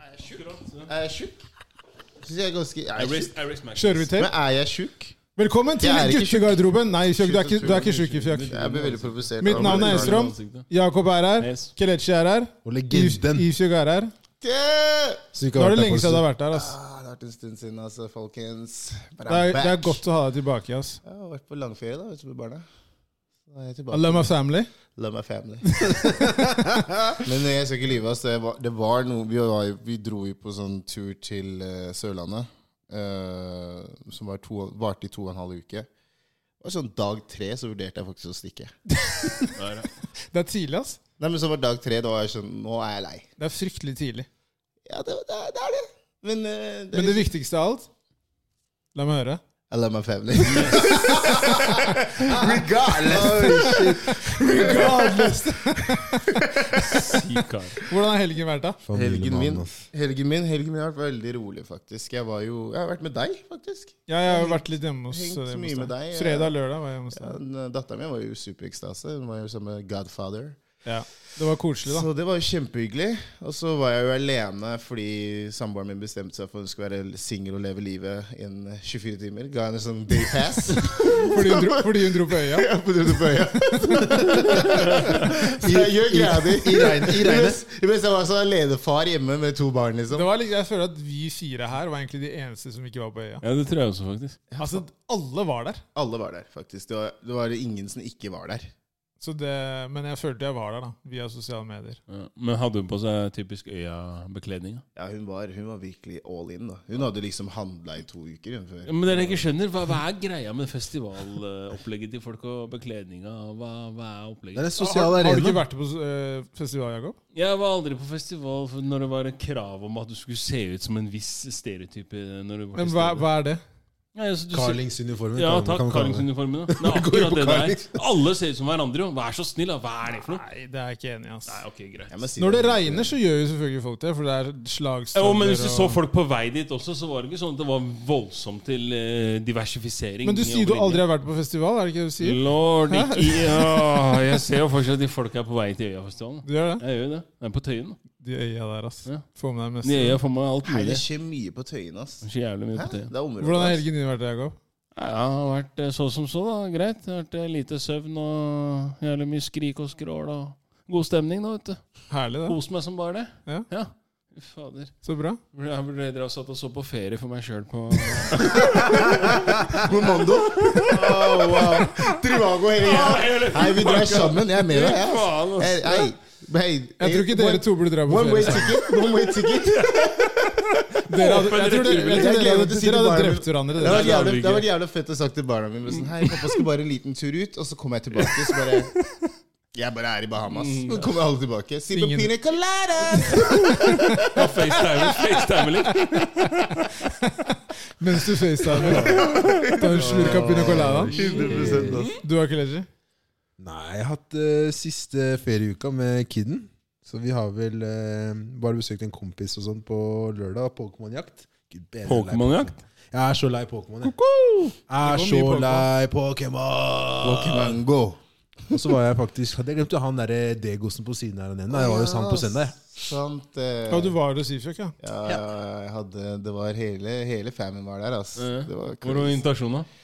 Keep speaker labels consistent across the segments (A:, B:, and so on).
A: Er jeg tjukk?
B: Akkurat.
A: Er jeg tjukk? Synes jeg er ganske Er jeg tjukk?
C: Kjører vi til?
A: Men er jeg tjukk?
C: Velkommen til
A: Jeg er ikke
C: guttegarderoben. Nei, Fjøk, du er ikke, du er ikke sjuk i fjøk.
A: Jeg blir veldig provosert.
C: Mitt
A: av-
C: navn er Esrom. Jakob er her.
B: Yes.
C: Kelechi er her.
D: Og
C: Is-
D: legenden.
C: Isjøk er her.
A: Yeah!
D: Så ikke
C: Nå er det
D: vært der
C: lenge
D: for
C: siden du
D: å
C: har vært her. ass.
A: Ah, det har vært en stund siden, altså, folkens. But
C: Det er,
A: I'm
C: det er
A: back.
C: godt å ha deg tilbake. ass.
A: Jeg har vært på langferie da, ute med barna. Så er jeg
C: I
A: tilbake.
C: love my family.
A: Love my family. Men eh, jeg skal ikke lyve. ass. Det var, det var noe vi, var, jo- vi dro jo på sånn tur til eh, Sørlandet, eh, som var to, varte i to og en halv uke. Og sånn dag tre så vurderte jeg faktisk å stikke.
C: Det er tidlig, ass.
A: Nei, men så var dag tre, da var jeg sånn Nå er jeg lei.
C: Det er fryktelig tidlig.
A: Ja, det, det, er- det er det. Men, eh, det,
C: Men det viktigste av alt La meg høre.
A: I love my family. Regardless. Oi, shit.
C: Regardless.
B: Syk kar.
C: Hvordan har helgen vært, da?
D: Familiemannen,
A: Helgen min,
D: ass.
A: helgen min Helgen min har vært veldig rolig, faktisk. Jeg, var jo, jeg har vært med deg, faktisk.
C: Ja, jeg har jo vært litt hjemme hos, eh,
A: Hengt
C: hjemme hos
A: mye med
C: deg.
A: deg, eh. ja.
C: Fredag og lørdag var jeg hjemme hos deg.
A: Dattera mi var jo superekstase. Hun var jo sammen med Godfather.
C: Ja. Det var koselig, da.
A: Så det var jo kjempehyggelig. Og så var jeg jo alene fordi samboeren min bestemte seg for at hun skulle være singel og leve livet innen 24 timer. Ga henne sånn day pass.
C: Fordi hun dro, fordi hun dro på øya.
A: Ja, på denne bøya. Så jeg gjør greia di.
D: I regnet. I regnet.
A: Mens mens jeg var sånn alenefar hjemme med to barn, liksom.
C: Det var litt, jeg føler at vi fire her var egentlig de eneste som ikke var på øya.
B: Ja, det tror jeg også, faktisk.
C: Altså, alle var der.
A: Alle var der, faktisk. Det var, det var ingen som ikke var der.
C: Så det, men jeg følte jeg var der, da. Via sosiale medier.
B: Ja. Men hadde hun på seg typisk Øya-bekledning? da?
A: Ja, hun var, hun var virkelig all in, da. Hun hadde liksom handla i to uker hun, før.
B: Ja, men dere ikke skjønner, hva, hva er greia med festivalopplegget til folk og bekledninga? Hva, hva er
D: Det er
B: opplegget?
D: en
C: Har,
D: sosial
C: har du ikke
D: arena.
C: vært på øh, festival, Jakob?
B: Jeg var aldri på festival for når det var et krav om at du skulle se ut som en viss stereotype. Når du var til
C: Men hva,
B: stede.
C: hva er det?
B: Ja, altså, du ser-
D: Carlingsuniformen.
B: Ja,
D: kan man-
B: takk.
D: kan man kalle det.
B: Karlingsuniformen. da. Nei,
D: Går
B: akkurat
D: på
B: det der.
D: Carlings.
B: Alle ser ut som hverandre, jo. Vær så snill, da. Hva er det for noe?
C: Nei, det er jeg ikke enig i, ass.
B: Nei, ok, greit.
A: Jeg må si
C: Når det regner, så gjør jo selvfølgelig folk det, for det er slagstøvler
B: Jo, men hvis du så
C: og-
B: folk på vei dit også, så var det ikke sånn at det var voldsomt til eh, diversifisering.
C: Men du sier du
B: over
C: aldri
B: linja.
C: har vært på festival, er det ikke det du sier?
B: Lord, ikke ja, Jeg ser jo fortsatt de folka er på vei til Øyafestivalen.
C: Du gjør det?
B: Jeg gjør jo det. Jeg er på Tøyen. da.
C: De øya der, ass.
B: Ja.
C: Få med deg mest.
B: De øya får meg alt
A: Nei,
B: mulig.
A: det skjer mye på Tøyen, ass.
B: Så jævlig mye
A: Hæ?
B: på Tøyen.
A: Det er området.
C: Hvordan har
A: ass.
C: helgen din vært, Jakob?
B: Nei, det har vært eh, så som så, da. Greit. Det har vært eh, lite søvn og jævlig mye skrik og skrål og god stemning, da, vet du.
C: Herlig, det.
B: Kos meg som bare det.
C: Ja.
B: ja. Fy Fader.
C: Så bra.
B: Jeg burde dere ha satt og så på ferie for meg sjøl på
A: Momondo? Oh, wow. Trivago hele greia. Hei, vi drar sammen. Jeg er med deg, jeg. ass. Hei, hei. Hei,
C: Jeg tror ikke
A: one-
C: dere to burde dra på
A: One way
C: ferie.
A: ticket. One way ticket.
C: Dere hadde, jeg tror dere, jeg
A: Jeg
C: tror dere,
A: gleder meg
C: hadde,
A: til å si til
C: dere hadde
A: barna
C: drept hverandre.
A: Det hadde
C: Dere.
A: vært jævlig, det hadde vært jævlig fett å sagt til barna mine sånn, Hei, pappa skal bare en liten tur ut, og så kommer jeg tilbake. Så bare Jeg bare er i Bahamas. Så kommer alle tilbake. Si på
C: Ingen-
A: pina colada!
B: FaceTime, FaceTime litt.
C: Mens du facetimer. Ta en slurk av pina colada.
A: 100% ass.
C: Du har ikke leggy?
D: Nei, jeg har hatt eh, siste ferieuka med kidden. Så vi har vel eh, bare besøkt en kompis og sånn på lørdag. Pokémon-jakt. Gud, bedre lei
B: Pokémon-jakt?
D: Pokémon. Jeg er så lei Pokémon. Jeg, jeg er
C: Det går
D: så
C: mye Pokémon.
D: lei Pokémon!
A: Mango.
D: Og så var jeg faktisk Hadde jeg glemt jo han derre Degosen på siden her. og den. Nei, Jeg var hos han på søndag.
A: Sant eh,
C: Ja, du var hos Ifjok, ja.
A: ja, jeg hadde, Det var hele, hele familien var der, ass.
B: Ja.
A: Det var
B: Hvor var invitasjonen, da?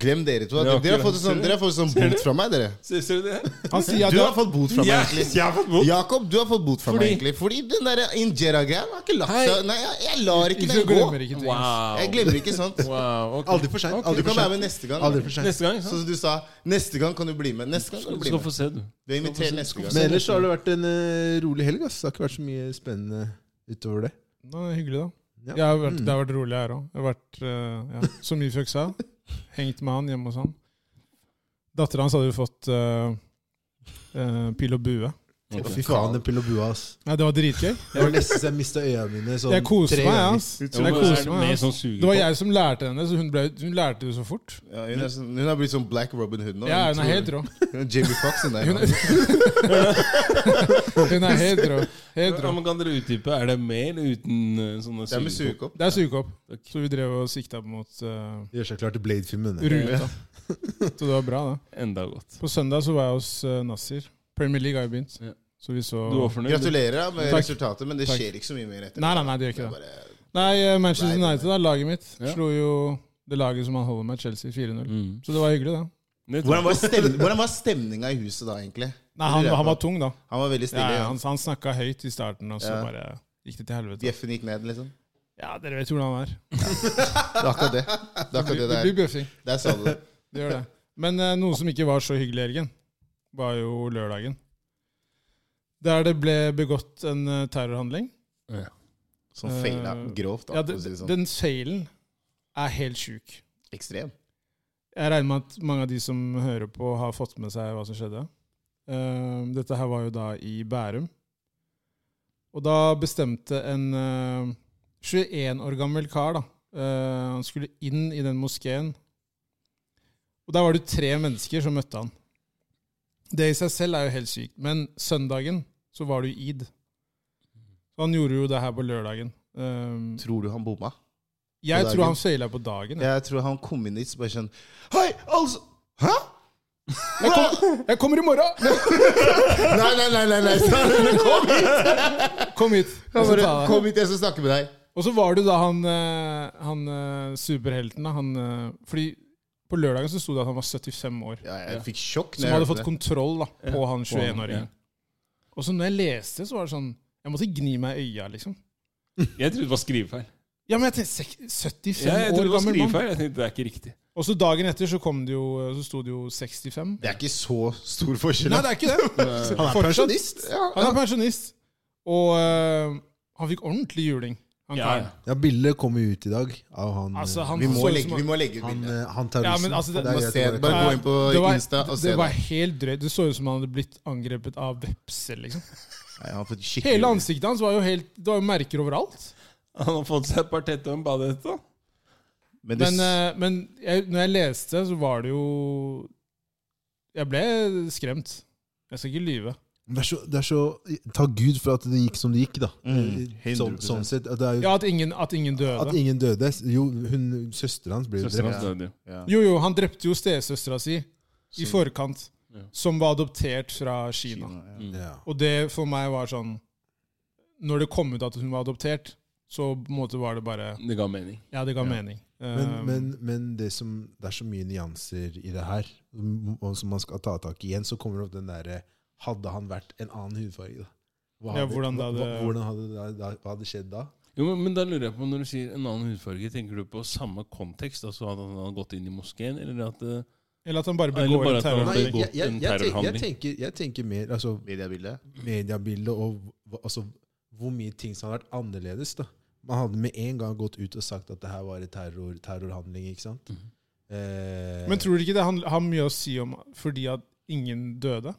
A: Glem dere to.
B: Det var
A: Dere har
B: akkurat-
A: fått sånn, dere har fått sånn bot fra meg, dere.
B: Syns du det?
C: Han sier at
A: Du
C: du
A: har fått bot fra meg, egentlig.
B: har fått bot.
A: Jakob, du har fått bot fra
B: Fordi-
A: meg, egentlig. Fordi den der Injera-greia har ikke lagt
B: Hei.
A: seg Nei, jeg, jeg lar ikke
C: Ifjok
A: den gå.
C: glemmer ikke ting. ass.
B: Wow.
A: Jeg glemmer ikke sånt.
B: Wow, ok.
D: Aldri for seint.
A: Du
D: Aldri
A: kan
D: for
A: være med
D: seint.
A: neste gang.
D: Aldri for sent.
B: Neste gang.
A: Sånn som du sa, neste gang kan du bli med. Neste gang kan
B: Du
A: du bli
B: skal
A: med.
B: få se, du.
A: Du er invitert neste gang.
D: Men ellers så har det vært en eh, rolig helg. ass. Det har ikke vært så mye spennende utover det.
C: Nå er det hyggelig, da.
D: Ja.
C: Jeg har vært, det har vært rolig her òg. Jeg har vært, eh, ja, som Ifjok sa, hengt med han hjemme hos han. Dattera hans hadde jo fått eh, eh, pil og bue.
B: Ok.
D: Fy faen, den pill og bua, ass.
C: Nei, det var dritgøy.
D: Det var nesten så jeg mista øya mine sånn
C: Jeg koser
D: tre
C: meg,
D: ganger.
C: jeg. ass.
B: Jo,
C: Jeg
B: men er
C: koser
B: det
C: meg.
B: mer
C: ass.
B: sånn suger
C: Det var
B: på?
C: jeg som lærte henne, så hun, ble, hun lærte det så fort.
A: Ja, hun, er sånn, hun har blitt sånn Black Robin Hood nå.
C: Ja, hun er helt rå.
A: Jamie Foxx hun der.
C: Hun Hun er helt rå. Helt
B: Ja,
C: rå.
B: men kan dere utdype? Er det med eller uten eh, sånne
A: Det er med
B: sugekopp?
A: sugekopp.
C: Det er sugekopp. Så vi drev og sikta mot eh,
D: Gjør seg klar til Blade-filmen. det.
C: ruta. Så det var bra, det.
B: Enda godt.
C: På søndag så var jeg hos eh, Nasir. Premier League har jo begynt.
B: Ja.
C: Så vi så
B: Du var fornøyd?
A: Gratulerer da, med
C: Takk.
A: resultatet, men det
C: Takk.
A: skjer ikke så mye mer etter
C: Nei, nei, nei, det gjør
A: Det
C: ikke
A: er
C: det.
A: bare-
C: Nei, eh, Manchester
A: Nei, nei,
C: United er laget mitt.
B: Ja.
C: Slo jo det laget som han holder med, Chelsea 4-0.
B: Mm.
C: Så det var hyggelig, det.
B: Det tror
A: Hvordan
B: jeg.
A: var, stem- hvordan var stemninga i huset da, egentlig?
C: Nei, han, han var tung, da.
A: Han var veldig
C: Ja,
A: stille.
C: han han snakka høyt i starten, og så
A: Ja.
C: bare gikk det til helvete.
A: Bjeffen gikk ned, liksom.
C: Ja, dere vet hvordan han er.
A: Det er akkurat det. Det er akkurat det
C: Det
A: der.
C: blir bjøffing.
A: Der sa du det. sånn-
C: Det gjør det. Men eh, noe som ikke var så hyggelig i helgen, var jo lørdagen. Der det ble begått en eh, terrorhandling.
A: Som feila
C: Eh,
A: Sånn grovt. Da,
C: Ja,
A: for
C: det,
A: å si det sånn.
C: Den feilen er helt sjuk.
A: Ekstrem.
C: Jeg regner med at mange av de som hører på, har fått med seg hva som skjedde. Eh, dette her var jo da i Bærum. Og da bestemte en eh, 21 år gammel kar da, eh, Han skulle inn i den moskeen. Og der var det tre mennesker som møtte han. Det i seg selv er jo helt sykt, men søndagen så var det jo id. Så han gjorde jo det her på lørdagen. Eh,
A: Tror du han bomma?
C: jeg
A: På
C: tror
A: dagen?
C: han feila på dagen. Jeg.
A: Jeg tror han kom inn dit så bare sånn Hei, altså! Hæ?
C: Jeg, kom, jeg kommer i morgen!
A: Nei, nei, nei, nei, nei. sa han. Men kom hit!
C: Kom hit. Jeg
A: Han
C: skal
A: bare,
C: ta deg.
A: kom hit, jeg skal snakke med deg.
C: Og så var det jo da han, eh, han eh, superhelten. da, Han, eh, fordi på lørdagen så sto det at han var 75 år.
A: Ja, jeg fikk sjokk. når
C: Som
A: jeg
C: hadde
A: hørte
C: fått
A: det.
C: kontroll da, på han
B: på han,
C: 21-åringen. Og så når jeg leste, så var det sånn Jeg måtte gni meg i øya, liksom.
B: Jeg trodde det var skrivefeil.
C: Ja, men jeg tenkte sek- 75
B: Ja, jeg
C: år
B: trodde det var
C: gammel mann.
B: skrivefeil. Jeg tenkte det er ikke riktig.
C: Og så dagen etter så kom det jo eh, Så sto det jo 65.
A: Det er ikke så stor forskjell.
C: Nei, det er ikke det.
A: han er
C: fortsatt-
A: pensjonist. Ja,
C: Han er pensjonist. Og eh, han fikk ordentlig juling. Han
B: Ja,
C: karen.
B: ja.
D: Ja, bildet kommer jo ut i dag av han
C: Altså, han
A: Vi,
C: så
A: må
C: ut
A: legge,
C: som
A: vi må legge ut
D: Han,
A: bilde.
D: eh, han
C: Ja,
D: terroristen.
C: men altså, det-
D: er
A: Bare
D: greit
A: se-
D: å
A: bare
C: Nei,
A: gå inn på
C: det var-
A: Insta og
C: det-
A: se
C: Det
A: det.
C: var helt drøyt. Det så ut som han hadde blitt angrepet av vepser. liksom.
A: Nei, han har fått skikkelig-
C: Hele ansiktet hans var jo helt, det var jo merker overalt.
B: Han har fått seg et par tette og en badehette.
A: Men, det,
C: Men, eh, men jeg, når jeg leste, så var det jo Jeg ble skremt. Jeg skal ikke lyve.
D: Det er, så, det er så Ta Gud for at det gikk som det gikk, da.
A: Mm,
D: sånn,
A: 100%.
D: sånn sett. At, det er, jo-
C: Ja, At ingen, at ingen
D: at
C: døde.
D: ingen døde. Jo, hun, søstera hans ble jo drept.
A: hans
B: døde jo.
A: ja.
C: Jo, jo, han drepte jo stesøstera si i
A: Så-
C: forkant,
B: Ja.
C: som var adoptert fra
A: Kina,
C: Kina.
A: ja.
B: Mm.
D: Ja.
C: Og det for meg var sånn Når det kom ut at hun var adoptert, så på en måte var det bare
B: Det ga mening.
C: Ja, det ga
A: Ja.
C: mening.
D: Men,
C: Um,
D: men, men det, som, det er så mye nyanser i det her, som- og som man skal ta tak i igjen. Så kommer det opp den derre Hadde han vært en annen hudfarge, da? Hva
C: Ja,
D: hadde-
C: hvordan da
D: hva-
C: det-
D: hvordan hadde, det- da, hva hadde skjedd da?
B: Jo, men, men da lurer jeg på, Når du sier en annen hudfarge, tenker du på samme kontekst? Altså at han har gått inn i moskeen? Eller at eh,
C: Eller at han bare
B: Eller
C: begår
B: bare
C: en
B: at han-
C: terror.
B: Nei,
D: jeg,
B: begått
D: jeg, jeg,
B: en
D: jeg, tenker, jeg,
B: terrorhandling.
D: tenker, jeg tenker mer altså,
A: Mediebildet.
D: mediebildet og hva- altså, hvor mye ting som hadde vært annerledes. da. Man hadde med en gang gått ut og sagt at det her var en terror, terrorhandling. ikke sant? Eh,
C: Men tror du ikke det han- har mye å si om fordi at ingen døde?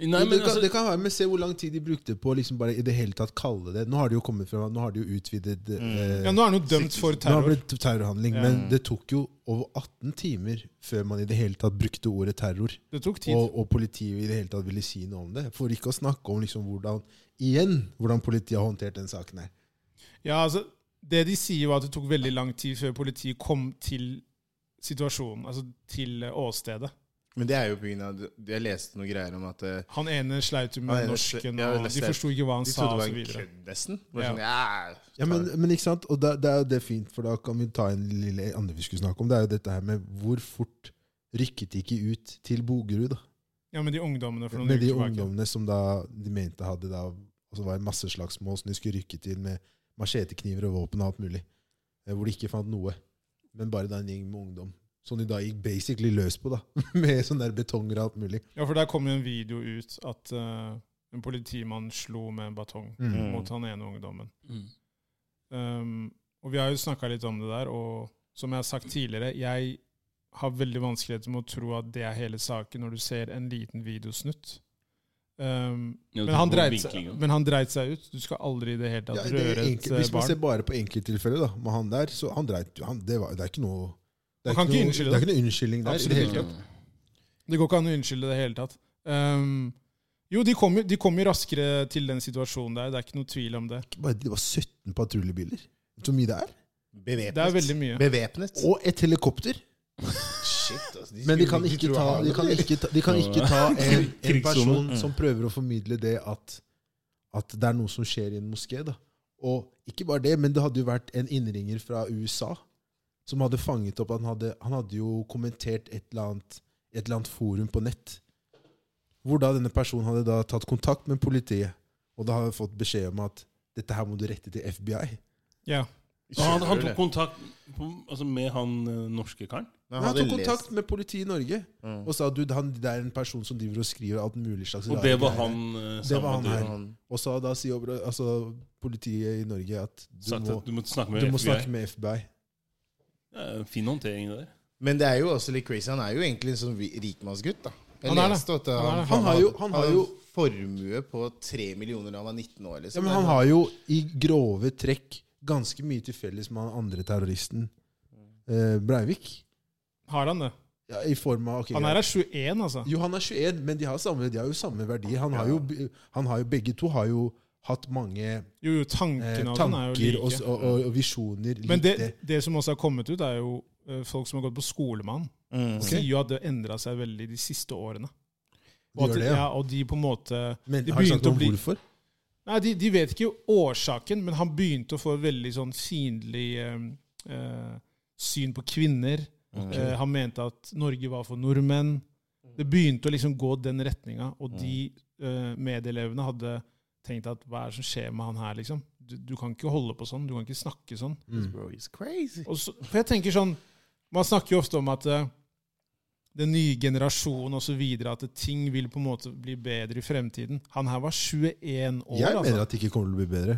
B: Nei, men
D: det, kan,
B: altså,
D: det kan være med å se hvor lang tid de brukte på å liksom bare i det hele tatt kalle det Nå har det jo kommet frem, nå har de jo utvidet eh,
C: Ja, Nå er han jo dømt for
D: Nå har
C: terror.
D: det blitt terrorhandling,
C: Ja.
D: men det tok jo over 18 timer før man i det hele tatt brukte ordet terror.
C: Det tok tid.
D: Og, og politiet i det hele tatt ville si noe om det. For ikke å snakke om liksom hvordan igjen, hvordan politiet har håndtert den saken her.
C: Ja, altså, det de sier, var at det tok veldig lang tid før politiet kom til situasjonen, altså til eh, åstedet.
A: Men det er jo pga. Jeg leste noen greier om at eh,
C: Han ene sleit jo
A: Han
C: med
A: ene
C: norsken,
A: sle- ja,
C: og
A: eller
C: de
A: sleit.
C: forsto ikke hva han
A: de
C: sa.
A: trodde det
C: Og
A: var
C: så
A: en
C: videre.
A: kødd, nesten. Det var
C: Ja.
A: sånn, ja,
D: Ja, men, men ikke sant? Og da, det er jo det fint, for da kan vi ta en lille andre vi skulle snakke om. Det er jo dette her med hvor fort rykket de ikke ut til Bogerud, da.
C: Ja, med de ungdommene for noen
D: Med
C: uker
D: de
C: tilbake.
D: ungdommene som da de mente hadde da altså var i masseslagsmål som de skulle rykke til med machetekniver og våpen og alt mulig. Eh, Hvor de ikke fant noe. Men bare da en gjeng med ungdom. Som de da gikk basically løs på, da. Med sånn der betonger og alt mulig.
C: Ja, for der kom jo en video ut at eh, en politimann slo med en batong
A: Mm.
C: mot han ene ungdommen.
B: Mm.
C: Um, og vi har jo snakka litt om det der, og som jeg har sagt tidligere, jeg har veldig vanskeligheter med å tro at det er hele saken når du ser en liten videosnutt. Um,
B: Ja,
C: men, han
B: det var
C: dreit seg,
B: vinklingen.
C: men han dreit seg ut. Du skal aldri i det hele tatt
D: Ja, det er
C: røre et
D: enkelt-
C: eh,
D: hvis man
C: barn.
D: ser bare på enkelttilfellet, da, med han der, så han dreit jo- han, det, var, det er ikke noe det er
C: Man kan
D: ikke,
C: ikke
D: noe,
C: unnskylde
D: det er ikke noe unnskyldning der. i
C: Absolutt
D: det hele
C: ikke.
D: tatt.
C: Det går ikke an å unnskylde det i det hele tatt. Um, jo, de kom, jo- de kom jo raskere til den situasjonen der. Det er ikke noe tvil om det.
D: Bare- Det var 17 patruljebiler. Vet du Hvor mye det er?
A: Bevæpnet.
C: Det er veldig mye.
A: Bevæpnet.
D: Og et helikopter!
A: Shit, altså,
D: Men de
A: skulle
D: kan ikke
A: tro
D: ta,
A: han
D: de kan ikke ta, de kan ikke ta en, en
B: Krigssone.
D: person
B: Mm.
D: som prøver å formidle det at, at det er noe som skjer i en moské. da. Og ikke bare det, men det hadde jo vært en innringer fra USA som hadde fanget opp Han hadde, han hadde jo kommentert et eller, annet, et eller annet forum på nett. Hvor da denne personen hadde da tatt kontakt med politiet, og da hadde fått beskjed om at dette her må du rette til FBI.
C: Ja.
B: Og han, han
A: Skjønner
B: tok
A: det.
B: kontakt på, altså, med han eh, norske karen.
A: Men
D: Han
A: hadde
D: tok kontakt
A: lest-
D: med politiet i Norge
A: Mm.
D: og sa at det er en person som driver og skriver alt mulig slags
B: Og
D: rare
B: det var
D: greier.
B: han eh,
D: Det var
B: samme
D: han
B: du
D: her.
B: har
A: Han,
D: Og så da sier jo- altså, politiet i Norge at du
B: sagt
D: må,
B: at du måtte snakke med
D: du må
B: FBI.
D: snakke med FBI.
B: Ja, fin håndtering det der.
A: men det er jo også litt crazy. Han er jo egentlig en sånn ri- rikmannsgutt. da Jeg
C: Han er det.
A: leste at uh,
C: Han er
A: han,
C: det.
D: Han har jo- han har jo-
A: formue på tre millioner da han var 19 år.
D: Ja,
A: liksom
D: men han har jo i grove trekk ganske mye til felles med han andre terroristen, eh, Breivik.
C: Har han det?
D: Ja, I form av ok,
C: Han er av 21, altså.
D: Jo, han er 21, men de har, samme, de har jo samme verdier. Han har jo, han har jo, begge to har jo hatt mange
C: Jo, jo,
D: eh,
C: tanken av den sånn er jo
D: tanker og,
C: like.
D: og, og, og visjoner. lik
C: Men det,
D: det.
C: det som også har kommet ut, er jo eh, folk som har gått på skole med han.
A: Mm.
C: Sier jo at det endra seg veldig de siste årene.
D: De
C: Og,
D: gjør
C: at,
D: det,
C: ja.
D: ja.
C: og de på en måte
D: Men
C: det
D: har du
C: begynte
D: sagt
C: å
D: noe om
C: bli-
D: hvorfor?
C: Nei, de, de vet ikke årsaken, men han begynte å få et veldig sånn fiendtlig eh, eh, syn på kvinner.
A: Ok.
C: Eh, han mente at Norge var for nordmenn. Det begynte å liksom gå den retninga, og de eh, medelevene hadde tenkt at hva er det som skjer med han her, liksom? Du, du kan ikke holde på sånn, du kan ikke snakke sånn.
D: Mm.
A: Bro, he's crazy.
C: Og så, for jeg tenker sånn, Man snakker jo ofte om at eh, den nye generasjonen og så videre, at ting vil på en måte bli bedre i fremtiden. Han her var 21 år,
D: Jeg mener
C: altså.
D: at det ikke kommer til å bli bedre.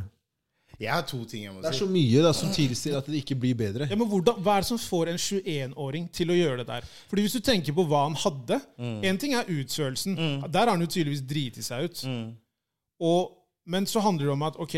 A: Jeg har to ting jeg må
D: Det er
A: si.
D: så mye da, som tilsier at det ikke blir bedre.
C: Ja, men hvordan, Hva er det som får en 21-åring til å gjøre det der? Fordi Hvis du tenker på hva han hadde
A: Mm.
C: En ting er utsvørelsen. Der har han jo tydeligvis driti seg ut.
A: Mm.
C: Og, men så handler det om at ok,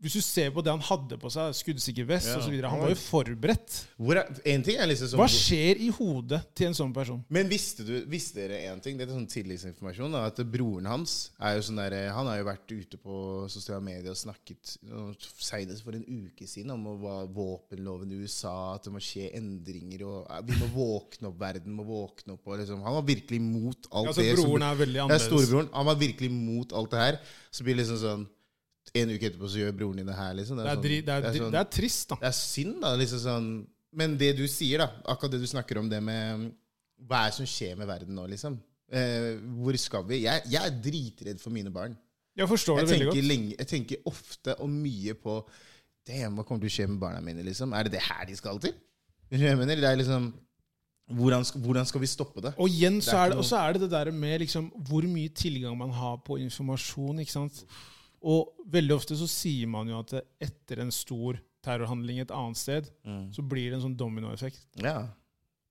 C: hvis du ser på det han hadde på seg, skuddsikker vest
A: Ja.
C: og så videre, Han var jo forberedt.
A: Hvor er, en ting er liksom som-
C: Hva skjer i hodet til en sånn person?
A: Men visste, du, visste dere én ting? Det er sånn tilleggsinformasjon. da, At broren hans er jo sånn der, Han har jo vært ute på sosiale medier og snakket øh, senest for en uke siden om hva våpenloven i USA, at det må skje endringer og eh, Vi må våkne opp, verden må våkne opp. Og liksom, han var virkelig imot alt
C: Altså,
A: det. som-
C: broren er veldig
A: det er
C: annerledes.
A: storebroren. Han var virkelig imot alt det her. Så blir det liksom sånn En uke etterpå så gjør broren din det her, liksom.
C: Det er,
A: sånn-
C: dri, det, er, dri-
A: sånn-
C: det er trist, da.
A: det er synd, da. liksom sånn Men det du sier, da, akkurat det du snakker om det med um, Hva er det som skjer med verden nå, liksom? Eh, hvor skal vi? Jeg, jeg er dritredd for mine barn.
C: Jeg forstår
A: Jeg
C: det veldig
A: tenker,
C: godt.
A: lenge, jeg tenker ofte og mye på Damn, hva kommer til å skje med barna mine, liksom? Er det det her de skal til? Skjønner du hva Jeg mener, det er liksom hvordan skal, hvordan skal vi stoppe det?
C: Og igjen så
A: Det er
C: er
A: ikke
C: det, og så er det det der med liksom, hvor mye tilgang man har på informasjon. ikke sant? Og veldig ofte så sier man jo at det- etter en stor terrorhandling et annet sted,
A: Mm.
C: så blir det en sånn dominoeffekt.
A: Ja.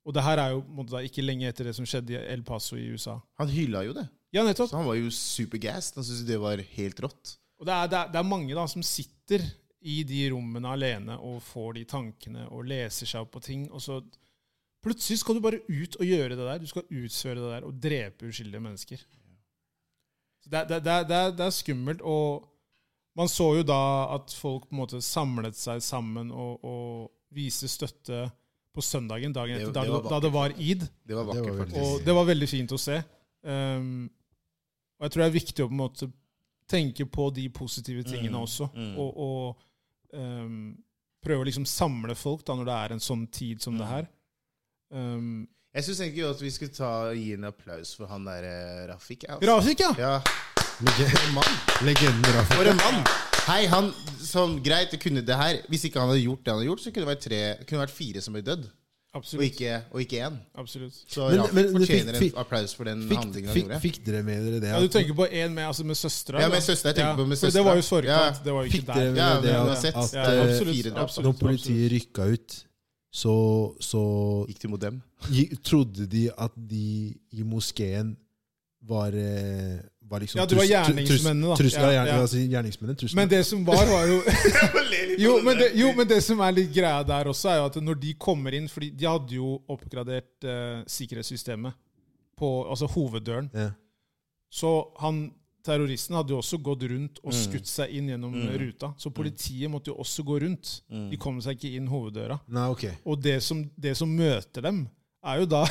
C: Og det her er jo på en måte, da, ikke lenge etter det som skjedde i El Paso i USA.
A: Han hylla jo det.
C: Ja, nettopp.
A: Så han var jo supergassed. Han syntes jo det var helt rått.
C: Og det er, det er, det er mange da som sitter i de rommene alene og får de tankene og leser seg opp på ting. og så... Plutselig skal du bare ut og gjøre det der. Du skal utføre det der og drepe uskyldige mennesker. Så Det, det, det, det, er- det er skummelt. Og man så jo da at folk på en måte samlet seg sammen og, og viste støtte på søndagen, dagen
A: Det-
C: etter,
A: det
C: da,
A: var
C: da det var id.
A: Det var
D: Det
A: vakkert,
D: var veldig-
A: faktisk.
C: Og det var veldig fint å se. Um, og jeg tror det er viktig å på en måte tenke på de positive tingene
A: Mm,
C: også.
A: mm.
C: Og, og um, prøve å liksom samle folk da når det er en sånn tid som
A: Mm.
C: det her. Um,
A: Jeg syns egentlig at vi skulle ta, gi en applaus for han der eh, Rafik. altså.
C: Rafik, ja!
A: Ja,
D: Lege-
A: mann.
D: Legenden Rafa.
A: For en mann! Hei, han som greit det kunne det her. Hvis ikke han hadde gjort det han hadde gjort, så kunne det vært, tre, kunne det vært fire som ble dødd, og
C: Absolutt.
A: ikke, og ikke én.
C: absolutt.
A: Så
D: Men-
A: Rafik
D: men det
A: fortjener
D: fikk- fikk-
A: en applaus for den
D: Fikk,
A: handlingen han
D: fikk,
A: gjorde.
D: fikk dere med dere det?
C: Ja,
D: at-
C: du tenker på en med, altså med søstera?
A: Ja,
C: da?
A: med søstera, jeg tenker på med
C: for Det
A: søstera.
C: var jo forkant.
A: Ja.
C: Det var jo
D: Fikk
C: ikke
D: dere
C: der.
D: med
A: Ja,
D: dere det
A: men
D: at,
A: uansett,
D: at
A: det
C: Ja,
A: er
D: eh,
C: absolutt,
A: fire drap.
C: absolutt,
D: når politiet rykka ut, så, så
A: Gikk til mot dem.
D: gi- trodde de at de i moskeen var, eh, var liksom
C: Ja, det var
D: trus- tru-
C: gjerningsmennene, da.
D: trus- trus- ja,
C: Ja,
D: gjerne-
C: ja.
D: altså gjerningsmennene, trusler.
C: Men det som var, var jo jo men, det, jo, men det som er litt greia der også, er jo at når de kommer inn fordi de hadde jo oppgradert eh, sikkerhetssystemet på altså hoveddøren.
D: ja.
C: Så han terroristen hadde jo også gått rundt og skutt seg inn gjennom
A: Mm.
C: eh, ruta. Så politiet måtte jo også gå rundt. De kom seg ikke inn hoveddøra.
D: Nei, ok.
C: Og det som, det som møter dem, er jo da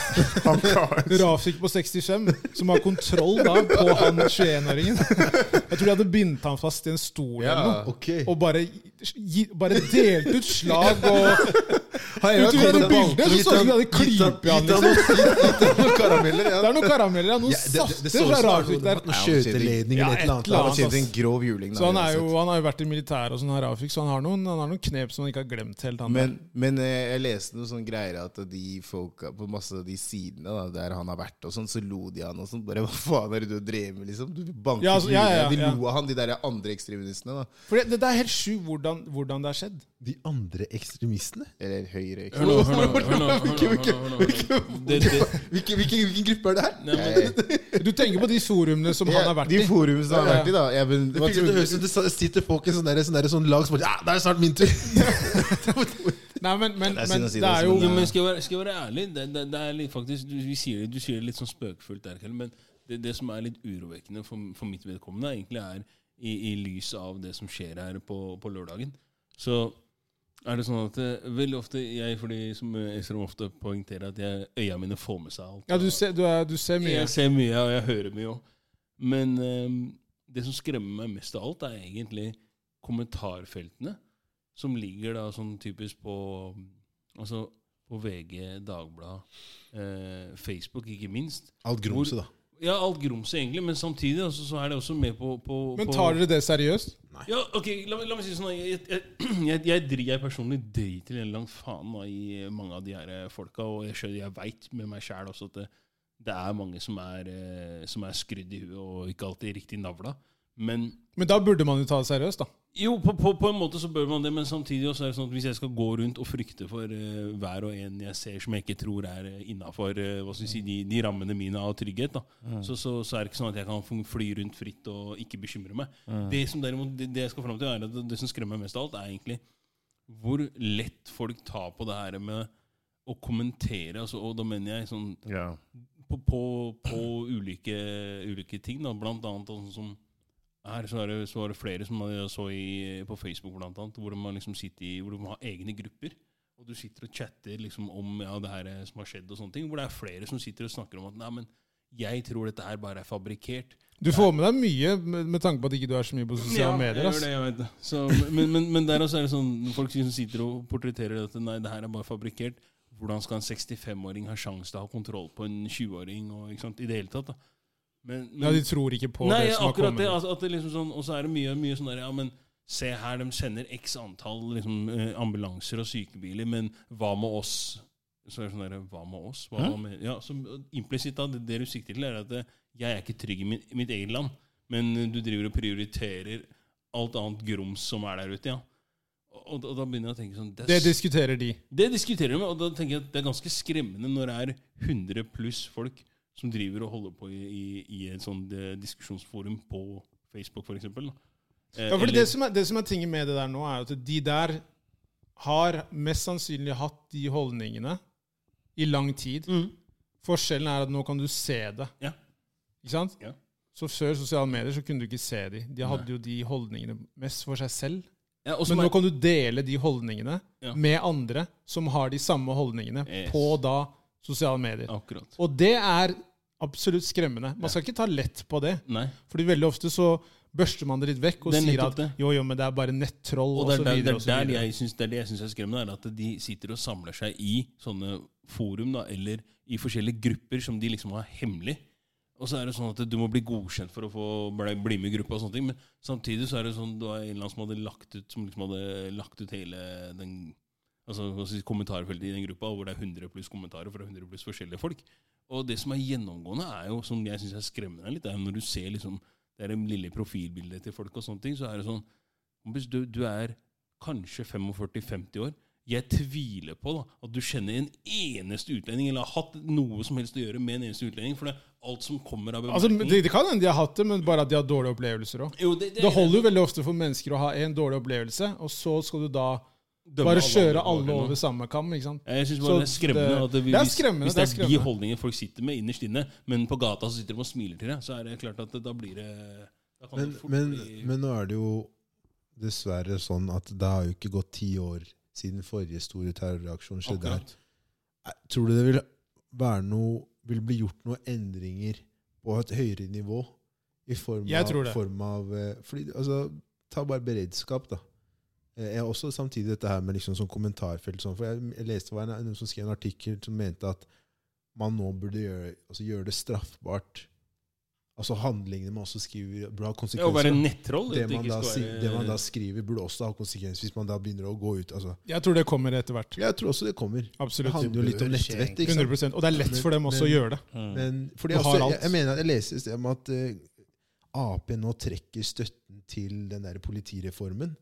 A: Han klarer det.
C: Rafik på 65, som har kontroll da på han 21-åringen. Jeg tror de hadde bindt han fast i en stol
A: Ja.
C: eller noe.
D: Ok.
C: Og bare, gi, bare delt ut slag og
A: Har jeg
C: Vet du hva det
A: kommet-
C: bildet er? Så
A: Gitt
C: så ut som
A: han-
C: de hadde
A: gitt han-
C: klype i
A: gitt
C: han,
A: Gitt han noen karameller, ja.
C: Det er noen karameller, ja, noen
D: Ja, det, det, det så
C: safter
D: ut
C: fra
D: som
C: Rafik
D: det
C: der.
D: var noe skjøteledning
C: Ja,
D: eller et
C: et
D: eller
A: Han har
C: eller
D: annet.
A: tjent en grov juling. da,
C: Så han, er jo,
A: uansett.
C: han har jo vært i militæret og sånn, her, Rafik, så han har, noen, han har noen knep som han ikke har glemt helt. Han
A: men, men eh, jeg leste noen sånne greier at de folka på masse av de sidene da, der han har vært, og sånn, så lo de han og sånn. Bare hva faen er det du drev med, liksom? Du banker
C: Ja, altså, ja, ja,
A: juling.
C: ja.
A: De lo av han, de der andre ekstremistene. da.
C: For det, det er helt sjukt hvordan, hvordan det har skjedd.
D: De andre ekstremistene?
A: Eller høyre
B: Hør nå, hør nå, hør nå, hør nå, hør nå, hør nå. Det- det-
D: Hvilken, hvilken, gruppe er det her?
B: nei, men-
A: Jeg-
C: Du tenker på de forumene som han har vært i.
A: De forumene som han har vært i, da. Jeg, men,
D: Det,
A: hva
D: fyller- det
A: trodde-
D: høres ut som det sa- sitter folk i sånn der- sånn der- sånn lag som bare Ja, da er det snart min tur!
C: Nei, men, men,
A: Det er synd
C: men eh,
A: å si
C: det
A: det,
C: er jo
B: Jo, men skal jeg være, skal jeg være ærlig det, det, det er litt, faktisk, du, vi sier, det- du sier det litt sånn spøkefullt der, Kjell, men det, det som er litt urovekkende for, for mitt vedkommende, er egentlig er i, i lys av det som skjer her på, på lørdagen. Så er det sånn at eh, veldig ofte jeg, fordi som eh, ekstremt ofte poengterer, at jeg, øya mine får med seg alt.
C: Ja, du ser, du, er, du ser mye.
B: Jeg ser mye, og jeg hører mye òg. Men eh, det som skremmer meg mest av alt, er egentlig kommentarfeltene. Som ligger da sånn typisk på Altså på VG, Dagbladet, eh, Facebook, ikke minst.
D: Alt grumset, da.
B: Ja, alt grumset, egentlig, men samtidig altså, så er det også med på, på
C: Men
B: på-
C: tar dere det seriøst?
B: ja, ok, la, meg- la meg si det sånn. da. Jeg, jeg, jeg, jeg, dri- jeg personlig driter helt langt faen da, i mange av de her eh, folka. Og jeg, skjønner- jeg veit med meg sjæl også at det, det er mange som er, eh, som er skrudd i huet og ikke alltid riktig navla. Men
C: Men da burde man jo ta det seriøst, da.
B: jo, på, på, på en måte så bør man det, men samtidig også er det sånn at hvis jeg skal gå rundt og frykte for eh, hver og en jeg ser som jeg ikke tror er uh, innafor si, de, de rammene mine av trygghet, da, så, så, så er det ikke sånn at jeg kan få fly rundt fritt og ikke bekymre meg. Det som derimot, det, det jeg skal fram til, er at det, det som skremmer meg mest av alt, er egentlig hvor lett folk tar på det her med å kommentere, altså, og da mener jeg sånn
A: Ja.
B: på, på, på ulike, ulike ting, da. blant annet sånn som her så er det, sånn så er det flere som jeg så i, på Facebook, blant annet, hvor man liksom sitter i, hvor de har egne grupper. Og du sitter og chatter liksom om ja, det her som har skjedd, og sånne ting, hvor det er flere som sitter og snakker om at nei, men jeg tror dette her bare er fabrikkert.
C: Du får med deg mye med, med tanke på at ikke du er så mye på sosiale medier.
B: jeg
C: ass.
B: gjør det, jeg vet det. Så, men, men, men der også er det sånn folk som sitter og portretterer at nei, det her er bare fabrikkert. Hvordan skal en 65-åring ha sjanse til å ha kontroll på en 20-åring og, ikke sant, i det hele tatt? da? Men, men,
C: Ja, De tror ikke på
B: Nei,
C: det som har
B: akkurat
C: kommet.
B: det. At, at det liksom sånn, og så er det mye, mye sånn der Ja, men se her, de sender x antall liksom, eh, ambulanser og sykebiler, men hva med oss? Så er det sånn der, Hva med oss? Hva
C: Hæ?
B: med, ja, så Implisitt da, det, det du sikter til, er at eh, jeg er ikke trygg i min, mitt eget land, men eh, du driver og prioriterer alt annet grums som er der ute, ja. Og, og da begynner jeg å tenke sånn
C: det diskuterer de.
B: det diskuterer de, og da tenker jeg at det er ganske skremmende når det er 100 pluss folk som driver og holder på i, i, i et sånt eh, diskusjonsforum på Facebook, for eksempel. da. Eh,
C: Ja, fordi
B: eller-
C: det som, er, det som er tinget med det der nå, er jo at de der har mest sannsynlig hatt de holdningene i lang tid.
B: Mm.
C: Forskjellen er at nå kan du se det.
B: Ja.
C: Ikke sant?
B: Ja.
C: Så før sosiale medier så kunne du ikke se de. De hadde jo de holdningene mest for seg selv.
B: ja, og som
C: Men nå
B: er,
C: kan du dele de holdningene
B: Ja.
C: med andre som har de samme holdningene
B: Yes.
C: på da sosiale medier.
B: Akkurat.
C: Og det er absolutt skremmende. Man skal ikke ta lett på det.
B: Nei.
C: Fordi veldig ofte så børster man det litt vekk og
B: Det er
C: sier
B: nettopp
C: at
B: det.
C: jo, jo, men det er bare nettroll
B: Og
C: og
B: det
C: så
B: er, der, det,
C: videre.
B: er
C: og så
B: der
C: videre.
B: jeg synes, det er det jeg syns er skremmende, er at de sitter og samler seg i sånne forum, da, eller i forskjellige grupper som de liksom har hemmelig. Og så er det sånn at du må bli godkjent for å få bli, bli med i gruppa. og sånne ting, Men samtidig så er det sånn det var en eller annen som hadde lagt ut som liksom hadde lagt ut hele den altså hva skal jeg si, kommentarfeltet i den gruppa, hvor det er 100 pluss kommentarer fra 100 pluss forskjellige folk. Og det som er gjennomgående, er jo, som jeg syns er skremmende litt, det er jo når du ser liksom det er det lille profilbildet til folk og sånne ting, så er det sånn Kompis, du, du er kanskje 45-50 år. Jeg tviler på da, at du kjenner en eneste utlending, eller har hatt noe som helst å gjøre med en eneste utlending. For det er alt som kommer av
C: Altså,
B: bemerkninger
C: det, det kan hende de har hatt det, men bare at de har dårlige opplevelser òg.
B: Jo, det, det-
C: Det holder jo veldig ofte for mennesker å ha en dårlig opplevelse, og så skal du da
B: dømme
C: bare
B: alle
C: kjøre
B: over
C: alle
B: nå.
C: over samme kam. ikke sant?
B: Ja, Jeg synes bare
C: Så
B: det er skremmende.
C: det-
B: At det,
C: det er skremmende,
B: Hvis,
C: det er
B: hvis det er de
C: skremmende.
B: holdningene folk sitter med innerst inne, men på gata så sitter de og smiler til deg, så er det klart at det, da blir det da kan
D: Men,
B: det fort
D: men,
B: bli-
D: men nå er det jo dessverre sånn at det har jo ikke gått ti år siden forrige store terroraksjon skjedde her.
B: Akkurat.
D: Tror du det vil være noe, vil bli gjort noen endringer på et høyere nivå. I form
C: Jeg
D: av,
C: tror det.
D: form av eh, fordi, altså, Ta bare beredskap, da. Eh, Jeg har også samtidig dette her med liksom sånn kommentarfelt. Sånn, for jeg, jeg leste var en, en som skrev en artikkel som mente at man nå burde gjøre, altså, gjøre det straffbart. Altså handlingene man også skriver burde ha
B: Det er å
D: konsekvenser.
B: være nettroll.
D: det,
B: at
D: man
B: ikke
D: da,
B: skal
D: si-
B: være-
D: det man da skriver, burde også ha konsekvenser hvis man da begynner å gå ut. Altså,
C: Jeg tror det kommer etter hvert.
D: jeg tror også det kommer. Det
C: Absolutt.
D: handler jo litt om
A: bør
D: nettvett. ikke sant?
C: 100 Og det er lett for dem også å gjøre det.
B: Mm.
D: Men, fordi
C: Du har
D: altså, jeg,
C: alt.
D: jeg mener at jeg leser et sted om at eh, Ap nå trekker støtten til den der politireformen.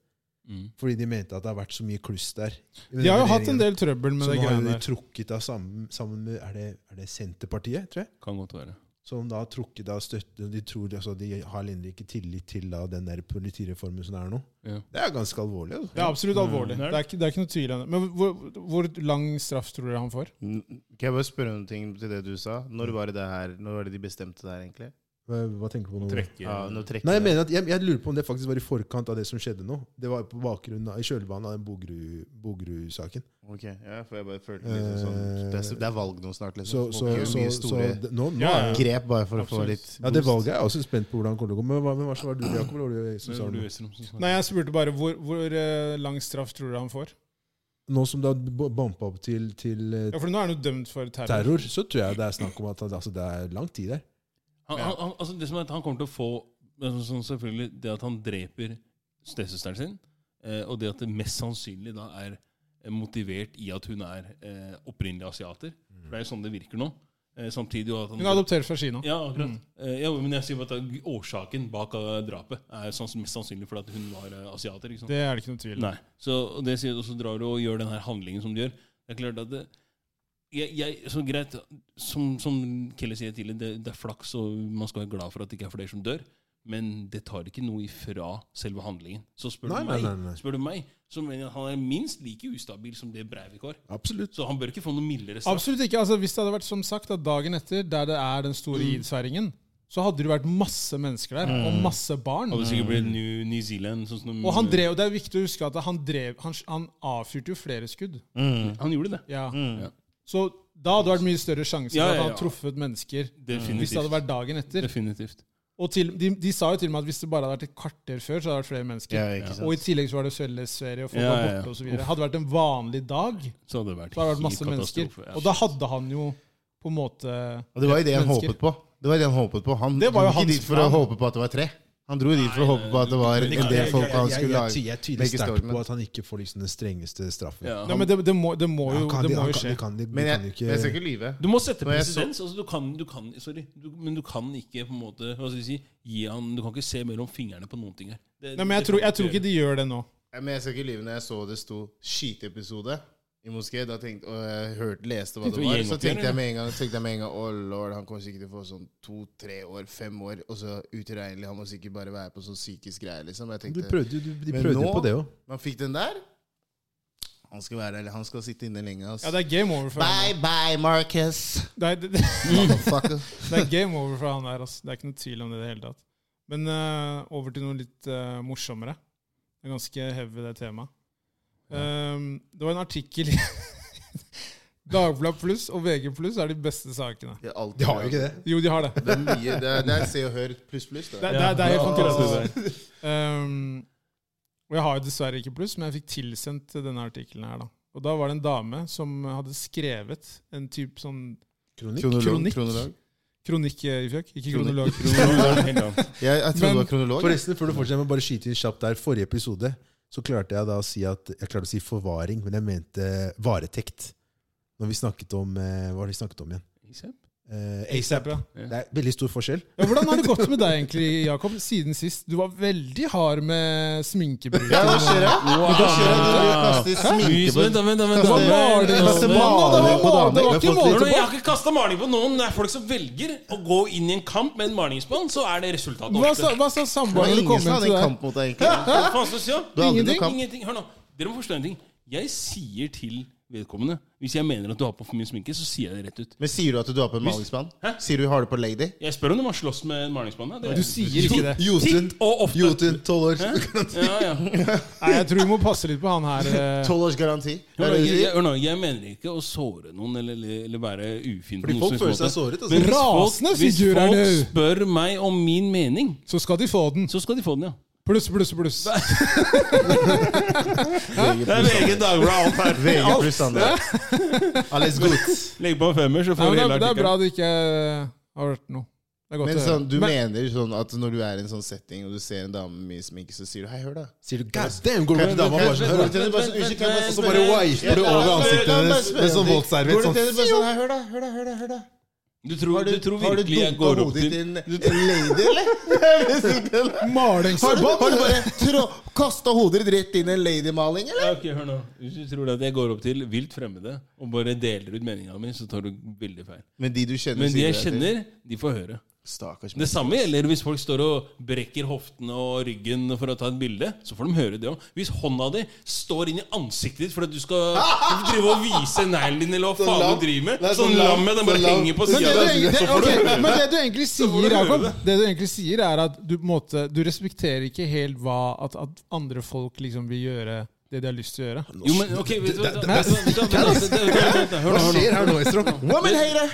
B: Mm.
D: Fordi de mente at det har vært så mye kluss der.
C: De har jo hatt en del trøbbel med
D: Så
C: det
D: nå har jo
C: greiene
D: de
C: der.
D: trukket av sammen, sammen med er det, er det Senterpartiet, tror jeg?
B: Kan godt være.
D: Som da har trukket av støtten. De tror altså, de har heller ikke tillit til da, den der politireformen som det er nå.
B: Ja.
D: Det er ganske alvorlig. Altså.
C: Det er absolutt alvorlig.
B: Mm.
C: Det er ikke, det er ikke noe tvil om det. Men hvor, hvor lang straff tror dere han får?
A: N- Kan jeg bare spørre om en ting til det du sa? Når var det det her, når var det de bestemte det her, egentlig?
D: Hva, hva tenker du på nå?
B: Trekke
A: Ja, nå trekker
D: Nei, jeg
A: det.
D: mener at jeg, jeg lurer på om det faktisk var i forkant av det som skjedde nå. Det var på bakgrunn av, i kjølvannet av den Bogerud- Bogerud-saken.
A: Ok, ja, for jeg bare følte liksom sånn
D: Eh,
A: Det er, det er valg nå snart,
D: Så,
A: liksom.
D: så,
A: Folk gjør
D: så,
A: mye
D: så,
A: store
D: d- nå, nå
C: Ja,
D: er jo-
A: grep bare for å få
C: Absolutt.
A: litt
D: ja, Det valget er jeg også spent på hvordan det kommer til å gå. Men hva, men hva så var det du, Jakob? Eller var det jeg som
B: Det
D: sa
B: var
D: det
B: du,
D: nå?
B: Øystein, som snakket.
C: Nei, jeg spurte bare hvor, hvor eh, lang straff tror dere han får?
D: Nå som det har b- bampa opp til, til eh,
C: Ja, For nå er han jo dømt for terror.
D: terror, så tror jeg det er snakk om at han- altså, det er lang tid der.
B: Han, han, han, altså det som er at han kommer til å få altså sånn selvfølgelig Det at han dreper stesøsteren sin, eh, og det at det mest sannsynlig da er eh, motivert i at hun er eh, opprinnelig asiater. For det er jo sånn det virker nå. Eh, samtidig jo at han
C: Hun er adoptert fra Kina.
B: Ja, akkurat. Eh, ja, men jeg sier bare at årsaken bak eh, drapet er sans- mest sannsynlig fordi at hun var eh, asiater. ikke sant?
C: Det er det ikke noe tvil om.
B: Nei. Så og det sier du, og så drar du og gjør den her handlingen som du gjør. Det er klart at det, jeg, jeg, så greit, som, som Kelly sier tidligere, det, det er flaks, og man skal være glad for at det ikke er flere som dør. Men det tar ikke noe ifra selve handlingen. Så spør,
D: Nei,
B: du,
D: nei,
B: meg,
D: nei, nei.
B: spør du meg, så mener jeg at han er minst like ustabil som det Breivik var.
D: Absolutt.
B: Så han bør ikke få noe mildere straff.
C: Absolutt ikke. altså Hvis det hadde vært som sagt at dagen etter, der det er den
B: Mm.
C: store idsverringen, så hadde det vært masse mennesker der, og masse barn.
B: Hadde sikkert blitt New, New Zealand. Sånn som,
C: Mm. Og han drev, det er viktig å huske at han, drev, han, han avfyrte jo flere skudd.
A: Mm.
B: Han gjorde det.
C: Ja.
B: Ja.
C: Så da hadde det vært mye større sjanse
B: Mm. Ja,
C: for
B: ja,
C: at han
B: ja.
C: hadde truffet mennesker. mm, Hvis det hadde
B: Definitivt.
C: vært dagen etter.
B: Definitivt.
C: Og til, de, de sa jo til og med at hvis det bare hadde vært et kvarter før, så hadde det vært flere mennesker.
A: Ja, ikke sant.
C: Og i tillegg så var det Sørlandsferie, og folk
B: Ja,
C: var
B: ja, ja.
C: borte osv. Hadde det vært en vanlig dag,
B: Så hadde det vært,
C: så hadde det vært
B: helt
C: masse mennesker.
B: katastrofe,
C: Og da hadde han jo på en måte
A: Og det var jo det han
C: Mennesker.
A: håpet på. Det var det han håpet på. Han
C: Det var
A: dro
C: jo
A: ikke
C: hans
A: dit for å
C: plan.
A: håpe på at det var tre. Han dro dit for å håpe på at det var en del folk han
D: jeg, jeg,
A: skulle
D: jeg, jeg tviler
A: legge
D: sterkt
A: stormen.
D: på at han ikke får liksom den strengeste straffen.
B: Ja,
C: Nei, men det, det, må, det må jo,
D: Han kan-
C: det må
D: han
C: jo
D: kan-
C: skje.
D: vi kan- vi- vi
A: Men
D: kan
A: jeg,
D: jo
A: men jeg skal
D: ikke
A: ikke lyve.
B: Du må sette
A: Når jeg
B: presedens. Altså, du, kan- du kan- sorry, du- men du kan ikke på en måte, hva skal jeg si, gi han, du kan ikke se mellom fingrene på noen ting her. Det-
C: Nei, men jeg
B: det
C: tror,
B: kan
C: jeg tror
B: gjøre.
C: ikke de gjør det nå.
A: Ja, Men jeg skal ikke lyve når jeg så det sto 'skyteepisode' i moské. Da tenkte, og jeg hørte, leste hva
B: Tenkte
A: det
B: du
A: var. Så
B: gjengoppgjør,
A: tenkte
B: eller?
A: jeg med en gang tenkte jeg med en gang, å lord, han kommer sikkert til å få sånn to-tre år, fem år, og så utilregnelig. Han må sikkert bare være på sånn psykisk greie, liksom. Jeg
D: De
A: tenkte,
D: prøvde jo de- de
A: Men
D: prøvde jo
A: nå-
D: på det òg.
A: Man fikk den der. Han skal være eller han skal sitte inne lenge. ass.
C: Ja, det er game over for han.
A: Bye bye, Marcus!
C: Det er, det,
A: Motherfucker.
C: det er game over for han der, altså. Det er ikke noe tvil om det i det hele tatt. Men eh, over til noe litt eh, morsommere. Det er ganske heavy, det temaet. Ehm, det var en artikkel i Dagbladet Pluss og VG Pluss er de beste sakene.
A: Det er alltid-
D: De har jo ikke det.
C: Jo, de har det.
A: Det er mye. Det er, det er Se og Hør pluss pluss.
C: Det,
A: da.
C: det, det er helt
B: Ja.
C: fantastisk. Ehm, og jeg har jo dessverre ikke pluss, men jeg fikk tilsendt denne artikkelen her, da. Og da var det en dame som hadde skrevet en type sånn
D: Kronikk.
A: Kronolog.
C: kronikk.
A: kronolog.
C: kronikk, eh, Ifjok. Ikke
A: Kronikk.
C: kronolog.
A: Jeg, jeg trodde det
C: Men-
A: var kronolog.
D: Forresten, før du fortsetter, jeg må bare skyte inn kjapt der. Forrige episode så klarte jeg da å si at Jeg klarte å si forvaring, men jeg mente varetekt. Når vi snakket om eh, Hva var det vi snakket om igjen? Eh, ASAP.
C: Ja.
D: Det er veldig stor forskjell.
C: Ja, hvordan har det gått med deg egentlig, Jakob, siden sist? Du var veldig hard med sminkebruk.
A: Ja, hva skjer da? Hva skjer da? Du kaster sminke på
B: Vent, da, vent, da, vent,
A: Kaste-
B: da.
C: maling-
B: Vent,
A: kaste
B: vent, vent.
A: maling. på
C: Nå, det var mål,
A: damer. Vi
C: det var
A: har
C: ikke
A: fått
C: mål.
B: Når jeg har ikke kasta maling på noen. Det er folk som velger å gå inn i en kamp med en malingsmann, så er det resultatet
C: Hva sa,
B: ofte.
C: hva
A: Det
C: sa
A: var
C: samboeren da du
A: ingen
C: kom
A: som
C: hjem
A: hadde
C: til
A: en
C: deg?
A: kamp mot deg, egentlig.
B: Hva faen skal jeg si? da?
A: Du hadde
C: Ingenting.
A: noen kamp.
B: Ingenting. Hør nå. Dere må forstå en ting. Jeg sier til vedkommende. Hvis jeg mener at du har på for mye sminke, så sier jeg det rett ut.
A: Men sier du at du har på en malingsmann?
B: Hæ?
A: Sier du har det på lady?
B: Jeg spør om de har slåss med malingsmannen.
C: Du sier ikke det.
D: Jotun,
B: Titt og ofte.
D: Jotun, tolv år.
B: Ja, ja.
C: Nei, jeg tror vi må passe litt på han her. eh.
A: Tolv års garanti?
B: Hør nå,
A: Er det det du
B: jeg,
A: sier?
B: hør nå, jeg mener ikke å såre noen eller, eller, eller være ufin. på
D: Fordi
B: noen
D: folk
B: som helst
D: føler seg
B: måte.
D: såret.
B: Men
D: Altså.
B: hvis
C: Rasende
B: folk- hvis
C: figurer
B: folk
C: du.
B: spør meg om min mening,
C: Så skal de få den.
B: så skal de få den, ja.
C: Pluss, pluss, pluss.
B: Dagbladet,
A: VG pluss standard.
B: alt her.
A: VG pluss standard. Alles godt.
B: Legg på en femmer, så
C: Nei,
B: får du
C: men
B: hele
C: det, det er bra
B: artikkelen.
C: det ikke eh, har vært noe. Det er godt
A: Men
C: å høre.
A: sånn, du
C: Men-
A: mener sånn at når du er i en sånn setting og du ser en dame med mye sminke, så sier du 'hei, hør, da'.
D: Sier du god damn, går du bort til dama og bare sånn
A: Går
D: hør
A: du til henne bare sånn, «Unnskyld, kan jeg bare-
D: Så bare wiper du over ansiktet hennes med sånn
A: Går du
D: våtserviett.
A: til
D: Sånn.
A: henne bare sånn 'hei, hør, da', hør, da', hør, da'. Hør, da.
B: Du tror, du, tror
A: har du
B: virkelig jeg
A: dunket
B: går opp
A: hodet
B: til
A: ditt i en en lady, eller? Har du,
C: Malingsbånd!
A: har du bare trå- kastet hodet ditt rett inn i en ladymaling, eller?
B: ja, ok, hør nå. Hvis du tror at jeg går opp til vilt fremmede og bare deler ut meninga mi, så tar du veldig feil.
A: Men de du kjenner,
B: Men de
A: sier
B: jeg
A: det til.
B: kjenner, de får høre.
A: Stakkars
B: Det samme gjelder hvis folk står og brekker hoftene og ryggen for å ta et bilde. Så får de høre det òg. Hvis hånda di står inn i ansiktet ditt for at du skal drive og vise neglen din, eller hva
D: Sånn
B: faen
D: lam.
B: du driver med,
D: Nei,
B: sånn
D: sånn lam.
B: lam, ja, den bare
D: Sånn lam.
B: henger på
D: Men
C: Men det,
B: sida.
C: du, egentlig- det,
B: Så får du
C: ok,
B: høre
C: men
B: det.
C: det du
B: får
C: egentlig
B: du
C: sier,
B: høre
C: Jakob,
B: det.
C: det du egentlig sier er at du, på en måte, du respekterer ikke helt hva at, at andre folk liksom vil gjøre det de har lyst til å gjøre.
B: Jo, men ok, vet du hva
D: Det- det-
B: Nei,
D: det-
B: vent, vent, vent, vent, vent, vent, vent, Hør
D: Hva
B: nå, hør nå.
D: skjer her nå, Estrom?
A: Woman hater!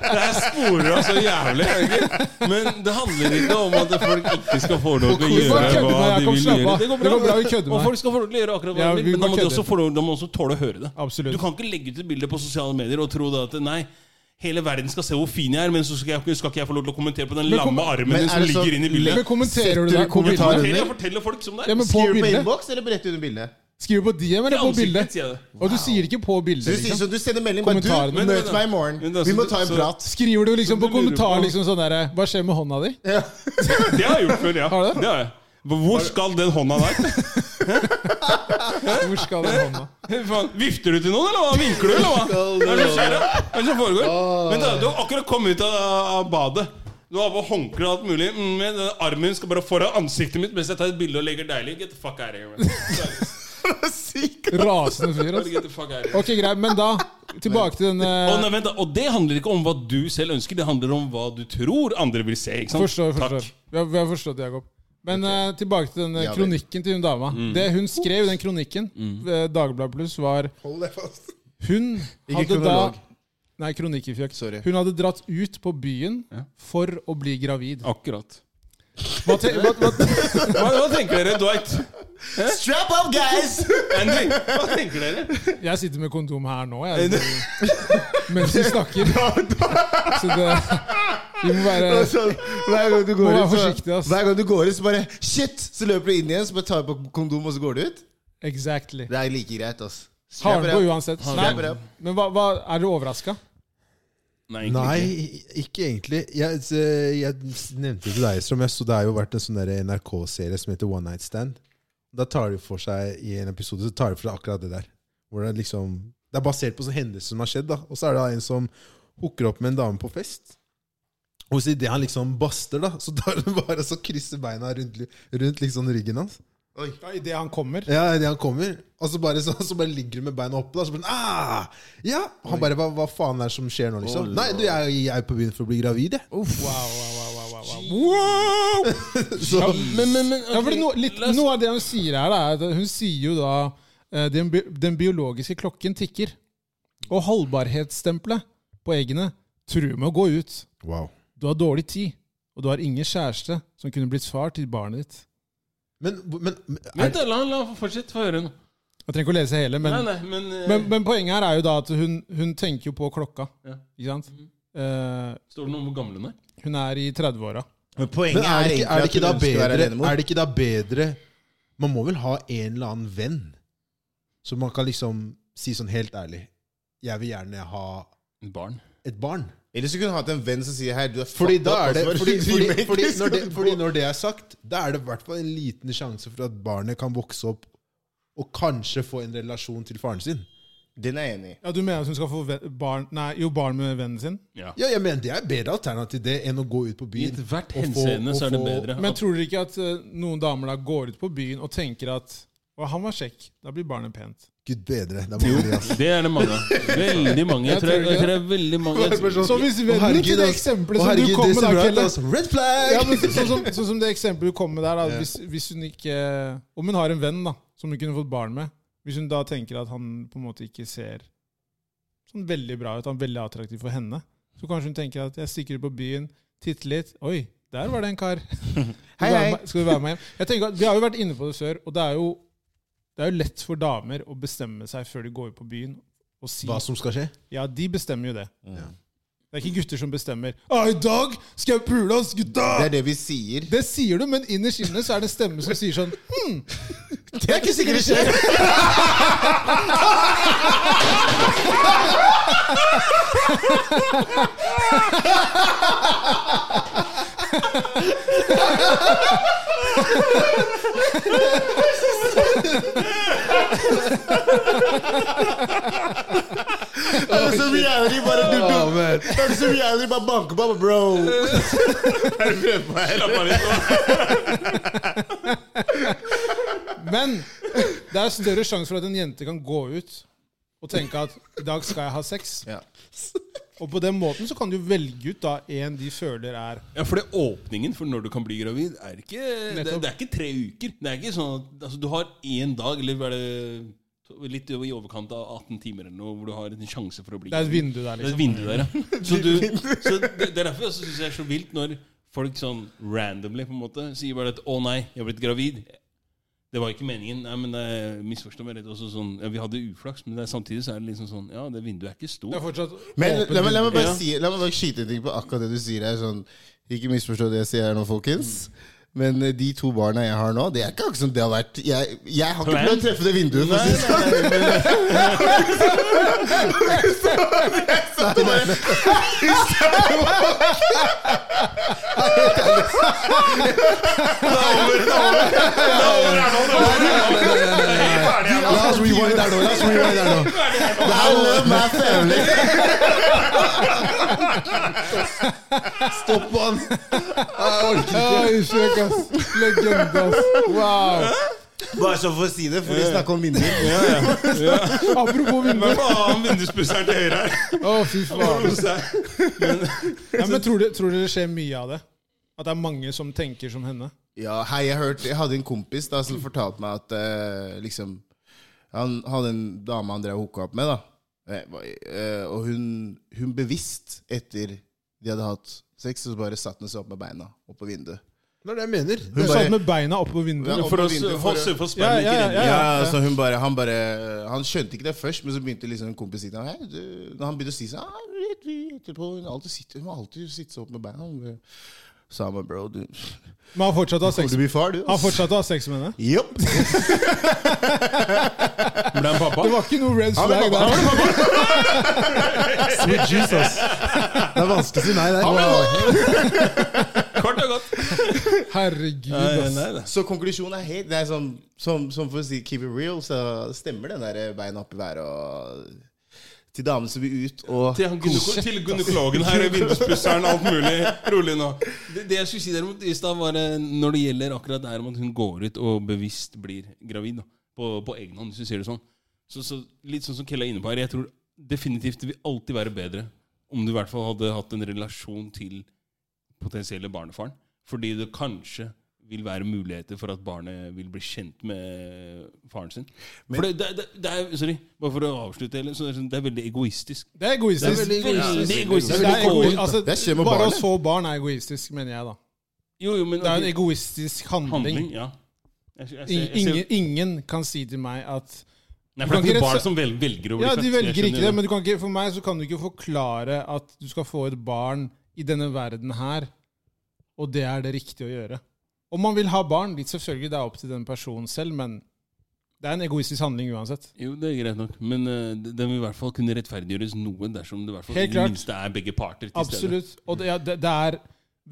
B: Det her sporer av så jævlig. egentlig. Men det handler ikke om at folk ikke skal få lov til å
C: Hvorfor
B: gjøre
C: kødder du
B: hva de
C: med Jakob?
B: vil
C: Slapp
B: gjøre.
C: av. Det går bra, vi kødder med
B: Og
C: deg.
B: folk skal få lov til å gjøre akkurat hva
C: Ja,
B: de
C: vi
B: vil, men da
C: bare
B: må de
C: kødder.
B: også, få lov, de må også tåle å høre det.
C: Absolutt.
B: Du kan ikke legge ut et bilde på sosiale medier og tro da at nei, hele verden skal se hvor fin jeg er, men så skal, jeg, skal ikke jeg få lov til å kommentere på den
C: Men kom-
B: lamme armen din
A: Men er
B: som
A: det sånn-
B: ligger inne i
C: Men
B: bildet.
C: kommenterer
A: Setter
C: du det
A: du
C: på
A: kommentarer?
C: bildet?
B: Kommenterer, jeg forteller folk som det
C: Ja,
B: er.
C: men på
A: Skriver du på
C: bildet?
A: innboks eller bretter under bildet?
C: Skriver på DM
B: I
C: eller på
B: ansiktet
C: bildet?
B: sier jeg det.
C: Og du sier ikke på
A: Så
C: bildet.
A: du, sier,
C: Liksom.
A: så du sender melding bare du,
C: Kommentarene.
A: møt
B: Men- men-
A: meg i morgen.
B: men da-
A: Vi må ta en
B: så-
A: prat.
C: Skriver du liksom
B: Men
C: på
B: du lurer
C: kommentar
B: på-
C: liksom sånn derre Hva skjer med hånda di?
A: Ja.
B: Det har jeg gjort før, ja.
C: Har du det?
B: Det har jeg. Hvor skal den hånda der?
C: Hvor skal den hånda?
B: Faen, vifter du til noen, eller hva? Vinker du, eller hva? Hva er det som skjer? da? Hva er det som foregår? Men da, Du har akkurat kommet ut av, av badet. Du har på håndkle og alt mulig. Mm, men den armen skal bare foran ansiktet mitt mens jeg tar et bilde og legger deilig. Get the fuck out of here. man.
C: Rasende fyr,
B: Bare
C: altså.
B: Get the fuck out of here.
C: Ok, greit, men da tilbake til
B: Og,
C: denne
B: nei, vent, da, og det handler ikke om hva du selv ønsker, det handler om hva du tror andre vil se. ikke sant?
C: Forstår, forstår.
B: Takk.
C: Vi har, vi har forstått, Jakob. Men eh, tilbake til den eh,
A: Ja vel.
C: kronikken til hun dama. Det hun skrev i den kronikken, eh, Dagbladet Pluss, var
D: Hold deg fast.
C: Hun
A: Ikke
C: hadde da
A: kronolog.
C: Nei, kronikkefjøk.
A: Sorry.
C: Hun hadde dratt ut på byen for å bli
B: Ah.
C: gravid.
B: Akkurat.
C: Hva te, hva, hva,
B: Hva, hva tenker dere, Dwight?
A: Strap up, guys!
B: Andy, hva tenker dere?
C: jeg sitter med kondom her nå, jeg. Mens vi snakker. Så det Vi må være
A: Sånn, Hver gang du
C: Må
A: går
C: være
A: ut,
C: forsiktig,
A: så,
C: ass.
A: hver gang du går ut, så bare Shit! Så løper du inn igjen, så bare tar du på kondom, og så går du ut.
C: Exactly.
A: Det er like greit, ass. Strap
C: Hardgå
A: it up.
C: uansett.
A: Strap
C: Nei,
A: it up.
C: men hva, hva, er du overraska?
B: Nei, egentlig ikke.
D: Nei, ikke egentlig. Jeg, s- jeg s- nevnte til deg, Strøm, jeg så det har jo vært en sånn der NRK-serie som heter One Night Stand. Da tar de for seg I en episode så tar de for seg akkurat det der. Hvor Det er liksom Det er basert på sånne hendelser som har skjedd. da Og så er det da en som hooker opp med en dame på fest. Og så idet han liksom baster, da så tar hun bare og så krysser beina rundt, li- rundt liksom ryggen hans.
C: Idet han kommer?
D: Ja, Idet han kommer. Og så bare, så, så bare ligger hun med beina oppe. Da, så bare, ah, ja. Han bare hva, 'Hva faen er det som skjer nå?' liksom.
A: Å,
D: Nei, du, jeg, jeg er på byen for å bli gravid, jeg.
C: Wow, wow, wow, wow, wow, wow.
B: Wow!
D: Så,
B: Men, men, men
C: Ja,
B: ok,
C: fordi noe, litt,
B: la oss-
C: noe av det hun sier her, da, er at hun sier jo da eh, den, bi den biologiske klokken tikker. Og holdbarhetsstempelet på eggene truer med å gå ut.
D: wow.
C: Du har dårlig tid, og du har ingen kjæreste som kunne blitt far til barnet ditt.
D: Men, men, men
B: Vent,
D: er,
B: da, la han fortsette. Få høre nå.
C: Jeg trenger ikke å lese hele, men,
B: nei, nei, men, eh,
C: men, men poenget her er jo da at hun, hun tenker jo på klokka.
B: Ja. Mhm.
C: Ikke sant? Eh,
B: Står det noe om hvor gammel hun er?
C: hun er i 30-åra.
A: Men
D: men
A: poenget
D: er,
A: er
D: det ikke, er, det
A: egentlig
D: ikke da
A: at du ønsker å være
D: bedre, er
A: alenemor.
D: det ikke da bedre Man må vel ha en eller annen venn? Så man kan liksom si sånn helt ærlig Jeg vil gjerne ha
B: Barn.
D: et barn.
A: Ellers du kunne hatt en venn som sier Hei, du er
D: Fordi
A: fucked
D: da
A: up,
D: er det
A: og så bare
C: altså.
D: fordi, fordi,
A: remake,
D: fordi,
A: skal
D: når, det,
A: du
C: liksom.
A: gå.
D: fordi når det er sagt, da er det i hvert fall en liten sjanse for at barnet kan vokse opp og kanskje få en relasjon til faren sin.
A: Den er jeg enig i.
C: Ja, du mener at hun skal få ve- barn Nei, jo, barn med vennen sin?
B: Ja.
D: Ja, jeg mener Det er bedre alternativ til det enn å gå ut på
B: I
D: byen.
B: ethvert
D: og få-
B: henseende
D: og
B: så er det
D: få-
B: bedre.
C: Men
B: at-
C: tror dere ikke at eh, noen damer da går ut på byen og tenker at Og han var kjekk. Da blir barnet pent.
D: Gud bedre. Det er mange, de, ass.
B: Det er det mange av. Veldig mange. Jeg tror, jeg, jeg tror det sånn er veldig mange jeg tror,
C: Så hvis vi vender
D: herregud,
C: til det
D: ass.
C: eksempelet
D: Å
C: som sånn, du
D: herregud,
C: kom
D: det
C: med der,
D: ser bra ut,
C: Kelle.
D: ass. Red flag!
C: Ja, men så- sånn, som, sånn som det eksempelet du kom med der, da. Hvis, hvis hun ikke eh, Om hun har en venn da, som hun kunne fått barn med, hvis hun da tenker at han på en måte ikke ser sånn veldig bra ut, han er veldig attraktiv for henne, så kanskje hun tenker at jeg stikker ut på byen, titter litt Oi, der var det en kar. Skal du være med- Skal du være med hjem? Jeg tenker at Vi har jo vært inne på det før, og det er jo, det er jo lett for damer å bestemme seg før de går ut på byen. Og si,
D: Hva som skal skje?
C: ja, de bestemmer jo det.
A: Ja.
C: Det er ikke gutter som bestemmer. «Å, I dag skal jeg pule oss, gutta!
A: Det er det vi sier.
C: Det sier du, men innerst inne så er det en stemme som sier sånn Hm,
A: Det er ikke sikkert det skjer!
E: Er
C: Altså,
E: det som jævlig bare du, du, er det som jævlig bare banker på, bro?
B: Er du med meg? Slapp av litt nå.
C: Men det er større sjanse for at en jente kan gå ut og tenke at i dag skal jeg ha sex.
A: Ja.
C: Og på den måten så kan du velge ut da en de føler er
B: Ja, for det åpningen for når du kan bli gravid, er ikke Det,
C: Nettopp.
B: det er ikke tre uker. Det er ikke sånn at altså, du har én dag, eller er det to- litt i overkant av 18 timer eller noe, hvor du har en sjanse for å bli
C: Det er et
B: gravid.
C: vindu
B: Det
C: der,
B: er et
C: liksom.
B: vindu der, ja. Så du, så det, det er derfor jeg syns det er så vilt når folk sånn randomly på en måte sier bare at 'Å nei, jeg har blitt gravid'. Det var ikke meningen. Nei, men det er- misforstå meg rett. Også sånn, ja, vi hadde uflaks, men det er, samtidig så er det liksom sånn Ja, det vinduet er ikke
C: Det er
B: stort.
C: fortsatt
A: Men
C: åpent
A: la meg, la meg bare
B: Ja.
A: si, la meg bare skyte en ting på akkurat det du sier her. Sånn, ikke misforstå det jeg sier her nå, folkens. Men eh, de to barna jeg har nå, det er ikke akkurat som det har vært. Jeg, jeg har ikke
B: Plan?
A: prøvd å treffe det vinduet. For å si det sånn.
D: La oss rewind der nå. La oss rewind der nå.
A: I love my family.
D: Stopp han!
C: Oi, søk, ass. Legende, ass. Wow.
A: Bare så for å si det, for vi snakker om vinduer.
C: Apropos vindu.
B: Hva faen, vinduspusseren til høyre her?
C: Å, fy faen. Ja, men tror, du, tror dere det skjer mye av det? At det er mange som tenker som henne?
A: Ja, hei, jeg, hørte, jeg hadde en kompis da, som fortalte meg at eh, liksom, han hadde en dame han drev og hooka opp med. Da. Eh, eh, og hun, hun bevisst, etter de hadde hatt sex, så bare satte hun seg opp med beina opp på vinduet.
D: Det er det jeg mener.
A: Hun
C: Du
A: bare-
C: satt med beina oppe på vinduet? liksom.
A: Ja, opp
B: For
A: på
B: å
A: vinduet,
B: for å surfe og
C: Ja,
B: sperre
C: ja, ja,
B: ikke
A: Ja,
B: inn.
A: så hun bare, han bare Han skjønte ikke det først, men så begynte liksom en kompis å si til ham «Hei, du- Når han begynte å si sånn ah, vet vi etterpå, hun, alltid sitter, hun må alltid sitte seg opp med beina. Hun bare, Så han bare Bro, du
C: Men han fortsatte å ha sex,
A: Kommer du bli far, du?
C: han fortsatte å ha sex med henne?
A: Jopp.
B: Ble han pappa?
C: Det var ikke noe red
A: Han ble
C: flag
A: pappa.
C: der.
A: Han ble pappa.
D: Sweet juice, ass. Det er vanskelig å si nei der.
B: Kort og godt.
C: Herregud,
B: Nei,
C: ass.
B: nei, nei.
A: Så konklusjonen er helt Det er sånn, som, som for å si keep it real, så stemmer den der beina opp i været og Til damene som vil ut og
B: Til, han gynego til gynekologen her, vinduspusseren, alt mulig. Rolig nå. Det, det jeg skulle si derimot i stad, var eh, når det gjelder akkurat det her med at hun går ut og bevisst blir gravid da, på, på egen hånd, hvis du sier det sånn. Så, så Litt sånn som Kelle er inne på her, jeg tror definitivt det vil alltid være bedre om du i hvert fall hadde hatt en relasjon til potensielle barnefaren. Fordi det kanskje vil være muligheter for at barnet vil bli kjent med faren sin. For det, det, det, det er, sorry, bare for å avslutte hele, så er det sånn- det er veldig egoistisk.
C: Det er
B: Det
C: egoistisk.
B: er veldig egoistisk.
C: Ja, det er
B: egoistisk.
C: Det er egoistisk. Altså,
A: Det skjer med
C: bare å
A: barnet.
C: så barn er egoistisk, mener jeg, da.
B: Jo, jo, men
C: Det er en egoistisk handling.
B: handling. Ja. Jeg, jeg, jeg, jeg,
C: Ingen, ingen kan si til meg at
B: nei, for det er
C: Kan ikke
B: ikke barn
C: rett-
B: som vel, velger å bli
C: Ja, de
B: født, jeg
C: velger
B: skjønner
C: ikke det, men du kan ikke, for meg så kan du ikke forklare at du skal få et barn i denne verden her, og det er det riktige å gjøre. Om man vil ha barn, litt selvfølgelig, det er opp til den personen selv, men det er en egoistisk handling uansett.
B: Jo, det er greit nok, men eh, det- den vil i hvert fall kunne rettferdiggjøres noe dersom det i hvert fall i
C: Helt
B: det
C: klart.
B: minste er begge parter til stede.
C: Absolutt. Og det, ja, det, det er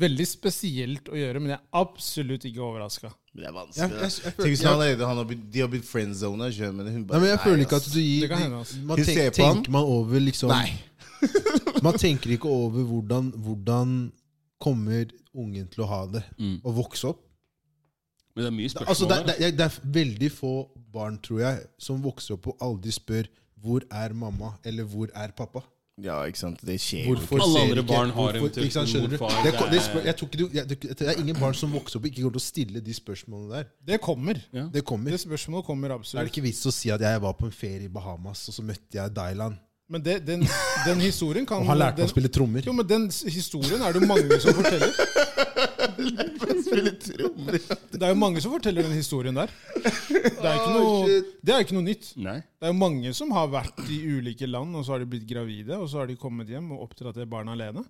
C: veldig spesielt å gjøre, men jeg er absolutt ikke overraska.
A: Det er
D: Jeg-
A: vanskelig.
D: jeg-
A: da.
D: jeg- jeg-
A: Tenk hvis han allerede han har blitt, de har blitt friendzona. Nei,
D: Nei, men jeg føler ikke at
A: ass.
D: du gir
C: Det kan hende, ass.
D: Man
A: Hun
D: tenk,
A: ser på han.
D: tenker man over liksom
A: Nei.
D: Man tenker ikke over hvordan, hvordan kommer ungen til å ha det
B: Mm.
D: og vokse opp.
B: Men det er mye
D: Det-
B: spørsmål.
D: Altså, det, er-
B: her,
D: det, er- det er veldig få barn, tror jeg, som vokser opp og aldri spør 'Hvor er mamma?' eller 'Hvor er pappa?'
A: Ja, ikke sant. Det skjer jo
D: Hvorfor
B: Alle
D: ser
B: andre
D: ikke-
B: barn har
D: hvorfor-
B: eventuelt
D: ikke sant,
B: en
D: skjønner du?
B: morfar,
D: Det, er-
B: det
D: det,
B: er-
D: spør- jeg tror ikke du, jeg, det, det er ingen barn som vokser opp og ikke kommer til å stille de spørsmålene der.
C: Det kommer.
D: Det kommer.
C: Det spørsmålet kommer
D: Da er det
C: absolutt.
D: ikke vits å si at jeg var på en ferie i Bahamas, og så møtte jeg Dylan.
C: Men det, den, den historien kan
D: Og han lærte meg å
C: den,
D: spille trommer.
C: Jo, men den s- historien er det jo mange som forteller. Det er jo mange som forteller den historien der. Det er ikke noe, det er ikke noe nytt.
B: Nei.
C: Det er jo mange som har vært i ulike land, og så har de blitt gravide, og så har de kommet hjem og oppdratt det barnet alene.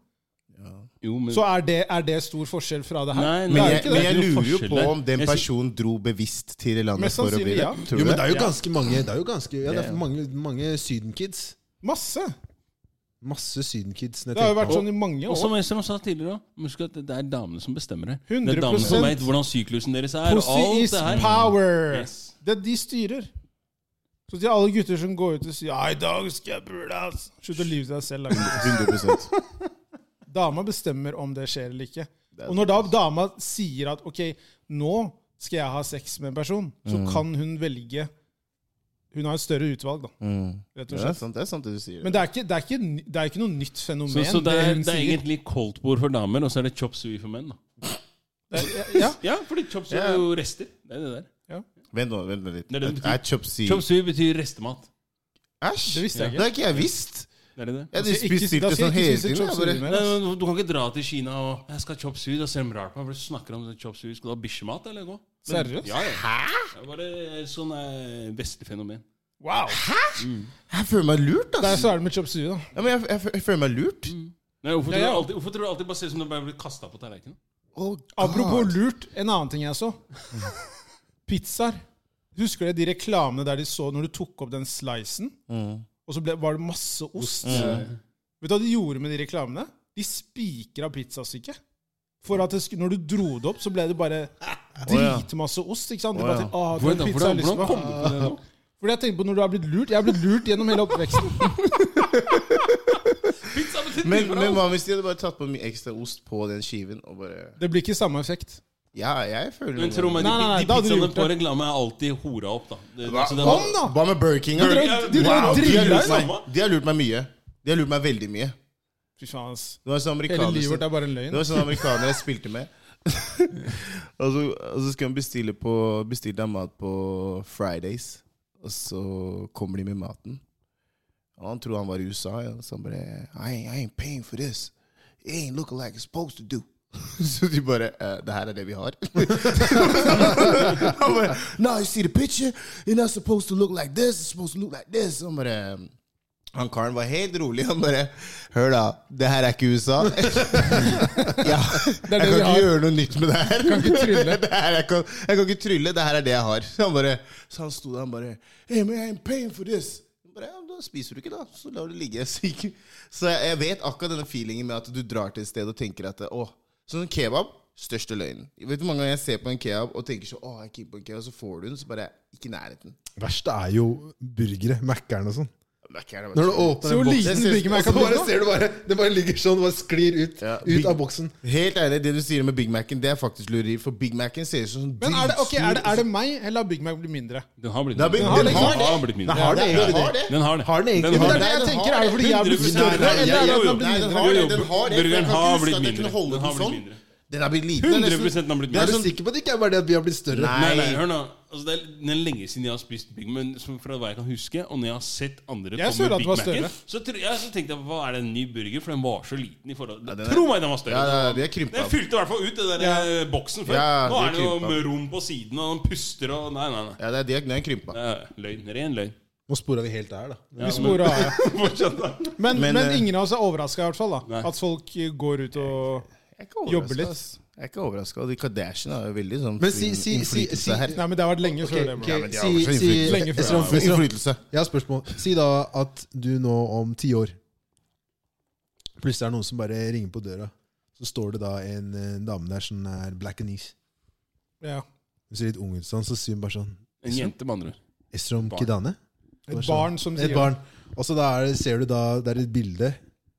B: Jo, men,
C: Så er det, er det stor forskjell fra det her?
B: Nei,
C: Det
B: nei.
A: Men
C: er
A: jeg,
C: ikke det.
A: men jeg
B: Det er ikke noe
A: lurer jo
B: forskjell
A: på
B: der.
A: om den
B: Jeg sy-
A: personen dro bevisst til det landet
C: Mest
A: for å bli
C: sannsynlig,
A: det.
C: ja.
A: Tror
D: Jo,
A: du
D: men
A: det?
D: det er jo ganske mange Det er jo ganske, ja, det
A: Ja,
D: er
A: ja.
D: mange, mange sydenkids.
C: Masse!
D: Masse sydenkids.
C: Det har jo vært sånn i mange
B: og
C: år.
B: som Esram sa tidligere også, husk at det er damene som bestemmer det. Det er
C: 100%
B: damene som vet hvordan syklusen deres er. og
C: Pussy
B: alt
C: is
B: det her.
C: power!
B: Yes.
C: Det er de styrer. Så til alle gutter som går ut og sier «Ja, 'I dag skal jeg pule', ass! Slutt å lyve til deg selv. da.
A: 100
C: Dama bestemmer om det skjer eller ikke.
A: er
C: Og når da dama sier at 'ok, nå skal jeg ha sex med en person', så
A: Mm.
C: kan hun velge Hun har et større utvalg, da.
A: mm.
C: rett
A: Ja,
C: og
A: det, er
C: slett.
A: sant, det er sant det du sier.
C: Men det er ikke, det er ikke, ny- det er ikke noe nytt fenomen.
B: Så, så det, er,
C: hun
B: det er
C: sier.
B: egentlig koldtbord for damer, og så er det chop suey for menn. Da.
C: ja,
B: Ja, fordi chop suey
A: Ja.
B: er jo rester. Det er det der.
A: Vent nå, vent nå litt.
B: Det er det det betyr.
A: Er chop sea
B: Chop suey betyr restemat.
A: Æsj!
C: Det visste jeg ikke.
A: Det har ikke jeg visst.
B: Det er det der.
A: Jeg har
C: Altså, Ikke-
A: spist
C: da
A: det
C: skal
A: sånn
C: jeg ikke altså.
A: hele
C: spise
A: tiden.
C: chop
A: Jeg bare,
C: suey mer,
B: Nei,
C: ass.
B: men Du kan ikke dra til Kina og 'Jeg skal ha chop suey', da ser de rart på meg. for Du snakker om chop suey. Skal du ha bikkjemat, eller? gå? Men-
C: Seriøst?
B: Ja, ja. Det er bare sånn eh, vestlig fenomen.
C: Wow!
A: jeg føler meg lurt,
C: Der
A: ass.
C: så er det med chop suey, da.
A: Ja, men jeg, jeg, jeg føler meg lurt.
C: Mm.
B: Nei, hvorfor,
C: Ja,
B: tror
C: ja.
B: Du alltid, hvorfor tror du alltid bare ser ut som du bare blir kasta på tallerkenen?
A: Oh,
C: Apropos
A: God.
C: lurt, en annen ting jeg så. Pizzaer. Husker dere de reklamene der de så når du tok opp den slicen,
A: Mm.
C: og så ble, var det masse ost? Vet du hva de gjorde med de reklamene? De spikra pizzastykket. For at det, sk- når du dro det opp, så ble det bare dritmasse ost. ikke sant? Det
A: Å, ja.
C: bare, til, ah, det var en
B: Hvordan,
C: pizza jeg har
B: hvordan,
C: lyst
B: hvordan
C: på.
B: kom du på det nå?
C: Fordi jeg tenker på når du har blitt lurt. Jeg har blitt lurt gjennom hele oppveksten.
B: Pizza betyr
A: Men,
B: mye for
A: men
B: alle.
A: hva hvis de hadde bare tatt på mye ekstra ost på den skiven og bare
C: Det blir ikke samme effekt.
A: Ja, jeg føler
B: Men tro meg, de,
C: Nei, nei, nei,
B: de
C: da hadde du
B: pizzaene
C: gjort
B: på
C: det.
B: reklame er alltid hora opp, da. Det,
A: Hva,
B: altså, det
A: hva,
B: var-
C: da?
A: hva med Burger King? da?
C: De
A: Wow,
C: drev de drev
B: Wow,
C: og
A: de, har
C: drilla
A: lurt
C: ut.
A: meg, de har lurt meg mye. De har lurt meg veldig mye.
C: Fy faen, ass.
A: Det var sånn
C: Hele
A: amerikaner
C: livet vårt
A: som-
C: er bare en
A: det
C: løgn.
A: var sånn amerikaner jeg spilte med. og, så, og så skal han bestille, på, bestille deg mat på Fridays, og så kommer de med maten. Og han tror han var i USA, ja. så han bare I ain't, I ain't paying for this. It ain't looking like it's supposed to do. Så de bare eh, Det her er det vi har. han bare No, you see the picture? It's not supposed to look like this. It's supposed to look like this. Han bare han karen var helt rolig. Han bare Hør, da. Det her er ikke USA. ja,
C: Det
A: jeg kan
C: er det vi
A: ikke
C: har.
A: gjøre noe nytt med det her.
C: Kan ikke trylle.
A: det her jeg, kan, jeg kan ikke trylle. Det her er det jeg har. Så han bare Så han sto der han bare Hey, man, I'm paying for this. Jeg Bare, ja, da spiser du ikke, da. Så lar du det ligge. Så, ikke, så jeg, jeg vet akkurat denne feelingen med at du drar til et sted og tenker at Å, sånn kebab Største løgnen. Jeg vet du hvor mange ganger jeg ser på en kebab og tenker så, å, jeg er keen på en kebab, så får du den, så bare ikke i nærheten.
D: Verst er jo burgere, Mækkern og sånn.
A: Det er ikke- det er bare-
D: Når du åpner
C: Se hvor
D: den
C: liten
D: boksen,
C: Big Mac
D: og så
C: er på
D: bare
C: den, da.
D: ser du bare, det bare ligger sånn, bare sklir ut,
A: Ja, Big-
D: ut av boksen.
A: Helt ærlig, det du sier med Big Mac-en, det er faktisk lureri. For Big Mac-en ser ut som sånn en
C: Men er det, ok,
A: dritstor-
C: er, det, er det meg, eller har Big Mac blitt mindre?
B: Den har blitt
A: Den har blitt-
B: mindre.
A: den har det.
B: blitt mindre.
A: Den har det,
D: Ja,
A: den har det.
B: Den har det.
D: Har den egentlig-
B: den
C: Men
B: har
C: det
B: det.
C: er det jeg
A: den
C: tenker.
A: har
C: Er det fordi jeg har blitt
B: 100%
A: Nei,
C: større?
A: nei,
C: Eller er det at
B: jo, jo.
C: den
A: Nei,
C: har
A: den
C: blitt
A: har
B: Jo,
A: det.
B: jo,
A: Den har det. for jeg
B: burgeren
A: kan
B: har
A: ikke huske
B: blitt
A: at jeg
B: mindre.
A: kunne holde
B: Den
A: den
B: har blitt
A: sånn.
B: mindre.
A: Den har blitt liten. den er nesten-
B: 100 den har blitt
A: Det
D: Er
B: mindre.
A: er
D: sånn- du
A: sånn-
D: sikker på at det ikke er bare det at vi har blitt større?
A: Nei.
B: Nei, nei, hør nå. Altså, det er det er lenge siden jeg har spist Big Mac, men som fra hva jeg kan huske, og når jeg har sett andre
C: Jeg
B: komme
C: så at
B: Big
C: den var
B: Mac-en,
C: større.
B: så, tror jeg, så tenkte jeg hva er det en ny burger, for den var så liten i forhold
A: den er-
B: Tro meg, den var større.
A: Ja, ja, ja, de er altså. krympa.
B: Den fylte i hvert fall ut den der eh, boksen før.
A: Ja,
B: Nå
A: de er
B: er det jo
A: krympa.
B: med rom på siden, og den puster og Nei, nei, nei.
A: Ja, det er det- den er krympa.
B: Det er løgn. Ren løgn.
D: Nå spora vi helt der, da.
C: Vi sporer av, ja.
B: Fortsatt, da.
C: Men,
A: Men,
C: men
A: eh,
C: ingen av oss er overraska, i hvert fall. da
B: Nei.
C: At folk eh, går ut og
A: Jeg er ikke overrasket,
C: Jobbe litt.
A: ass. Jeg er ikke overraska. De Kardashian har jo veldig sånn
D: Men si- si-
A: innflytelse
D: si- si-
A: her.
C: Nei, men det har vært lenge før det.
D: Ok,
C: bro.
A: men de har
D: si,
A: også
D: si,
A: innflytelse.
C: Lenge før.
D: Esram,
A: Ja,
D: Esram,
A: Innflytelse.
D: jeg har spørsmål. Si da at du nå om ti år Plutselig er det noen som bare ringer på døra. Så står det da en, eh, dame der som er black and east.
C: Ja.
D: Hun ser litt ung ut, sånn, så sier hun bare sånn
B: En jente, med andre ord.
D: Esrom
B: Barn.
D: Kidane?
C: Et barn som
D: Et
C: sier
D: barn. Og så da er det, ser du da, det er et bilde,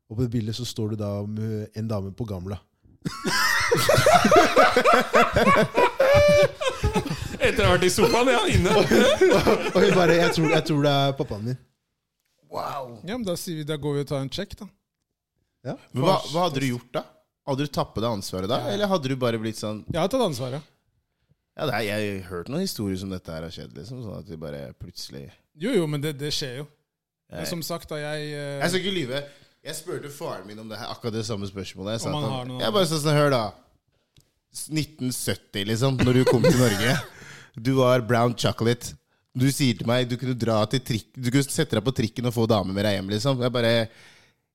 D: og på det bildet så står du da med en dame på gamla.
B: Etter å ha vært i sofaen, ja, inne.
D: Og vi bare jeg tror, 'Jeg tror det er pappaen min'.
C: Ja, men da, sier vi, da går vi og tar en sjekk, da.
A: Men hva, hva hadde du gjort da? Hadde du tappet det ansvaret da? Eller hadde du bare blitt sånn
C: Jeg har tatt ansvaret.
A: Ja, det er, Jeg har hørt noen historier som dette her har skjedd, liksom. Sånn at de bare plutselig
C: Jo, jo, men det, det skjer jo. Men
A: Nei.
C: som sagt, da jeg eh,
A: Jeg skal ikke lyve. Jeg spurte faren min om det her, akkurat det samme spørsmålet. Jeg, sa
C: Om han
A: til
C: har
A: han,
C: noe-
A: jeg bare sa sånn, hør da. 1970, liksom, når du kom til Norge. Du var brown chocolate. Du sier til meg du kunne dra til trikk Du kunne sette deg på trikken og få dame med deg hjem, liksom. Jeg bare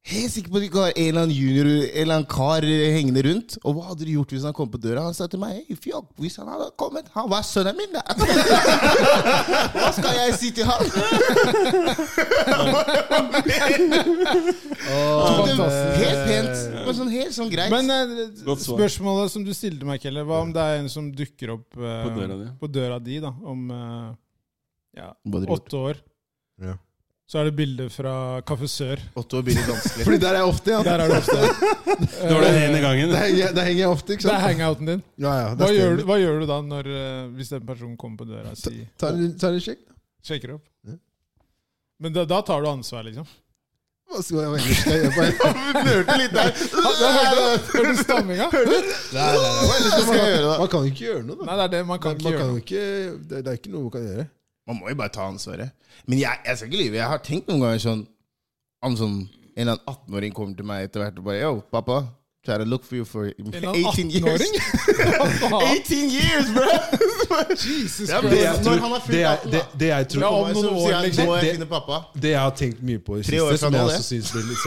A: Helt sikker på at du ikke har en eller annen junior En eller annen kar hengende rundt. Og hva hadde du gjort hvis han kom på døra? Han sa til meg «Hey, fjokk, Hvis han hadde kommet Han var sønnen min, da! Hva skal jeg si til han? Tok det helt pent. Det var sånn, helt sånn greit.
C: Men eh,
B: Godt svar.
C: spørsmålet som du stilte meg, Kelle, hva om det er en som dukker opp eh,
B: På døra di.
C: på døra di da, om eh, ja,
A: Hva hadde du gjort?
C: åtte år?
D: Ja.
C: Så er det bilde fra Kaffe Sør.
A: Åtte år blir litt vanskelig.
D: Fordi der er jeg ofte, ja.
C: Der er du ofte. Eh,
B: Det var det ene gangen.
D: Der henger, jeg- der henger jeg ofte, ikke
C: Det er
D: sant?
C: hangouten din.
D: Ja, ja,
C: Hva gjør, du, hva gjør du da når, eh, hvis den personen kommer på døra og sier
D: Tar en- tar en sjekk.
C: Sjekker opp?
D: Ja.
C: Men da, da tar du ansvar, liksom?
D: Hva skal jeg hva ellers skal jeg gjøre på en-
A: Nølte litt der.
C: Hørte du stamminga?
D: Nei, nei, nei, hva ellers skal
A: Hva skal jeg gjøre da?
D: Man kan jo ikke gjøre noe, da.
C: Nei, det er det. Man kan
D: Man
C: ikke gjøre
D: kan jo
C: noe.
D: ikke, det det er ikke noe man kan gjøre.
A: Man må jo bare ta ansvaret. Men jeg, jeg skal ikke lyve. Jeg har tenkt noen ganger sånn om sånn en eller annen 18-åring kommer til meg etter hvert og bare Yo, pappa. Try to look for you for
C: En eller annen
A: 18 years.
C: 18-åring? Hva faen?
A: 18 years, bro!
C: Jesus
A: Ja, men
C: Christ.
A: det er- Når han har fylt
D: det, er,
A: 18, da.
D: det, det jeg tror
C: Ja, om
A: Meg
C: noen
A: som
C: år,
A: sier at
C: liksom.
A: Nå må jeg
D: Det-
A: finne pappa.
D: Det jeg har tenkt mye på i det
A: Tre år fra
D: siste, som jeg
A: nå,
D: også
A: det.
D: synes blir litt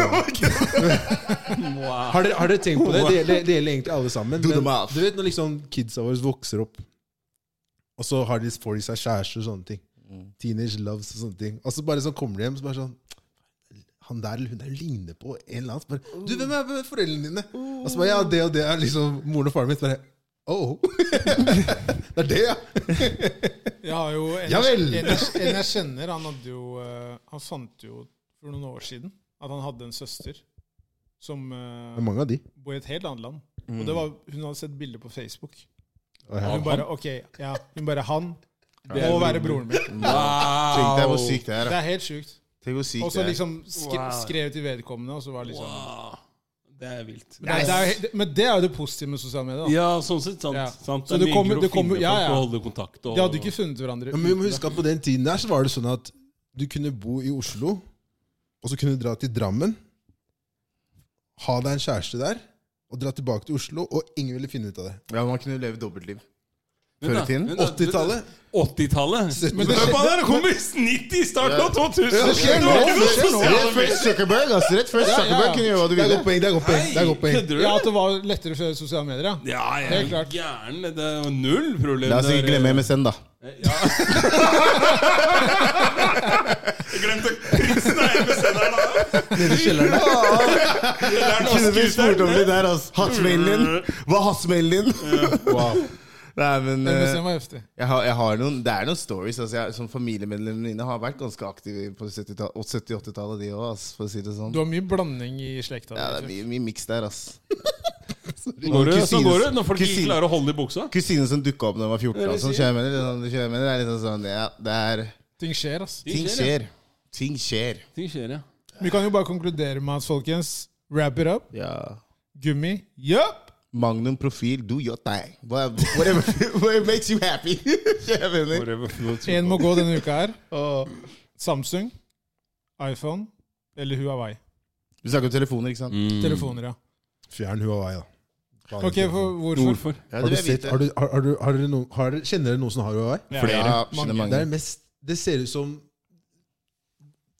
D: sånn har, dere, har dere tenkt på det? Det gjelder, det gjelder egentlig alle sammen.
A: Do the
D: Men,
A: math.
D: du vet når liksom kidsa våre vokser opp, og så har de får de seg kjærester og sånne ting. Teenage loves og sånne ting. Og så bare sånn kommer de hjem, så bare sånn Han der eller hun der ligner på en eller annen. Så bare, du, hvem er, hvem er foreldrene dine? Og så bare, ja, det og det er liksom moren og faren min. Så bare, oh. det er det, ja.
C: Jeg har jo en,
D: Ja vel.
C: en, jeg- en jeg kjenner, han hadde jo eh, Han fant jo for noen år siden at han hadde en søster som eh,
D: Det er mange av de.
C: bor i et helt annet land. Og det var, hun hadde sett bilder på Facebook.
D: Og her-
C: Hun bare OK, ja. Hun bare Han
B: Det er
C: må være broren min.
A: Tenk deg
B: Wow!
A: hvor sykt det er.
C: Det
A: da.
C: er helt sjukt.
A: Tenk hvor
C: Og
A: sykt
C: så
A: det er.
C: liksom sk
B: Wow.
C: skrev til vedkommende, og så var det liksom
B: Wow. Det er vilt.
C: Men det, er, jo helt- men det er jo det positive med sosiale medier. da.
B: Ja, sånn sett. Sant.
C: Ja.
B: sant.
C: Så
B: Det er
C: du
B: mye
C: kommer-
B: enklere
C: du
B: å
C: kommer-
B: finne
C: ja,
B: folk
C: ja.
B: og holde kontakt. Og,
C: De hadde ikke funnet hverandre.
D: Ja, men vi
C: uten
D: må
C: det.
D: huske at på den tiden der så var det sånn at du kunne bo i Oslo, og så kunne du dra til Drammen, ha deg en kjæreste der, og dra tilbake til Oslo, og ingen ville finne ut av det.
A: Ja, man kunne leve dobbeltliv.
B: Vent da,
A: Før i tiden.
B: vent da,
D: 80-tallet?
B: 80-tallet?
D: Men
B: Men
D: det
B: det
D: skjedde-
B: der kommer 90 i starten av 2000!
D: Ja, det skjer
B: Det
D: nå,
B: var ikke
D: det
B: noe
D: skjer nå.
B: sosiale
A: Rett før
B: medier.
A: Zuckerberg, altså. Rett før Zuckerberg kunne gjøre hva du
D: Det er
A: ville.
D: godt poeng, det er godt poeng. Det er godt
B: Nei,
D: poeng.
B: kødder du?
C: Ja, At det var lettere før sosiale medier, ja.
B: Ja, jeg er
C: Helt klart.
B: gæren. Det er jo null problem.
A: La oss ikke
B: der.
A: glemme MSN, da.
B: Ja. Jeg glemte prisen av MSN-eren, da.
D: Nede i kjelleren der.
B: Det er den
A: Kunne vi spurt om
B: avskuteren.
A: det der, altså? Hatsmailen din? Hva er hatsmailen din?
D: Wow.
A: Nei, men eh,
C: MSN var heftig.
A: jeg har, jeg har noen, Det er noen stories. altså jeg, som Familiemedlemmene mine har vært ganske aktive på 70-tall- 70-80-tallet, de òg, altså, for å si det sånn.
C: Du har mye blanding i slekta.
A: Ja, det
C: vet
A: er
C: du.
A: mye, mye miks der, ass.
B: Sånn går det- Sånn går det når folk ikke
A: Kusine-
B: klarer å holde i buksa.
A: Kusine som dukka opp da jeg var 14,
B: Det er det
A: og sånn,
B: jeg sier.
A: kjører med det, sånn, kjører med det, det er liksom sånn Ja, det er
C: Ting skjer, ass.
B: Ting
A: Ting
B: skjer, ja.
A: skjer. Ting skjer.
B: Ting skjer, ja.
C: Vi kan jo bare konkludere med at, folkens, wrap it up.
A: Ja.
C: Gummi. Yup!
A: Magnum profil, do your thing. Wha- Whatever, whatever makes you happy. Kjære venner.
C: Én må gå denne uka her. Og Samsung, iPhone eller Huawei.
A: Vi snakker om telefoner, ikke sant?
B: Mm.
C: Telefoner, ja.
D: Fjern Huawei, da. Faen,
C: Ok,
D: ikke.
C: for hvorfor?
B: Hvorfor?
A: Ja, det
D: Har
A: vil
D: du
A: jeg
D: sett,
A: vite.
D: har du, har, har du, har dere noen, har, dere- kjenner dere noen som har Huawei?
C: Ja.
A: Flere. Ja,
C: Mange.
A: skjønner mange.
D: Det er det mest Det ser ut som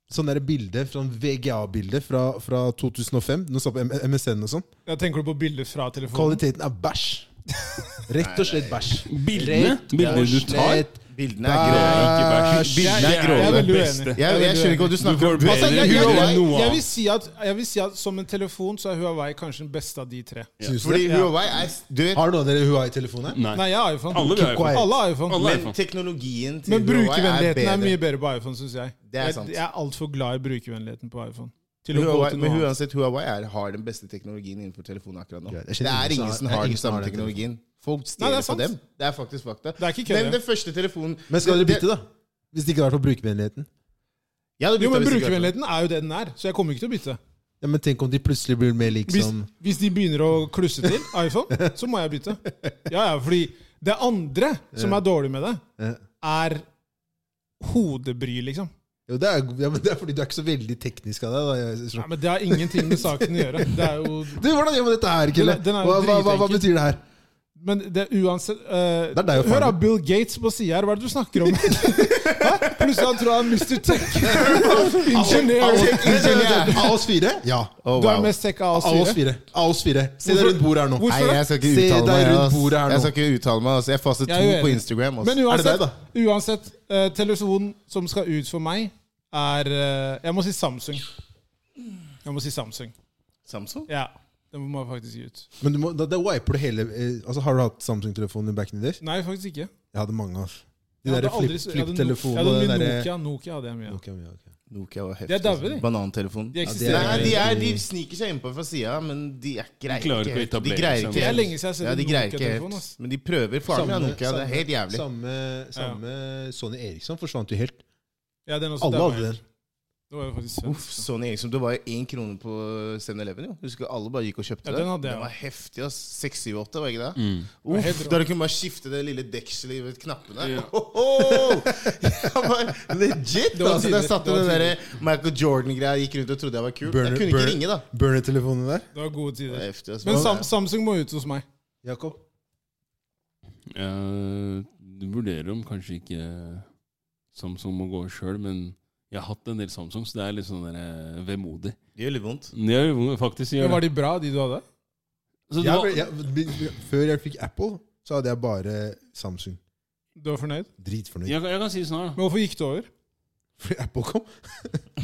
D: Sånn der bilde, sånn VGA-bilde fra, fra 2005. Nå står det på M- MSN og sånn.
C: Ja, tenker du på bilder fra telefonen?
D: Kvaliteten er bæsj. Rett og slett bæsj.
B: Bildene? Bildene du tar?
A: Bildene er grå. Bildene er grove.
C: Jeg er veldig
B: Det
C: uenig.
B: beste.
A: Jeg, jeg skjønner ikke hva du snakker om.
B: Du får
C: Altså, jeg, jeg,
B: Huawei
C: jeg,
B: enn
C: jeg,
B: noe
C: vil
B: annet.
C: si at, jeg vil si at som en telefon så er Huawei kanskje den beste av de tre.
D: Synes
A: Fordi
D: dere?
A: Huawei er Du vet,
D: Har noen av dere Huawei-telefon her?
B: Nei.
C: Nei, jeg har iPhone.
B: Alle vil ha iPhone.
C: Alle har iPhone.
B: Alle har
A: men
B: iPhone.
A: teknologien til
C: Men
A: Huawei er
C: brukervennligheten
A: bedre.
C: er mye bedre på iPhone, syns jeg.
A: Det er
C: Jeg,
A: sant.
C: jeg er altfor glad i brukervennligheten på iPhone. til å gå
A: Huawei,
C: til
A: men
C: noe annet.
A: uansett, Huawei er, har den beste teknologien innenfor telefonen akkurat nå.
D: Greit. Jeg
A: Det
D: kjenner
A: er ingen som har den samme
D: den
A: teknologien. Folk
C: Nei, det
A: stjeler
C: er
A: fra
C: sant.
A: dem. Det er faktisk fakta.
C: Det er ikke
A: Men
C: kødd.
A: den første telefonen
D: Men skal dere
A: det-
D: bytte, da? Hvis det ikke hadde vært for brukervennligheten?
A: Jeg hadde
C: Jo,
A: byttet
C: men
A: hvis det ikke hadde vært
C: brukervennligheten er jo det den er, så jeg kommer ikke til å bytte.
D: Ja, men tenk om de plutselig blir mer lik
C: Hvis,
D: som
C: hvis de begynner å klusse til iPhone, så må jeg bytte. Ja, ja, fordi det andre som er dårlig med det,
D: ja.
C: er hodebry, liksom.
D: Jo, det er, ja, men det er fordi du er ikke så veldig teknisk av deg. Da. Jeg, jeg,
C: Nei, men det har ingenting med saken å gjøre. Det er jo
D: Du, hvordan gjør man dette her, Kille?
C: Den er- den er jo
D: hva, hva, hva, hva
C: dritenkel.
D: betyr det her?
C: Men det er uansett eh,
D: Det er deg og
C: Hør da,
D: faren.
C: Bill Gates på sida her, hva er det du snakker om? Hæ? Plutselig han tror han er Mr. Tech. Ingeniør.
A: Ingeniør.
D: Av oss fire? Ja.
A: Å,
C: Du
A: Oh,
C: er
A: wow.
C: mest tech av
D: Av
C: oss
D: oss
C: fire.
D: fire. Av oss fire. Se deg
C: Hvorfor-
D: rundt bordet her nå.
A: Nei,
C: Hvorfor
A: jeg skal ikke
D: Se
A: uttale
D: deg
A: meg.
D: rundt
A: ass.
D: bordet her nå.
A: Jeg skal ikke uttale meg, ass. Jeg fastet
C: Jeg
A: to
C: er
A: på
C: uenig.
A: Instagram. altså. Ass.
C: Men uansett,
D: Er det
C: uansett eh, telefonen som skal ut for meg, er eh, Jeg må si Samsung. Jeg må si Samsung.
A: Samsung?
C: Ja. Den må jeg faktisk gi ut.
D: Men du må, da, da wiper du hele eh, Altså, Har du hatt Samsung-telefonen back in the days?
C: Nei, faktisk ikke.
D: Jeg hadde mange. ass. De
C: Jeg
D: der
C: hadde aldri- jeg hadde no-
D: flipp-telefonene
C: jeg hadde
D: og
C: mye
D: den derre-
C: Nokia. Nokia hadde jeg mye. av.
D: Nokia, ja, ok.
A: Nokia var heftig.
C: De er daue, de.
A: ass. Banantelefon.
C: De
D: det
C: eksisterer.
A: Nei,
D: er-
A: de, er, de sniker seg innpå fra sida, men de er
B: klarer
A: greier ikke
B: ikke å
A: helt. De
B: etablere
A: greier
B: seg.
A: ikke
C: det er
A: helt.
C: lenge siden jeg
A: Ja,
C: har
A: de
C: sett
A: greier ikke
C: Nokia-telefon.
A: helt. Men de prøver. Faren min har Nokia. Det er helt jævlig.
D: Samme, samme Sony Eriksson forsvant jo helt.
C: Ja, den også,
D: Alle
C: den var
D: hadde
C: jeg-
D: den.
C: Det var jo faktisk
A: Uff,
C: svensk.
A: Sony Eriksson, det var jo én krone på 7-Eleven. jo. Husker du, alle bare gikk og kjøpte
C: Ja,
A: det.
C: den hadde jeg
A: Den var heftig. ass. 6-7-8, var ikke det?
B: Mm.
C: var
A: Uff,
C: helt rå.
A: da du kunne bare skifte det lille dekselet ved knappene.
B: Ja.
A: Ohoho! Jeg var legit!
C: Det var
A: altså,
C: tider,
A: jeg satt i
C: det var
A: den der Michael Jordan-greia, gikk rundt og trodde jeg var kul.
D: Burner-
A: jeg kunne ikke
D: burner-
A: ringe, da.
D: Burner-telefonen der.
C: Det var gode
A: Det
C: tider.
A: var heftig, altså. ass.
C: Men
A: Hva-
C: Sam Samsung må ut hos meg.
D: Jakob.
B: Jeg vurderer om kanskje ikke Samsung må gå sjøl, men jeg har hatt en del Samsung, så det er litt sånn der, eh, vemodig.
A: det gjør litt vondt.
B: Ja, jo, faktisk
C: Men
B: gjør
C: var
B: det.
C: de bra, de du hadde?
B: Så det
D: Jeg,
B: var,
D: ble- jeg, før jeg fikk Apple, så hadde jeg bare Samsung.
C: Du var fornøyd?
D: Dritfornøyd.
B: jeg, kan- jeg kan si det sånn her, da.
C: Men hvorfor gikk det over?
D: Fordi Apple kom.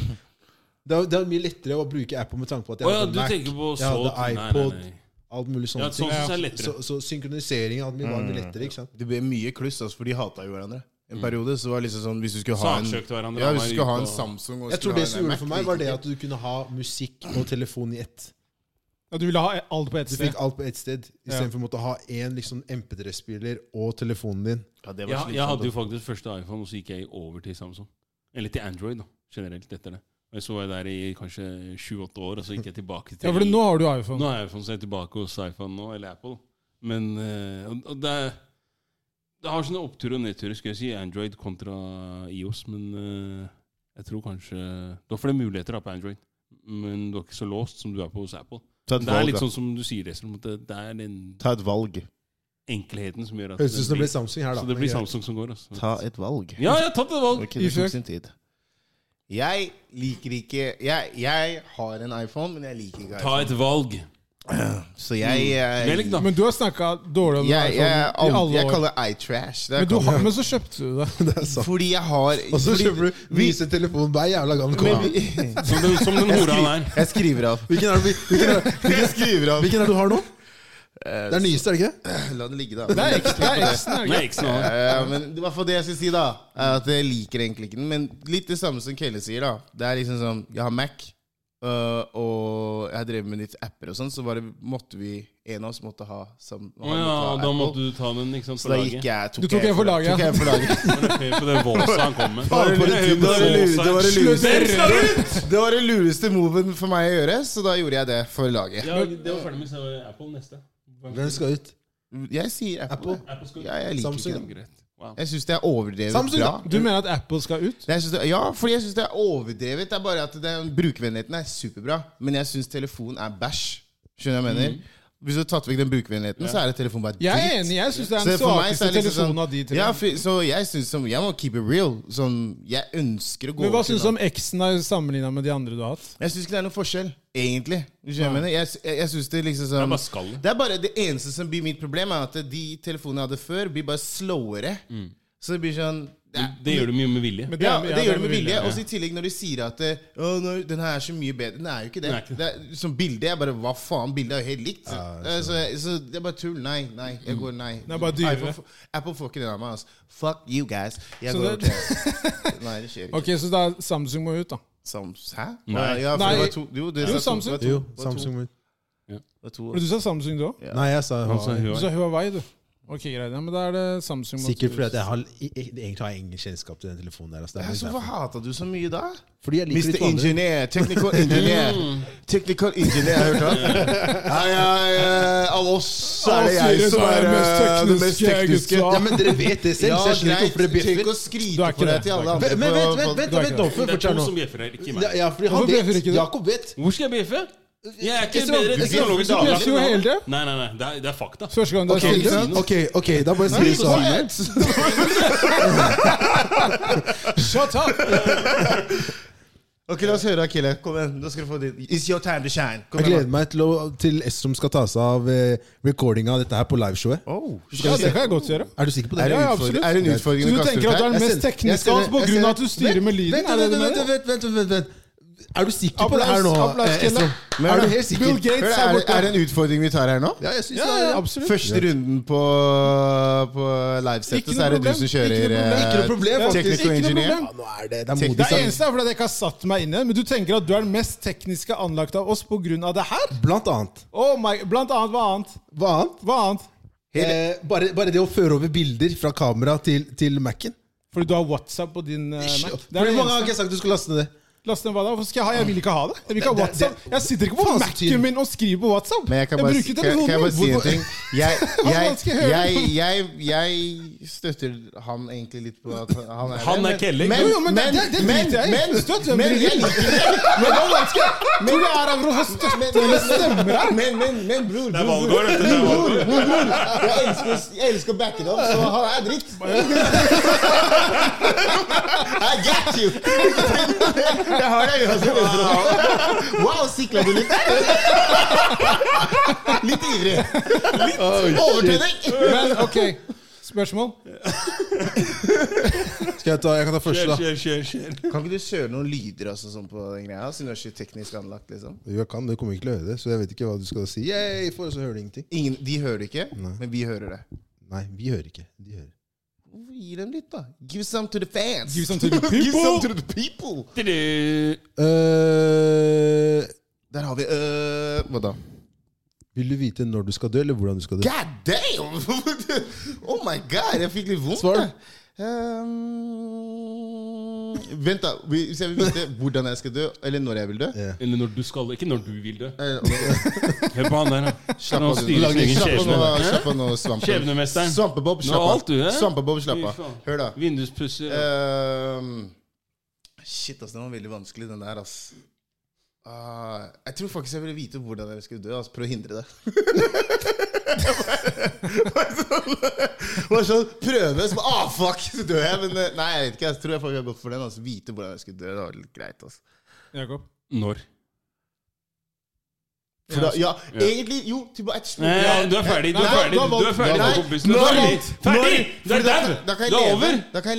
D: det, er, det er mye lettere å bruke Apple med tanke på at
B: Å
D: jeg
B: ja,
D: hadde
B: du
D: Mac.
B: tenker på
D: jeg
B: så
D: hadde
B: Nei, nei,
D: iPod.
B: nei.
D: Alt mulig
B: Ja,
D: sånne
B: sånn
D: ting.
B: syns jeg er
D: Så,
B: lettere.
D: så synkroniseringen av min var mye lettere. ikke sant?
A: Det ble mye kluss, altså, for de hata jo hverandre. En periode så var det liksom sånn Hvis du skulle ha en,
B: Saksøkte hverandre.
A: ja,
B: han
A: hvis
B: var
A: du skulle ha
B: ute
A: en
B: og-
A: Samsung og
D: Jeg
A: skulle
D: tror
A: ha en
D: det som gjorde det
A: Mac,
D: for
A: det
D: meg,
A: gikk
D: var det
A: ikke.
D: at du kunne ha musikk og telefon i ett.
C: Ja, du ville ha alt på ett
D: Du
C: sted?
D: fikk alt på ett sted, istedenfor å måtte ha én liksom, MP3-spiller og telefonen din.
A: ja, det var sånn
B: Ja, jeg
A: slitsomt,
B: hadde jo
A: ass.
B: faktisk første iPhone, og så gikk jeg over til Samsung. Eller til Android, da, generelt, etter det. Og så var jeg der i kanskje sju-åtte år, og så gikk jeg tilbake til
C: Ja, for nå har du
B: Nå
C: iPhone.
B: er iPhone, så jeg er tilbake hos iPhone nå, eller Apple. Men eh, og- og det, er- det har sånne opptur og nedturer, skal jeg si. Android kontra IOS. Men eh, jeg tror kanskje Du har flere muligheter da på Android, men du er ikke så låst som du er på hos Apple.
A: Ta et
B: Det er
A: valg,
B: litt
A: da.
B: sånn som du sier, Esel, om at det, det er den
A: Ta et valg.
B: enkelheten som gjør at
D: Høres ut som det
B: blir,
D: ble Samsung her, da.
B: så det blir
D: Men greit.
B: Samsung som går. Altså.
A: Ta et valg.
B: Ja, jeg har tatt et valg!
A: Ok, det
C: Ifølge-
A: tok sin tid. Jeg liker ikke jeg, jeg har en iPhone, men jeg liker ikke
B: Ta
A: iPhone.
B: et valg.
A: Så jeg eh, jeg,
B: Velg, da.
C: Men du har snakka dårlig om
A: jeg, jeg,
C: iPhone Sånn, i
A: aldri,
C: alle
A: jeg
C: år.
A: kaller det iTrash. Det er
C: Men, du,
A: kalt-
C: har- men så kjøpte du det.
D: Det er sant.
A: Fordi jeg har
D: Og så
A: fordi-
D: kjøper du
A: vi-
D: vise telefonen hver jævla gang den
A: men
D: kommer.
A: vi-
B: Som den, som den hora han er.
A: Jeg skriver av.
D: Hvilken er det vi- hvilken er det-
A: Jeg skriver av.
D: hvilken er det du har nå? Det er den nyeste, er det ikke det?
A: La det ligge, da.
C: Det er ekstra, det er ekstra,
B: Nei, ikke sånn.
A: Eh, men det er i hvert fall det jeg skal si, da. Er at jeg liker egentlig ikke den. Men litt det samme som Kelle sier, da. Det er liksom sånn Jeg har Mac, øh, og jeg drev med litt apper og sånn, så bare måtte vi En av oss måtte ha sam...
B: Å
A: han
B: ja,
A: måtte
B: da
A: ha Apple.
B: måtte du ta den, ikke sant?
A: Så da gikk jeg
C: Du tok en for laget,
A: Tok
C: ja.
A: jeg for laget.
B: Var det fair på det volsa han kom med? Var
A: Bare
B: det
A: litt-
B: fair på det
A: bare litt-
B: volsa?
A: det var det
C: Slutt
A: lureste.
C: å røre!
A: Det var det lureste moven for meg å gjøre, så da gjorde jeg det for laget.
B: Ja, det var ferdig med så Apple neste.
D: Eh, Hvem skal ut?
A: Jeg sier Apple.
B: Apple skal
A: Ja, jeg liker
D: Samsung.
A: ikke det.
B: Greit. Wow.
A: Jeg syns det er overdrevet
D: Samsung,
A: bra.
D: da.
C: Du mener at Apple skal ut?
A: Nei, Jeg synes det, ja, fordi jeg syns det er overdrevet. Det er bare at det- Brukervennligheten er superbra, men jeg syns telefon er bæsj. Skjønner du hva jeg mener? Hvis du har tatt vekk den brukervennligheten, så er det telefon bare
C: Mm. Jeg
A: dritt.
C: er enig. Jeg syns det er
A: Så
C: den
A: for meg så
C: svakeste
A: er det liksom
C: telefonen av de tre.
A: Ja, for, så jeg synes som Jeg må keep it real. Sånn, jeg ønsker å gå
C: Men hva
A: over til
C: syns du om X-en er sammenligna med de andre du har hatt?
A: Jeg syns ikke det er noen forskjell, egentlig. Du skjønner hva Jeg, mener? jeg, sy- jeg, jeg synes det liksom
B: Det
A: sånn
B: er bare skallet.
A: det er bare det eneste som blir mitt problem, er at de telefonene jeg hadde før, blir bare slowere. Så det blir sånn det er-
B: Det gjør du mye med vilje.
C: Men
A: ja,
C: er-
A: det
C: ja,
A: gjør det med
C: vilje.
A: vilje. Og så i tillegg når de sier at eh, «Å, nei, den her er så mye bedre. Den er jo ikke det.
B: Den er ikke det.
A: det er, som bilde er bare Hva faen? Bildet er jo helt likt. Eh, så, så det er bare tull. Nei, nei. Jeg går nei.
C: er bare dyrere.
A: Apple, f- Apple får ikke det av meg. Altså. Fuck you guys. Jeg
C: Så
A: går
C: det-
A: over til Nei, det skjer ikke.
C: Ok, så da Samsung må ut, da.
A: Sams, hæ?
B: Nei.
A: Ja, for det
C: Nei.
A: var to, jo, det
C: Jo,
A: sa to- det
C: Samsung.
A: var to-
D: Jo,
A: det var to-
D: Samsung Moon.
A: det var to-
C: Men Du sa Samsung, du òg?
A: Ja.
D: Nei, jeg sa
B: Han sa
D: Huawei.
C: Du sa Huawei, du. Ok, greit. Ja, men da er det Samsung. man
D: Sikkert
C: tror.
D: fordi at jeg har, i- i- egentlig har jeg ingen kjennskap til den telefonen der. Altså. Det er
A: Ja,
D: litt
A: så Hvorfor
D: derfor.
A: hata du så mye da?
D: Fordi jeg liker
A: Mr.
D: litt vanlig.
A: Engineer, technical engineer. Technical engineer, har du hørt det? Nei, jeg, eh, Av oss så er det
C: Av oss
A: jeg som
C: fire
A: er
C: så er det mest
A: eh, det mest
C: tekniske
A: tekniske.
C: gutta.
D: Ja, men dere vet det selv,
A: Ja,
D: så jeg skjønner ikke
A: greit.
D: hvorfor
A: Tenk
D: dere bjeffer.
A: å
C: Du er
A: skrike
C: ikke
A: på det
C: det.
A: til alle
C: Du er
A: andre.
D: Men men vent,
A: på-
D: vent, vent,
C: Du er
D: vent,
C: ikke
D: nå,
C: det.
D: for
B: Det er
D: fortell
B: to
D: nå.
B: som bjeffer her, ikke
D: Ja,
B: meg.
D: ja, fordi han
C: Hvorfor bjeffer
D: vet.
C: ikke du?
D: Jakob vet.
B: Hvor skal jeg bjeffe? Jeg er ikke
D: Jeg ser-
B: bedre
A: du
B: teknologisk
A: bjeffer- du
B: daglig.
C: bjeffer jo hele tiden.
B: Nei, nei, nei. Det er, det er fakta.
C: Første gang du har
D: Ok,
C: sagt det?
D: ok, ok, da bare sier vi sånn.
C: Shut up!
A: Ok, la oss høre, Akile. Kom igjen, nå skal du få ditt. It's your time to shine. Kom
D: Jeg gleder
A: igjen.
D: meg til, å, til Estrom skal ta seg av eh, recordinga av dette her på liveshowet.
A: Oh, shit.
C: Ja, det kan jeg godt gjøre.
D: Er du sikker på
A: Er
D: det?
A: det
C: Ja,
A: en
C: ja,
A: utfordring,
C: absolutt.
A: er det en utfordring
C: Så du
A: kaster ut
C: tenker at du
A: her?
C: er den
A: Jeg
C: mest
A: ser- jeg
C: tekniske
A: ser
C: av oss
A: det.
C: på
A: Jeg ser
C: grunn av at
A: det.
C: du styrer med lyden?
D: Vent,
C: Er det det
D: vent,
C: du
D: vent,
C: mener?
D: vent, vent, vent, vent. Er du sikker på det her nå?
C: Applaus,
D: eh, Estrom?
C: Kenneth.
A: Men
D: Er du helt sikker?
C: Bill Gates
A: Hør,
C: er
A: er, det-
C: borte.
A: er det en utfordring vi tar her nå?
D: Ja, jeg synes
C: Ja,
D: det
C: ja,
D: er-
C: absolutt.
A: Første runden på, på
C: Ikke
A: livesettet,
C: noe
A: så er det
C: problem.
A: du som kjører
D: Ikke noe problem,
A: eh,
D: faktisk.
A: technical
C: Ikke noe
A: engineer.
C: problem.
D: Ja, nå er det, det er
C: Det
D: modig
C: er
D: sagt.
C: eneste er fordi at jeg ikke har satt meg inne, men du tenker at du er den mest tekniske anlagt av oss pga. det her?
D: Blant annet.
C: Oh my, blant annet hva annet?
D: Hva annet?
C: Hva annet?
D: Eh, bare, bare det å føre over bilder fra kamera til, til Mac-en.
C: Fordi du har WhatsApp på din eh,
D: Ish.
C: Mac? Det
D: Hvor
C: er det
D: mange ganger har
C: eneste.
D: ikke jeg sagt du skulle laste ned det?
C: Last ned hva da? Hvorfor skal jeg ha? Jeg vil ikke ha det. Jeg vil ikke ha
D: Det- det-
C: WhatsApp. Jeg sitter ikke på
D: Faen, så tydelig.
C: Mac-en min og skriver på WhatsApp.
A: Men jeg kan bare,
C: bruker
A: kan, kan jeg bare si en ting? Jeg, jeg,
C: Hva skal jeg
A: jeg,
C: høre?
A: jeg, jeg, støtter han egentlig litt på at han er
B: Han er
A: men-
B: kelling.
A: Men,
C: Jo, jo, men
A: men,
C: det- det- det
A: men,
C: driter jeg i.
A: men,
C: Støtt hvem
A: men
C: du vil.
A: jeg liker det.
C: Men hva vanskelig? Tror du jeg er her å
A: Men,
C: støtte
A: men,
C: eller stemmer her?
A: men, men, men bror,
B: Det er
A: bror, bror.
B: valgår, vet du. Det er valgår.
A: Jeg elsker, jeg elsker å backe dem, så han er dritt. I got you! Jeg har deg, altså. Wow, sikla du litt? Litt ivrig. Overtenning!
C: Men ok, spørsmål.
D: Skal jeg, ta, jeg kan ta første, da.
B: Kjør, kjør, kjør.
A: Kan ikke du kjøre noen lyder altså, sånn på den greia, siden du er så teknisk anlagt? liksom?
D: Jo, jeg kan, du kommer ikke til å høre det, så jeg vet ikke hva du skal si. Yay, for så hører du ingenting.
A: Ingen, de hører det ikke, men vi hører det.
D: Nei, vi hører ikke. De hører.
A: Gi dem litt, da. Give some to the fans.
C: Give some to the
A: Give some to
C: people.
A: the people.
B: Tudu.
D: Eh,
A: Der har vi øh, Hva da?
D: vil du vite når du skal dø, eller hvordan du skal dø?
A: God damn! oh my god, jeg fikk litt vondt.
D: Svar.
A: jeg. Ehm, vent, da. Vi- Hvis jeg vil vite hvordan jeg skal dø, eller når jeg vil dø
D: Ja.
B: Eller når du skal Ikke når du vil dø.
A: Eh, ok.
B: Hør på han der, da.
A: Slapp
B: Nå
A: av, du.
B: styrer sin egen
A: Slapp av nå,
B: skjebne.
A: slapp av nå, Svampen.
B: Skjebnemesteren.
A: Svampebob,
B: Nå
A: slapp av.
B: alt du, eh?
A: Svampebob, slapp av.
B: Fy faen.
A: Hør, da.
B: Vinduspusser.
A: Eh, Ehm, shit, ass, den var veldig vanskelig, den der, ass. Ah, jeg tror faktisk jeg ville vite hvordan jeg skulle dø. Ass. Prøv å hindre det. Bare sånn- Bare sånn prøve som Ah, fuck, så dør jeg. Men eh, nei, jeg vet ikke. Jeg tror jeg faktisk har gått for den. Ass. Vite hvordan jeg skulle dø. Det var litt greit. Ass.
C: Jakob.
B: Når?
A: For da, ja,
B: Ja.
A: egentlig Jo, til bare et spørsmål.
B: Nei,
A: Ja.
B: du er ferdig. Du
A: Nei,
B: er ferdig.
A: da
B: Du
A: valg-
B: er ferdig.
A: Nei,
B: Jakob Bussen. Du
A: nå
B: er ferdig.
A: valg-
B: Ferdig!
A: Når-
B: Du er
A: fordi da-
B: der!
A: Da kan jeg
B: Det er
A: leve.
B: over.
A: Da kan jeg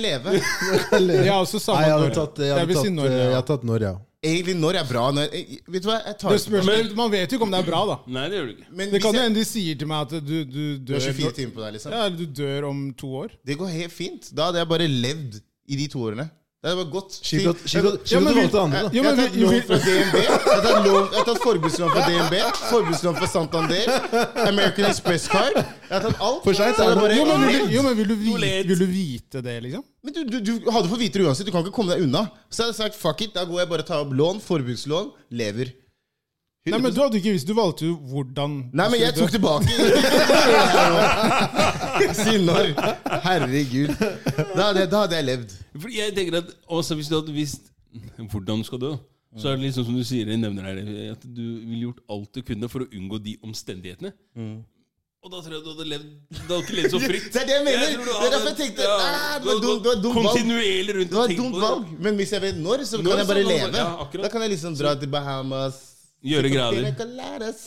A: leve.
C: Jeg har også
D: Nei,
C: altså samme
D: jeg hadde
C: når.
D: tatt, jeg
C: Jeg
D: hadde
C: vil si
D: tatt,
C: når.
D: eh, jeg
C: ja.
D: hadde tatt når, ja.
A: Egentlig når er bra. Når, jeg, vet du hva, jeg tar
C: Det
A: det på-
C: spørs, men man vet jo ikke om det er bra, da.
B: Nei, det gjør du ikke.
A: Men
C: Det
A: hvis
C: kan jo
A: jeg-
C: hende de sier til meg at du, du
A: Du
C: dør
A: har 24 timer på deg, liksom.
C: Ja, eller du dør om to år.
A: Det går helt fint. Da hadde jeg bare levd i de to årene. Det hadde bare gått
D: Skipt
A: til-
D: at- skipt at- skipt
C: at du
A: vi-
D: valgte andre, da.
A: Jeg
C: Ja,
A: har
C: men
A: tatt
C: vi-
A: lån
C: vi-
A: fra DNB. Jeg har tatt, lån- jeg har tatt forbrukslån fra DNB, forbrukslån fra Santander, American Express Card. Jeg har tatt alt.
D: For sent,
A: Så
D: er det
A: bare-
C: Jo, men vil du, jo, men vil du,
B: Toalett.
C: vite, vil du vite det, liksom?
A: Men du, du, du hadde fått vite det uansett. Du kan ikke komme deg unna. Så jeg hadde sagt fuck it, da går jeg bare og tar opp lån, forbrukslån, lever.
C: Nei, men Du hadde ikke visst, du valgte jo hvordan du
A: Nei, men jeg tok
C: skulle dø.
A: tilbake. Si når. Herregud. Da hadde, jeg- da hadde jeg levd.
B: Fordi jeg tenker at også Hvis du hadde visst hvordan du skal dø, så er det liksom som du sier, jeg nevner her, at du ville gjort alt du kunne for å unngå de omstendighetene. Og da tror jeg du hadde levd Du hadde ikke levd så fritt.
A: Det er det jeg mener.
B: tror du
A: Det er
B: hadde-
A: derfor jeg tenkte,
B: ja,
A: "Ah, det
B: du
A: var
B: hadde
A: dumt- det
B: gått
A: var dumt valg."
B: Kontinuerlig rundt
A: Det var
B: og
A: et
B: tenkt
A: dumt
B: på det.
A: valg, men hvis jeg vet når, så
B: Når,
A: kan jeg bare
B: så kan du bare-
A: leve.
B: ja, akkurat.
A: da kan jeg liksom dra til Bahamas.
B: Gjøre grader.
A: Coladas.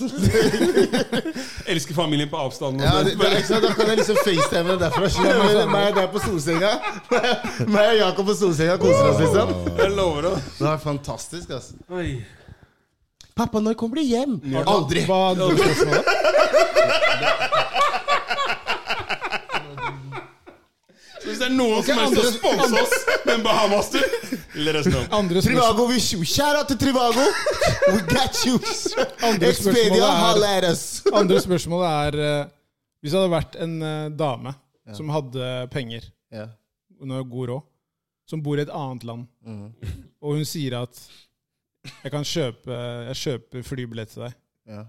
B: Elsker familien på avstand. og
A: Ja,
B: sånt.
A: det, det, er ikke sant, da kan jeg liksom facetime det derfra. Skjønner du? Meg og deg på solsenga. Meg og Jakob på solsenga koser oss, liksom.
B: Jeg lover det.
A: Det var fantastisk, altså.
B: Oi.
A: Pappa, når kommer du hjem? Aldri!
C: Hva andre spørsmålet?
B: Hvis det er noen som
A: Skal
B: har lyst til å
A: andre-
B: sponse oss med en Bahamas-tur, Let us know.
C: Andre spørsmål,
E: Trivago, vi Shout out til Trivago! We got you!
C: andre
E: Expedia,
C: spørsmålet
E: holla
C: er,
E: at us!
C: andre spørsmålet er eh, Hvis det hadde vært en eh, dame som hadde penger,
A: Ja.
C: hun har god råd, som bor i et annet land,
A: Mhm.
C: og hun sier at jeg kan kjøpe jeg kjøper flybillett til deg,
A: Ja.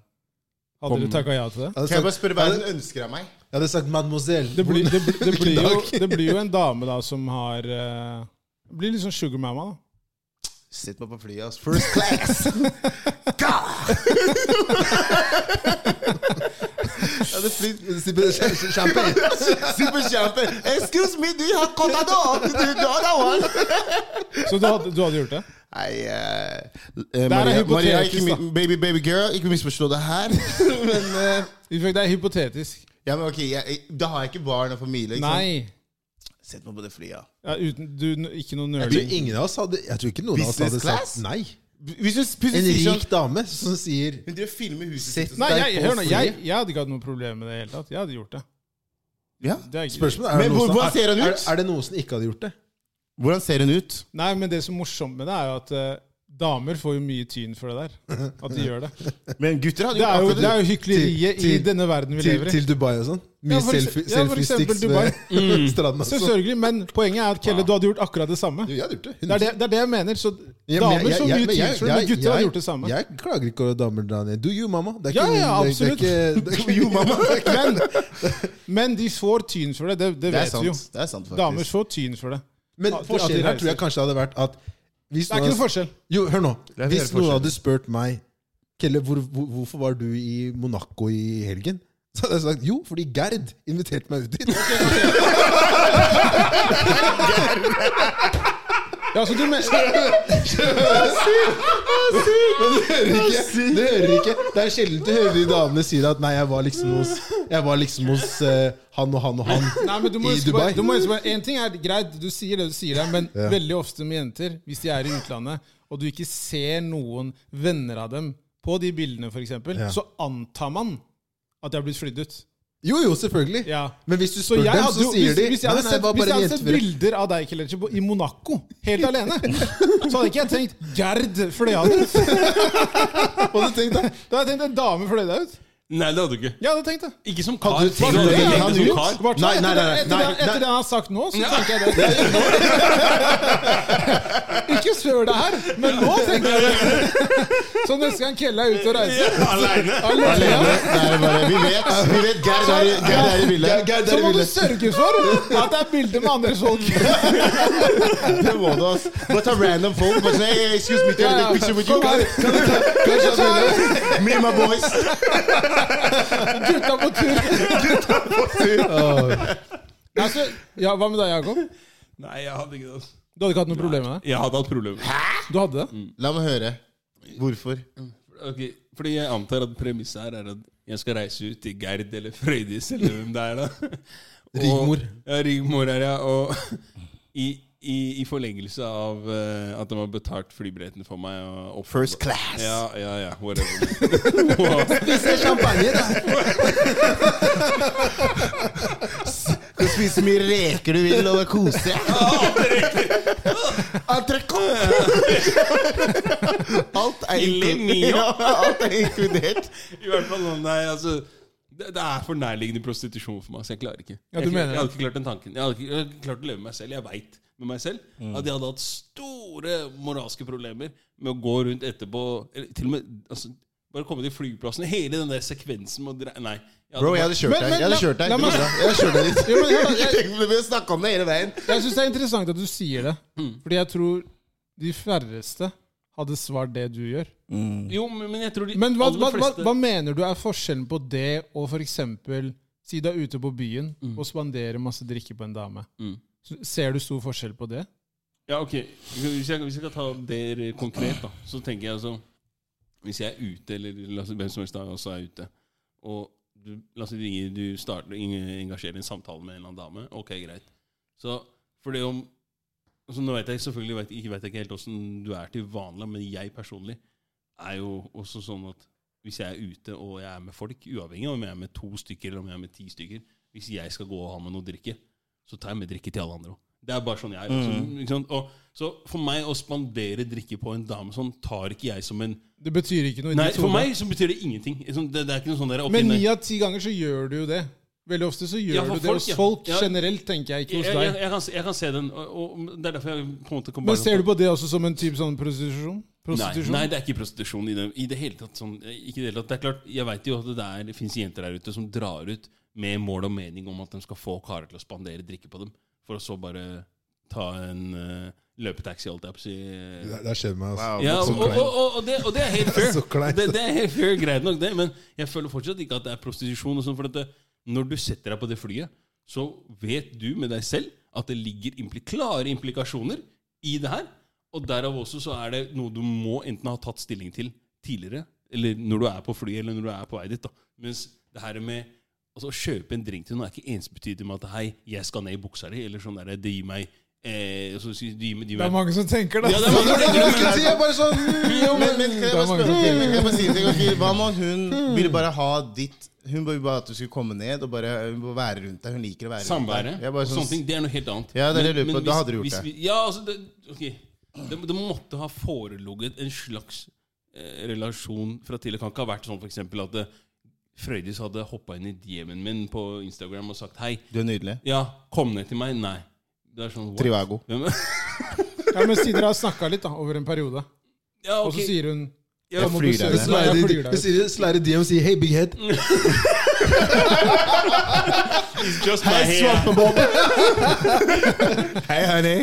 C: hadde du takka ja til det?
D: Jeg
A: Kan jeg
D: hadde
A: bare
D: sagt,
A: spørre hva hun ønsker av meg?
D: jeg hadde sagt mademoiselle.
C: Det blir, det, blir- det, blir jo,
D: dag?
C: det blir jo en dame da som har eh, det Blir litt sånn sugar mama, da.
A: Sett meg på flyet, ass. First class!
D: Jeg hadde flytt- sitt på kjæ- champagne.
A: Si på kjempe!
E: Excuse me, do you have contador? Do you know that one?
C: Så du hadde, du hadde gjort det?
A: Nei eh,
C: er
A: Maria,
C: hypotetisk,
A: Maria ikke,
C: da.
A: mi- baby, baby girl, ikke misforstå det her. men, eh,
C: I fact, Det er hypotetisk.
A: ja, men ok, jeg, jeg- Da har jeg ikke barn og familie. Ikke sant?
C: Nei.
A: Sett meg på det flyet.
C: Ja, uten, du, ikke noe
D: Jeg tror
C: nøling.
D: ingen av oss hadde Jeg tror ikke noen av oss hadde
A: Business class?
D: sagt nei.
A: Hvis hun
D: En
A: plutselig sier
D: rik
A: sånn
D: dame som sier
A: Hun driver og filmer huset
D: Sett
A: sitt. og
C: Nei,
A: sånn.
C: jeg,
D: på
C: hør nå, jeg,
D: flyet.
C: jeg hadde ikke hatt noe problem med det i det hele tatt. Jeg hadde gjort det.
A: Ja.
C: det er ikke,
D: Spørsmålet er,
A: Men
D: det noen
A: hvor-
D: som-
A: hvordan ser han
D: er,
A: ut?
D: er det noen som ikke hadde gjort det?
A: Hvordan ser hun ut?
C: Nei, men det som er morsomt med det, er jo at eh, damer får jo mye tyn for det der. At de gjør det.
A: Men gutter hadde
C: Det er jo,
A: gjort
C: det er
A: akkurat
C: jo hykleriet i
D: Til- til-
C: denne verden vi
D: Til,
C: lever i.
D: til Dubai og sånn? Mye
C: Ja, for ekse-
D: selfie-
C: ja, for eksempel
D: selfie-sticks
C: Dubai. Mm.
D: ved sånn. stranda. Så.
C: Selvfølgelig, men poenget er at Kelle, du hadde gjort akkurat det samme.
D: Jo, jeg hadde gjort det.
C: Det er det, det, er det jeg mener. Så
D: Ja, men
C: damer
D: jeg-
C: får
D: jeg-
C: mye
D: men
C: tyn
D: jeg-
C: for det, men
D: jeg-
C: gutter hadde
D: jeg-
C: gjort det samme.
D: Jeg klager ikke over damer drar ned. Do you, mamma? Det er
C: Ja,
D: ikke,
C: ja,
D: det er- Det er ikke, det er ikke
A: Jo, mamma!
C: Men, men de får tyn for det, det, det
A: Det er
C: vet vi jo.
A: sant, det er sant faktisk.
C: Damer får tyn for det.
D: Men
C: At- at de
D: forskjellen her
C: reiser.
D: tror jeg kanskje hadde vært at hvis
C: Det er ikke noe
D: noen,
C: forskjell.
D: jo, hør nå,
A: Det er flere
D: hvis noen
A: forskjeller.
D: hadde spurt meg Kelle, hvor, hvor, hvorfor var du i Monaco i helgen? Så hadde jeg sagt jo, fordi Gerd inviterte meg ut dit.
C: Ja, så du mener,
D: Det hører ikke. Det, hører ikke. det er sjelden du hører de damene si at nei, jeg var liksom hos, jeg var liksom hos eh, han og han og han
C: nei, men du må
D: i
C: huske på,
D: Dubai.
C: du må huske på En ting er greit, du sier det du sier der, men
D: Ja.
C: veldig ofte med jenter, hvis de er i utlandet, og du ikke ser noen venner av dem på de bildene, f.eks.,
D: Ja.
C: så antar man at de har blitt flydd ut.
D: Jo, jo, selvfølgelig.
C: Ja.
D: Men hvis du
C: Så
D: spør
C: jeg
D: dem,
C: hadde,
D: så
C: jo-
D: sier
C: hvis,
D: de
C: hvis jeg hadde
D: nei, nei,
C: sett,
D: det var
C: hvis jeg
D: bare en
C: hadde sett
D: jentefrø.
C: bilder av deg Kelechi, på- i Monaco, helt alene, så hadde ikke jeg tenkt 'Gerd fløy av ut'. Hva hadde du tenkt da? Da hadde jeg tenkt en dame fløy deg ut.
B: Nei, det hadde du ikke.
C: Jeg hadde tenkt det.
B: Ikke som kar.
D: du tenkt
B: Tenk
D: det?
B: deg
D: Hadde
B: som
D: du gjort?
B: kar.
C: Hvert fall
D: Nei, nei,
C: etter,
D: nei,
C: det-
D: nei,
C: etter, det- etter
D: nei.
C: det han har sagt nå, så tenker jeg det. Ikke før det her, men nå tenker jeg det. Så neste gang Kelle er ute og reiser
B: Aleine.
C: alene,
A: Nei, bare, vi vet, vi vet Gerd er, i- Gerd er i bildet.
D: Gerd
C: så
D: er i
C: må du
D: bildet.
C: sørge for at det er bilder med andre folk.
A: Det må du, ass. Bare ta random folk. Bare sånn, hey, excuse me, can I get a picture with you?
C: Kom her.
D: Kanskje han mener det.
A: Me and my boys.
C: Gutta på tur.
D: Åh,
C: Nei, så, ja, hva med deg, Jakob?
B: Nei, jeg hadde ikke det. altså.
C: Du hadde ikke hatt noe problem med det?
B: Jeg hadde hatt problemer.
C: Du hadde det?
A: La meg høre. Hvorfor?
B: Ok, Fordi jeg antar at premisset her er at jeg skal reise ut til Gerd eller Frøydis eller hvem det er, da. Og-
D: Rigmor.
B: Ja, Rigmor er jeg. Og i, i, i forlengelse av eh, at de har betalt flybilletten for meg og opp-
A: First class.
B: Ja, ja, ja. Whatever. Og-
D: Se champagne, da!
A: Du spiser så mye reker du vil, og det koser deg. Entrecôte. Alt er
B: Filet
A: inkludert.
B: mignon.
A: Ja, alt er inkludert.
B: I hvert fall nå, Nei, altså. Det, det er for nærliggende prostitusjon for meg, så jeg klarer ikke.
C: Ja, du
B: jeg,
C: mener det.
B: jeg hadde ikke klart den tanken. Jeg hadde ikke, jeg hadde ikke klart å leve med meg selv. Jeg veit med meg selv
C: Mm.
B: at jeg hadde hatt store moralske problemer med å gå rundt etterpå eller Til og med altså, bare komme til flyplassen. Hele den der sekvensen med å dre... Nei. jeg hadde
A: Bro, jeg
B: bare-
A: hadde kjørt
C: Men-
A: deg.
C: men
A: Jeg hadde
C: la-
A: kjørt deg. Det
C: la
A: går
C: meg-
A: bra. Jeg hadde kjørt deg dit.
C: Jo, men, hør da, jeg
A: Vi har snakket om det hele veien.
C: jeg syns det er interessant at du sier det.
B: Mm.
C: Fordi jeg tror de færreste hadde svart det du gjør.
B: Jo, men, men jeg tror de
C: Men hva,
B: aller
C: hva, hva,
B: fleste
C: hva mener du er forskjellen på det og f.eks. si du er ute på byen og spanderer masse drikke på en dame?
B: Mm.
C: Så Ser du stor forskjell på det?
B: Ja, ok. Hvis jeg, hvis jeg skal ta dere konkret, da, så tenker jeg altså Hvis jeg er ute, eller la oss si hvem som helst da også er ute, og du, la oss si du, ringer- du starter, ing- engasjerer en samtale med en eller annen dame, ok, greit. Så for det om altså, Nå vet jeg selvfølgelig vet, ikke, vet jeg ikke helt åssen du er til vanlig, men jeg personlig er jo også sånn at hvis jeg er ute og jeg er med folk, uavhengig av om jeg er med to stykker eller om jeg er med ti stykker Hvis jeg skal gå og ha med noe drikke, så tar jeg med drikke til alle andre òg. Det er bare sånn jeg er.
C: Mm.
B: Så, ikke sant? Og, så for meg å spandere drikke på en dame sånn, tar ikke jeg som en
C: Det betyr ikke noe. i
B: Nei,
C: ditt
B: for
C: hode.
B: meg så betyr det ingenting. Sånn, Det, det er ikke noe sånn der
C: Men
B: oppi-
C: ni av ti ganger så gjør du jo det. Veldig ofte så gjør
B: Ja, for
C: du det
B: folk,
C: hos
B: ja.
C: folk
B: Ja.
C: generelt, tenker jeg, ikke
B: jeg,
C: hos
B: jeg,
C: deg.
B: jeg, kan, se- jeg kan se den, og, og det er derfor jeg på en måte kom
C: Men ser du på det også som en type sånn prostitusjon? Prostitusjon?
B: Nei, nei, det er ikke prostitusjon i det, i det hele tatt. Sånn, ikke i det hele tatt. Det er klart, Jeg veit jo at det, der, det fins jenter der ute som drar ut med mål og mening om at de skal få karer til å spandere drikke på dem, for å så bare ta en eh, løpetaxi, holdt jeg på å si.
D: Det, det skjer med meg, altså.
B: Ja,
D: så
B: og, og,
D: kleint.
B: og, og, det, og det er helt fair.
D: Så kleint.
B: Det, det er helt fair, greit nok, det. Men jeg føler fortsatt ikke at det er prostitusjon. Og sånn, for at det, når du setter deg på det flyet, så vet du med deg selv at det ligger impli klare implikasjoner i det her. Og derav også så er det noe du må enten ha tatt stilling til tidligere, eller når du er på flyet, eller når du er på vei dit. da. Mens det her med altså, å kjøpe en drink til noen er ikke ensbetydelig med at hei, jeg skal ned i buksa di, eller sånn der, det gir meg eh, så, det gir meg, det gir
C: Det er
B: meg.
C: mange som tenker det.
B: Ja, det er mange
A: Ja, jeg skulle si, jeg bare sånn jo, men, men kan jeg bare
C: mange
A: spørre
C: som Hmm.
A: Kan jeg bare si en ting? Ok, Hva med at hun ville bare ha ditt Hun ville bare at du skulle komme ned og bare hun må være rundt deg. Hun liker å være
B: Samværet
A: rundt deg. Jeg bare sånn
B: og sånne ting, det er noe helt annet.
A: Ja, det er det jeg
B: Men-
A: lurer på.
B: men
A: Da
B: hvis-
A: hadde du gjort
B: hvis
A: det.
B: vi- Ja, altså, det, ok. det, det måtte ha foreligget en slags eh, relasjon fra tidligere. Kan ikke ha vært sånn for eksempel at eh, Frøydis hadde hoppa inn i DM-en min på Instagram og sagt hei.
A: Du er nydelig.
B: Ja, kom ned til meg. Nei. Det er sånn what?
A: Trivago.
B: Hvem-
C: Ja, men siden dere har snakka litt da, over en periode,
B: Ja,
C: og så
B: ok.
C: sier hun
B: Ja,
C: må
A: flyr
C: besøke-
A: deg ned.
C: Nei, jeg flyr deg ut.
D: Slider Slider DM og sier 'Hey, big head'.
B: Just my hair.
A: Hei, honey.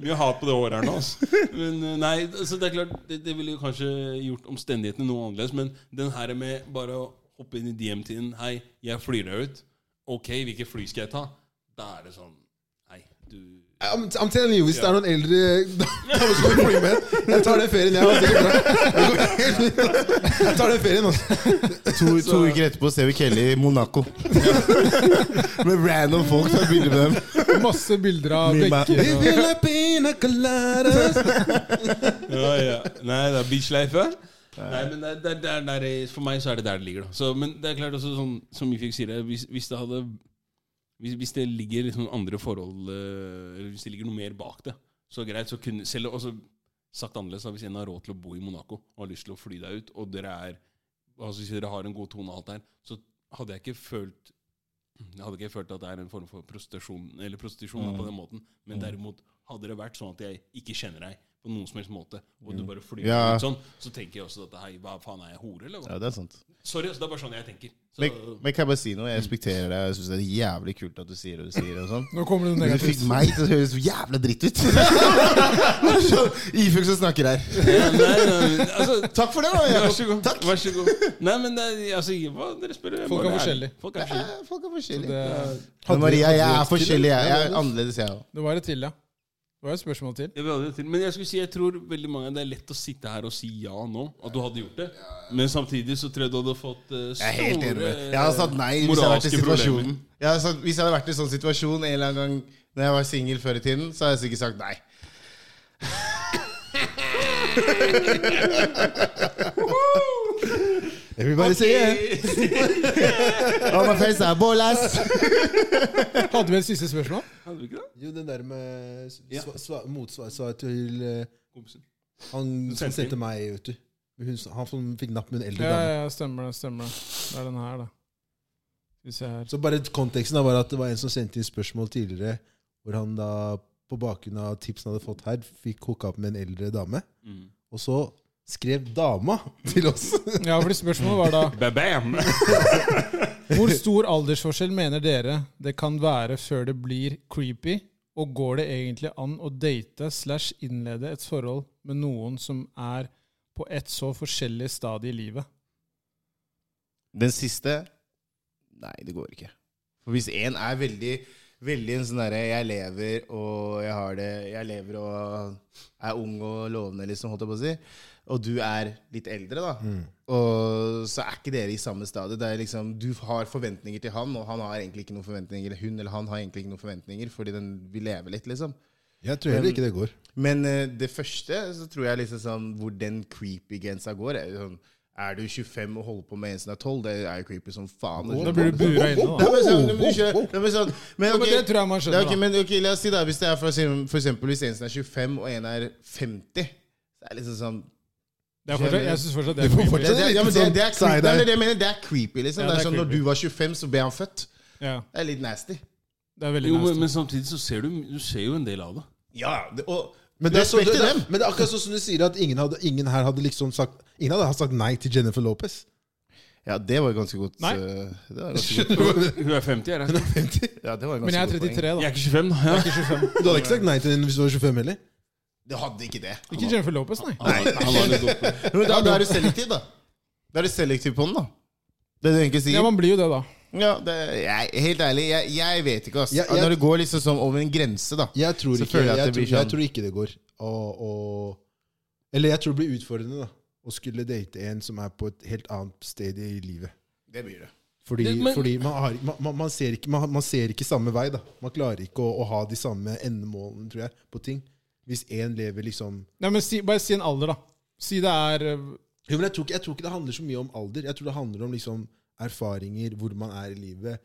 B: Mye hat på det håret her nå. Altså. Men eh, nei, altså, det er klart det, det ville jo kanskje gjort omstendighetene noe annerledes. Men den her med bare å hoppe inn i DM-tiden Hei, jeg flyr deg ut. Ok, hvilke fly skal jeg ta? Da er det sånn Nei, du
D: I'm, I'm telling you, hvis det er noen eldre damer som vil bli med, jeg tar den ferien, jeg. altså, det går bra. Det går helt fint. Jeg tar den ferien, altså.
A: To, to uker etterpå ser vi Kelly i Monaco. med random folk tar bilde med dem.
C: masse bilder av
A: Min mann.
C: bekker og
D: Vil ha pina coladas.
B: ja, ja. Nei, det er beachlife. Nei, men det, er- det, er- det, er- det, er- For meg så er det der det ligger. da så, Men det er klart også sånn som Ifik sier, det, hvis, hvis det hadde hvis, hvis det ligger liksom andre forhold eh, Eller hvis det ligger noe mer bak det, så greit. så kunne, Selv om- altså, sagt annerledes, da, hvis en har råd til å bo i Monaco og har lyst til å fly deg ut, og dere er altså hvis dere har en god tone og alt der, så hadde jeg ikke følt jeg hadde ikke følt at det er en form for prostitusjon, eller prostitusjon da, på
A: Mm.
B: den måten. Men derimot, hadde det vært sånn at jeg ikke kjenner deg på noen som helst måte, og du bare flyr
A: Mm. Ja.
B: ut sånn, så tenker jeg også at hei, hva faen er jeg hore, eller hva?
A: Ja, det er sant.
B: Sorry, altså, det er bare sånn jeg tenker. Så,
A: Men, men kan jeg bare si noe? Jeg respekterer deg. og Jeg synes det er jævlig kult at du sier det du sier. og sånn
C: Nå kommer det noe
A: Men Du
C: negativt.
A: fikk meg til å høres jævla dritt ut. Ifuk som snakker her.
B: nei, nei, nei, altså,
A: Takk for det, da.
B: Vær
A: Jakob.
B: så god.
A: Takk.
B: Vær så god. Nei, men det, er- altså, hva dere spør jeg
C: Folk er
B: bare
C: forskjellige.
B: Folk er forskjellige.
A: Ja, Folk er forskjellige.
C: Det,
A: Men Maria, jeg er
D: Hadde-
A: forskjellig. Jeg, jeg er annerledes, jeg òg.
C: det var et til, ja. Det var et spørsmål til.
B: Jeg vil aldri til. Men jeg skulle si, jeg tror veldig mange av det er lett å sitte her og si ja nå, at du hadde gjort det. Men samtidig så tror jeg du hadde fått eh,
A: Jeg er helt enig.
B: store
A: med deg. Jeg hadde sagt nei hvis jeg hadde vært i
B: moralske
A: situasjonen.
B: problemer.
A: Jeg hadde sagt, hvis jeg hadde vært i sånn situasjon en eller annen gang Når jeg var singel før i tiden, så hadde jeg sikkert sagt nei.
D: Everybody say yeah.
A: Oh, my face er bollas.
C: Hadde vi et siste spørsmål?
B: Hadde du ikke det?
D: Jo, den der med s-
B: Ja.
D: sva- sva- motsvar svar til eh,
B: Kompisen.
D: han som
B: Sendte
D: sendte
B: inn.
D: meg, vet du. Hun, s- han som fikk napp med en eldre
C: Ja,
D: dame.
C: ja, stemmer det. stemmer Det Det er den her, da. Skal vi se her.
D: Så bare konteksten da var at det var en som sendte inn spørsmål tidligere, hvor han da på bakgrunn av tipsen han hadde fått her, fikk hooka opp med en eldre dame.
B: Mm.
D: Og så skrev dama til oss.
C: Ja, fordi spørsmålet var da
B: Ba-bam!
C: Hvor stor aldersforskjell mener dere det kan være før det blir creepy? Og går det egentlig an å date slash innlede et forhold med noen som er på et så forskjellig stadie i livet?
A: Den siste Nei, det går ikke. For hvis en er veldig Veldig en sånn derre 'jeg lever og jeg har det', 'jeg lever og er ung og lovende', liksom, holdt jeg på å si, og du er litt eldre, da, og så er ikke dere i samme stadie. Det er liksom, Du har forventninger til han, og han har egentlig ikke noen forventninger, eller hun eller han har egentlig ikke noen forventninger, fordi den vil leve litt, liksom.
D: Jeg tror heller ikke det går.
A: Men eh, det første så tror jeg liksom sånn hvor den creepy grensa går. Er jo sånn, Er du 25 og holder på med en som er 12, det er jo creepy som faen.
C: Da blir du bura inne,
A: Nei,
C: da.
A: men sånn, men du skjønner- Nei, men sånn- men
C: Ja, men
A: ok,
C: det tror jeg
A: ja,
C: man skjønner.
A: ok,
C: da.
A: men ok, La oss si da, hvis det er for, eksempel- for eksempel hvis en som er 25 og en er 50 så er det liksom sånn
C: Det er fortsatt, jeg syns fortsatt det
D: Du
C: er
D: får
C: creepy.
A: det, det, ja, men det, det, er
D: Sa
A: creepy,
D: jeg det?
A: Nei, men det, jeg mener, det er creepy, liksom.
C: Ja,
A: det er
C: det er
A: sånn, Når
C: creepy.
A: du var 25, så ble han født.
C: Ja,
A: Det er litt nasty.
C: det er veldig
B: Jo, men,
C: nasty.
B: men samtidig så ser du Du ser jo en del av det.
A: Ja, det, og
D: Men det, er så,
A: respekt
D: det,
A: til dem.
D: men det er akkurat sånn som du sier at ingen, hadde, ingen her hadde liksom sagt Ingen hadde sagt nei til Jennifer Lopez.
A: Ja, det var ganske godt.
C: Nei.
A: eh, Det var ganske godt.
B: Hun er 50, jeg. er-
A: Ja, det var ganske
C: Men jeg er
A: godt poeng.
C: 33,
B: Jeg
C: da.
B: er ikke 25, da. Ja.
D: Du hadde ikke sagt nei til henne hvis du var 25 heller.
A: Det hadde ikke det.
C: Ikke Jennifer Lopez, nei.
B: Han var- han var litt god på-
A: Men da, da er du selektiv, da. Da er du selektiv på den, da. Det du egentlig sier.
C: Ja, man blir jo det, da.
A: Ja, det, jeg, helt ærlig, jeg, jeg vet ikke, ass.
D: Ja, jeg-
A: Når det går liksom sånn over en grense, da.
D: Jeg tror
A: Så
D: ikke,
A: føler jeg
D: jeg
A: at det
D: tror,
A: blir sånn-
D: jeg tror ikke det går. Og, og, eller jeg tror det blir utfordrende da å skulle date en som er på et helt annet sted i livet.
A: Det blir det.
D: Fordi,
B: Det- men-
D: fordi man, har, man- man, man, ser ikke, man, man ser ikke samme vei. da Man klarer ikke å, å ha de samme endemålene tror jeg, på ting. Hvis én lever liksom
C: Nei, men si, Bare si en alder, da. Si det er eh,
D: jo, men jeg, tror ikke, jeg tror ikke det handler så mye om alder. Jeg tror det handler om liksom erfaringer, hvor man er i livet,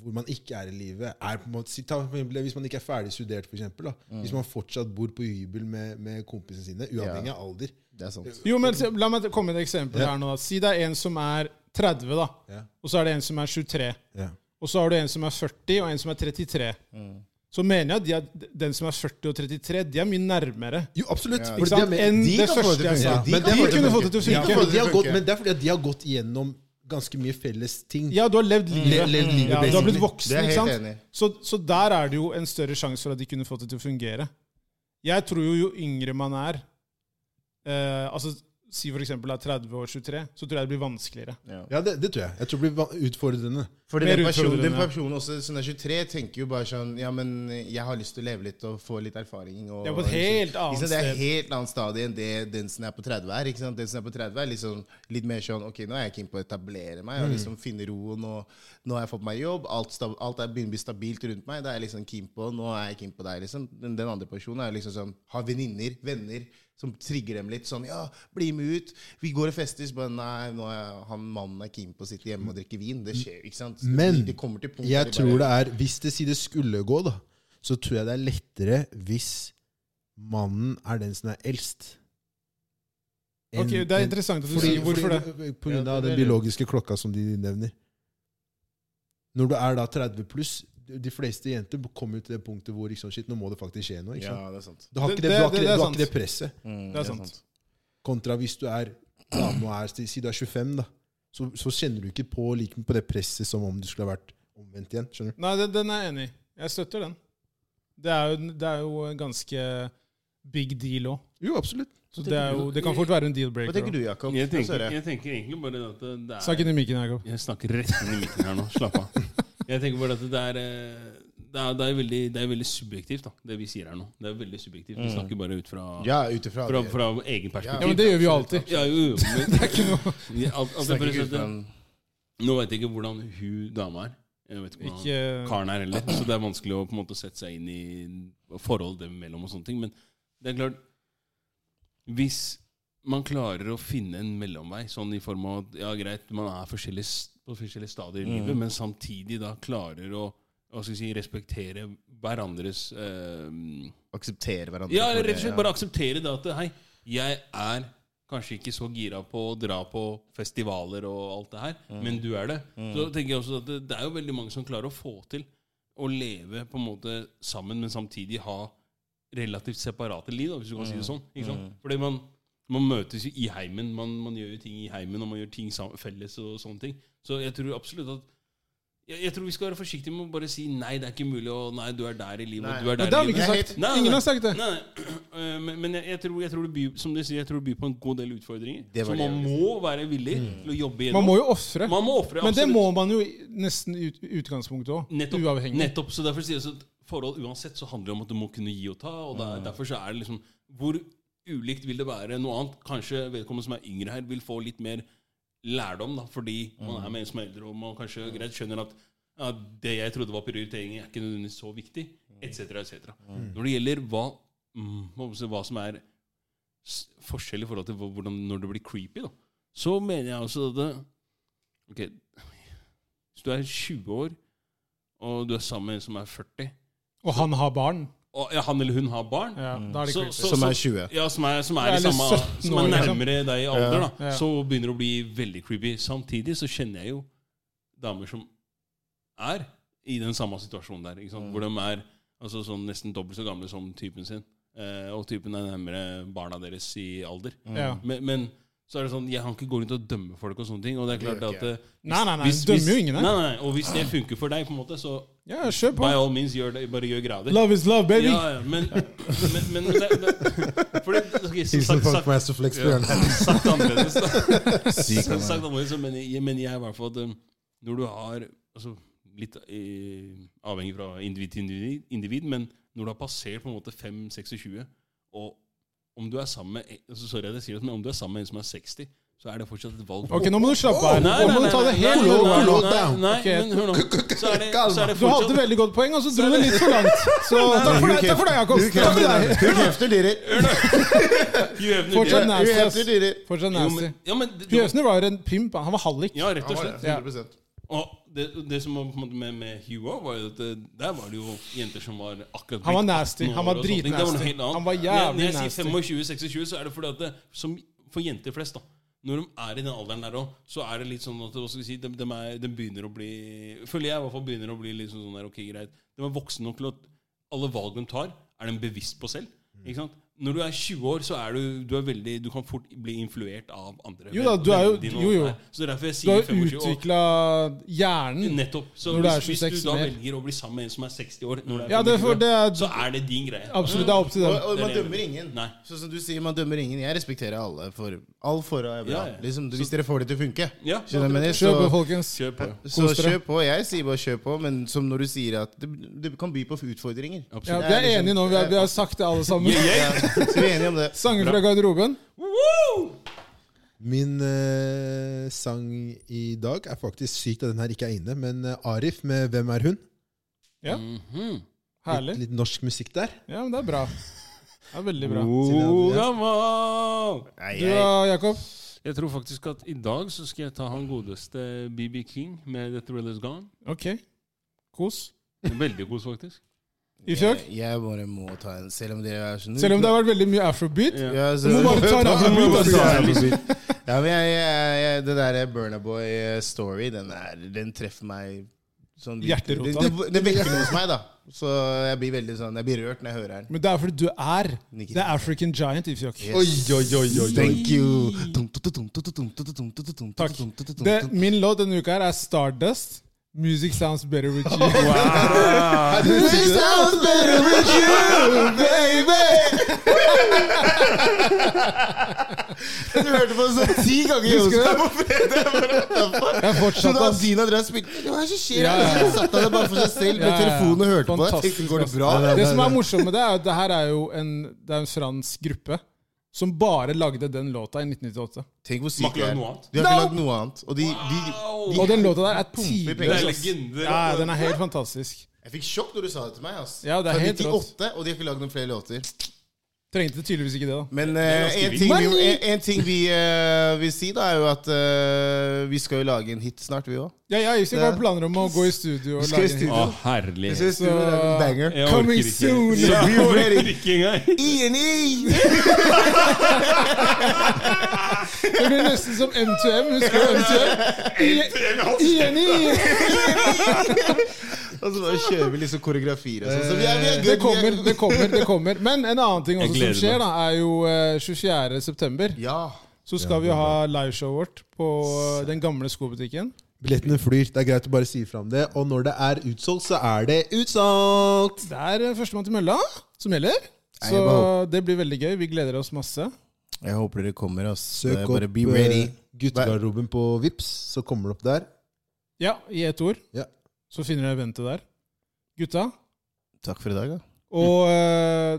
D: hvor man ikke er i livet. Er på en måte, si- ta for eksempel, hvis man ikke er ferdig studert, for eksempel, da.
A: Mm.
D: Hvis man fortsatt bor på hybel med, med kompisene sine, uavhengig av alder.
A: Det er sant.
C: Jo, men se- La meg komme med et eksempel
D: Ja.
C: her nå. da. Si det er en som er 30, da.
D: Ja.
C: Og så er det en som er 23.
D: Ja.
C: Og så har du en som er 40, og en som er 33.
A: Mm.
C: Så mener jeg at de er, den som er 40 og 33, de er mye nærmere.
D: Jo, absolutt.
A: Ja,
D: for
C: Ikke
D: de er
C: sant?
D: med-
C: Enn
A: de
C: det
A: kan få det
C: første
A: til å
C: jeg sa.
A: funke.
D: Ja,
C: Men de
D: de kan få det til å
C: kunne fått det til å
A: funke.
C: funke.
A: Ja,
D: For de har
A: det
D: gått,
A: funker.
D: men det er fordi at de har gått gjennom ganske mye felles ting.
C: Ja, du har levd livet.
D: levd livet,
C: ja, du har blitt
D: basically.
A: Det
C: voksen,
A: er jeg
C: ikke
A: helt
C: sant?
A: enig i.
C: Så, så der er det jo en større sjanse for at de kunne fått det til å fungere. Jeg tror jo jo yngre man er eh, Altså, Si for eksempel er 30 og 23, så tror jeg det blir vanskeligere.
D: Ja, det, det tror jeg. Jeg tror det blir va- utfordrende.
A: Fordi
C: Mer
A: den personen, den
C: utfordrende.
A: personen også, som er 23, tenker jo bare sånn Ja, men jeg har lyst til å leve litt og få litt erfaring. Og,
C: Det er på et helt annet
A: liksom, Det er
C: sted.
A: et helt annet stadie enn det den som er på 30 er. ikke sant? Den som er på 30 er liksom litt mer sånn Ok, nå er jeg keen på å etablere meg
D: Mm.
A: og liksom finne roen. og Nå har jeg fått meg jobb, alt, sta- alt er, begynner å bli stabilt rundt meg. Det er jeg liksom keen på, Nå er jeg keen på deg, liksom. Den, den andre personen er liksom sånn Har venninner, venner. Som trigger dem litt. sånn, ja, 'Bli med ut.' Vi går og fester. Så bare, nei, nå er han mannen er keen på å sitte hjemme og drikke vin. Det skjer jo, ikke sant?
D: Men
A: Det kommer til punktet hvor
D: jeg
A: de
D: tror
A: Mm. bare-
D: det er Hvis det sier det skulle gå, da, så tror jeg det er lettere hvis mannen er den som er eldst.
C: Ok, Det er interessant at du
D: Fordi,
C: sier hvorfor det.
D: fordi, På
A: Ja,
D: grunn av
A: det er
D: den
A: det.
D: biologiske klokka som de nevner. Når du er da 30 pluss De fleste jenter kommer jo til det punktet hvor liksom, shit, nå må det faktisk skje noe. Ikke sant?
A: Ja, det er sant.
D: Du har
C: Det-
D: ikke det, du har
C: det-
D: ikke
C: det
D: det,
C: er
D: du har ikke det
C: sant.
D: presset.
A: Mm,
C: Det er sant.
D: Kontra hvis du er dame og er Si du er 25, da. Så, så kjenner du ikke på, like, på det presset som om du skulle ha vært omvendt igjen. Skjønner du?
C: Nei, den, den er jeg enig i. Jeg støtter den. Det er jo, det er jo en ganske big deal òg.
D: Jo, absolutt.
C: Så det, er jo, det kan fort være en
A: Hva
C: deal-breaker.
A: tenker du, Jakob?
B: Jeg
A: Hva
B: tenker,
A: ser jeg?
B: jeg tenker egentlig bare at det- det er
C: også. Snakk inn i mikken, Jakob.
B: Jeg snakker rett inn i midten her nå. Slapp av. Jeg tenker bare at det er eh, Det er, det er, veldig, det er veldig subjektivt, da, det vi sier her nå. Det er veldig subjektivt. Vi snakker bare ut fra,
A: Ja, ut ifra
B: fra,
A: det.
B: fra egen
C: Ja, men
B: perspektiv.
C: Det gjør vi jo alltid.
B: Ja, jo, jo, men, altså, det er ikke noe
A: Snakker ikke ut fra
B: sånn,
A: en-
B: Nå veit jeg ikke hvordan hun dama er. Jeg vet ikke hvordan
C: Ikke
B: karen er heller. Så det er vanskelig å på en måte sette seg inn i forholdet dem imellom og sånne ting. Men det er klart Hvis man klarer å finne en mellomvei, sånn i form av at ja, greit, man er forskjellige, s- på forskjellige stadier i livet, men samtidig da klarer å hva skal jeg si, respektere hverandres eh,
A: Akseptere hverandre.
B: ja, eller rett
A: for
B: og
A: det,
B: slett
A: ja.
B: bare akseptere det at hei, jeg er kanskje ikke så gira på å dra på festivaler og alt det her, men du er det. Så tenker jeg også at det, det er jo veldig mange som klarer å få til å leve på en måte sammen, men samtidig ha relativt separate liv, da, hvis du kan si det sånn. Ikke sant? Fordi man, man møtes jo i heimen, man, man gjør jo ting i heimen, og man gjør ting sam- felles og sånne ting. Så jeg tror absolutt at jeg, jeg tror vi skal være forsiktige med å bare si nei, det er ikke mulig, og nei, du er der i livet,
A: Nei.
B: og du er
C: Men
B: der
C: det har
B: i
C: vi
B: livet.
C: ikke
A: Nei,
C: sagt.
B: nei, nei.
C: Ingen har sagt det.
B: Nei, nei. Eh, men- men jeg, jeg, tror, jeg tror det byr Som dere sier, jeg tror det byr på en god del utfordringer.
A: Det
B: Så
A: var det
B: man
A: jeg Mm.
B: må være villig til å jobbe
C: Man
B: gjennom.
C: må jo ofre.
B: Man må ofre,
C: Men det
B: absolutt.
C: må man jo i- nesten i ut, i utgangspunktet òg.
B: nettopp,
C: Uavhengig.
B: Nettopp, så derfor sier jeg så at forhold uansett så handler det om at du må kunne gi og ta. Og det er, derfor så er det liksom Hvor ulikt vil det være noe annet? Kanskje vedkommende som er yngre her, vil få litt mer lærdom, da, fordi man er med en som er eldre, og man kanskje greit skjønner at ja, det jeg trodde var prioritering, er ikke nødvendigvis så viktig, etc., etc. Når det gjelder hva, mm, hva skal man si, hva som er s- forskjell i forhold til hvor- hvordan, når det blir creepy, da, Så mener jeg også at det- Ok, hvis du er 20 år, og du er sammen med en som er 40
C: Og han har barn.
B: og ja, han eller hun har barn
C: Ja,
A: Mm.
C: Da er det
B: Så-
C: creepy.
B: så-
A: Som er 20.
B: ja, som er, som er, i
C: Eller
B: samme,
C: 17
B: som er
C: år, liksom.
B: nærmere deg i alder, da,
C: Ja.
B: så begynner det å bli veldig creepy. Samtidig så kjenner jeg jo damer som er i den samme situasjonen der, ikke sant?
C: Mm.
B: hvor de er altså, sånn, nesten dobbelt så gamle som typen sin. Eh, og typen er nærmere barna deres i alder.
C: Ja.
B: Men, men så er det sånn, jeg kan ikke gå rundt og dømme folk og sånne ting. Og det er
A: Det
B: klart
A: gjør
B: at eh,
C: Nei, nei, nei. Dømmer jo ingen
B: nei,
C: her.
B: nei, nei, Og hvis det funker for deg, på en måte, så
C: Ja, kjør på.
B: by all means, gjør det, bare gjør grader.
C: Love is love, baby.
B: Ja, ja, men, men, men det, det, fordi, ok, som
D: Hilsen
B: sagt,
D: Funk
B: sagt,
D: Masterflex
B: ja,
D: Bjørn.
B: sagt annerledes, da.
A: Syk,
B: Som
A: han
B: sagt
A: er.
B: annerledes, så mener jeg, mener jeg i hvert fall at um, når du har altså, Litt eh, avhengig fra individ til individ, individ, men når du har passert på en måte 5-26, og om du er sammen med altså, Sorry at jeg sier det, men om du er sammen med en som er 60, så er det fortsatt et valg.
C: Ok, nå må du slappe av.
B: Nei, nei,
C: Nå må du
B: nei,
C: ta det
B: nei,
C: helt
B: nei,
C: rolig.
B: nei,
D: roll
B: nei,
D: down.
B: Nei,
C: Ok.
B: men hør nå. Så er det, så er det
C: Du hadde
B: fortsatt
C: veldig godt poeng, og så dro du litt for langt. Så takk for deg, takk for deg, Jakob.
A: Du
C: Takk for deg.
A: krefter- du krefter dyrer.
B: You have no
A: Du
C: Fortsatt
B: idea.
C: nasty. ass.
A: krefter dyrer.
C: Fortsatt
B: Jo,
C: nasty.
B: men- Ja, men det-
C: Fjøsner var jo en pimp. Han var hallik.
B: Ja, rett og slett.
C: Ja.
A: 100%.
B: Og det, det som var på en måte med, med Hugh også, var jo at det, der var det jo jenter som var akkurat
C: Han var
B: blitt
C: nasty.
B: 18
C: Han var
B: år og sånne ting. Det var noe
C: dritnasty.
B: helt annet.
C: Han var
B: Når jeg- Når jeg
C: jævlig nasty.
B: sier 25-26, så er det fordi at det, som for jenter flest, da når de er i den alderen der òg, så er det litt sånn at hva skal vi si, de, de, er, de begynner å bli Føler jeg i hvert fall begynner å bli litt sånn der, ok, greit. De er voksne nok til at alle valg de tar, er de bevisst på selv. Ikke sant? Når du er 20 år, så er du, du er veldig Du kan fort bli influert av andre.
C: Jo da, du er jo-
B: Din
C: jo, jo.
B: alder. Så det er derfor jeg
C: Du
B: sier
C: har
B: 25 år.
C: utvikla hjernen.
B: Nettopp. Så
C: Mm. Når du er
B: hvis, hvis
C: 26
B: du da
C: mer.
B: velger å bli sammen med en som er 60 år, når du er
C: Ja, det, er for, det er
B: så er det din greie.
C: absolutt det er opp til
A: Og,
C: dem.
A: og man
B: Det er det jeg
A: dømmer ingen.
B: Nei.
A: Sånn som du sier, man dømmer ingen. Jeg respekterer alle for all forhold er bra.
B: Ja, ja.
A: Liksom, hvis dere får det til å funke.
B: Ja,
A: Skjønner du hva jeg mener?
C: Kjør på,
A: Så,
C: folkens.
B: Kjør på.
A: så
C: Kos dere.
A: kjør på. Jeg sier bare kjør på, men som når du sier at det, det kan by på utfordringer. liksom-
C: Ja,
B: Absolutt.
C: vi er enige nå. Vi har, vi har sagt det, alle sammen.
A: Så vi er enige om det.
C: Sanger fra garderoben.
B: Woo!
D: Min eh, sang i dag er faktisk sykt at den her ikke er inne, men eh, Arif med 'Hvem er hun?'
C: Ja.
B: Mhm.
C: Herlig.
D: Litt, litt norsk musikk der.
C: Ja, men det er bra. Det er veldig bra.
B: Oh, gammel!
A: Nei,
C: Du
A: jeg,
C: da, Jakob?
B: Jeg tror faktisk at i dag så skal jeg ta han godeste BB King med The Thriller's Gone.
C: Ok. Kos.
B: Veldig god, faktisk.
C: I fjøk?
A: jeg, jeg bare må ta en, selv om dere er sånn
C: Selv om det har vært veldig mye afrobeat.
A: ja, så,
C: Du må bare ta en afrobeat, altså.
A: Ja, men jeg, jeg, jeg, Det der Burnaboy-story, den, er- den treffer meg sånn
C: Hjerterota.
A: Det, det, det vekker noe hos meg, da. Så jeg blir veldig sånn Jeg blir rørt når jeg hører den.
C: Men det er fordi du er
A: Nikita.
C: The African Giant i fjøk.
A: Yes.
D: Oi, oi, oi, oi, oi.
A: Thank you.
C: Takk. Det, min låt denne uka her er Stardust. Music sounds better with you.
A: Music sounds better with you, baby! Du hørte på den sånn ti ganger i
C: Husker du det?
A: Oslo på fredag. Så
C: Jeg
A: da
C: fortsatte den.
A: Dina drev og spilte Hva er det som skjer?
C: Ja, ja.
A: Så satt han der bare for seg selv med
C: Ja, ja.
A: telefonen og hørte på det.
C: Fantastisk,
A: Tenkte, Går det
C: ass.
A: bra?
C: Det som er morsomt med det, er at det her er jo en, det er en fransk gruppe som bare lagde den låta i 1998.
A: Tenk hvor
B: Må
A: sykt
B: ikke
A: det
B: lage noe annet.
A: er. De har ikke
C: No.
A: lagd noe annet. Og de, de,
B: Wow!
C: Og den låta der er
A: pumper
B: Det er
A: penger.
C: tidløs. ass.
B: legender. altså.
C: Ja, den er helt fantastisk.
A: jeg fikk sjokk når du sa det til meg. ass.
C: Ja, det er
A: Fra
C: helt rått.
A: 98, og de har ikke lagd noen flere låter.
C: Trengte tydeligvis ikke det, da.
A: Men
B: er ganske
A: eh, en,
B: vilt.
A: ting vi,
C: Money!
A: en, en ting vi eh, vil si, da, er jo at eh, vi skal jo lage en hit snart, vi òg.
C: Ja, jeg har ikke bare planer om å gå i studio og
A: skal i
C: lage en
A: studio.
B: Å, herlig.
A: Så,
C: Så-
A: banger.
B: Jeg orker
C: altså. Coming
B: ikke.
C: soon.
B: Jeg
A: Be ready.
B: orker ikke engang.
A: INI!
C: Det blir nesten som M2M. Husker du M2M? INI!
A: Og så bare kjører vi liksom koreografier og sånn. Så vi er, vi er
C: Eh,
A: good,
C: Det
A: vi
C: kommer,
A: er-
C: det kommer. det kommer Men en annen ting
B: Jeg
C: også som
B: gleder
C: skjer, da er jo eh, 24. september
A: Ja.
C: Så skal vi ha liveshowet vårt på eh, den gamle skobutikken.
D: Billettene flyr. Det er greit å bare si fra om det. Og når det er utsolgt, så er det utsolgt!
C: Det er eh, førstemann til mølla som gjelder. Så
A: Jeg bare
C: det blir veldig gøy. Vi gleder oss masse.
A: Jeg håper dere kommer, ass.
D: Søk
A: bare
D: opp
A: be ready.
D: eh, guttegarderoben på Vips, så kommer det opp der.
C: Ja, i ett ord.
D: Ja.
C: Så finner dere eventet der. Gutta.
A: Takk for i dag, da.
C: Og eh,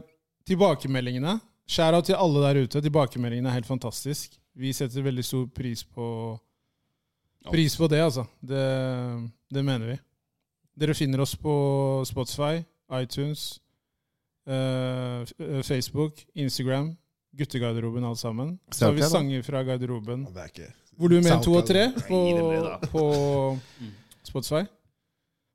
C: tilbakemeldingene Skjæra til alle der ute. Tilbakemeldingene er helt fantastisk. Vi setter veldig stor pris på Pris på det, altså. Det, det mener vi. Dere finner oss på Spotify, iTunes, eh, f- eh, Facebook, Instagram, guttegarderoben, alt sammen. Så har vi
A: Snapchat, da.
C: sanger fra garderoben.
D: det er ikke
C: Volum 1, 2 og
D: Soundcloud.
C: 3 på,
B: Nei, det blir
C: på Spotify.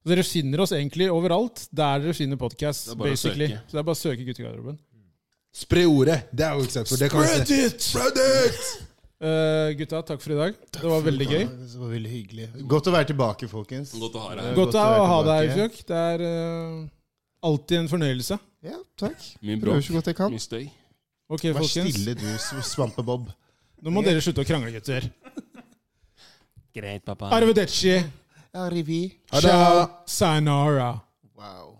C: Dere finner oss egentlig overalt der dere finner podkast.
B: Det
C: Så
B: er
C: det
B: bare å søke.
C: er bare å søke guttegarderoben.
D: Spre ordet! Det er jo ikke sant. For det kan vi se.
A: it! Spread it!
C: Eh, gutta, takk for i dag. Det var veldig gøy.
A: Det var veldig hyggelig. Godt å være tilbake, folkens.
B: Godt å ha
A: Det
B: deg
A: er
B: her.
C: Godt å ha deg her,
A: tilbake.
C: Fjokk. Det er eh, alltid en fornøyelse.
A: Ja, takk.
B: Mye bra.
A: Prøver så godt jeg kan.
B: Mye støy.
C: Ok,
A: Vær
C: folkens.
A: stille, du s- svampebob.
C: Nå må dere slutte å krangle, gutter.
B: Greit, pappa.
C: Arvedeci.
A: Arrivi.
D: Ha det!
C: Sayonara.
A: Wow.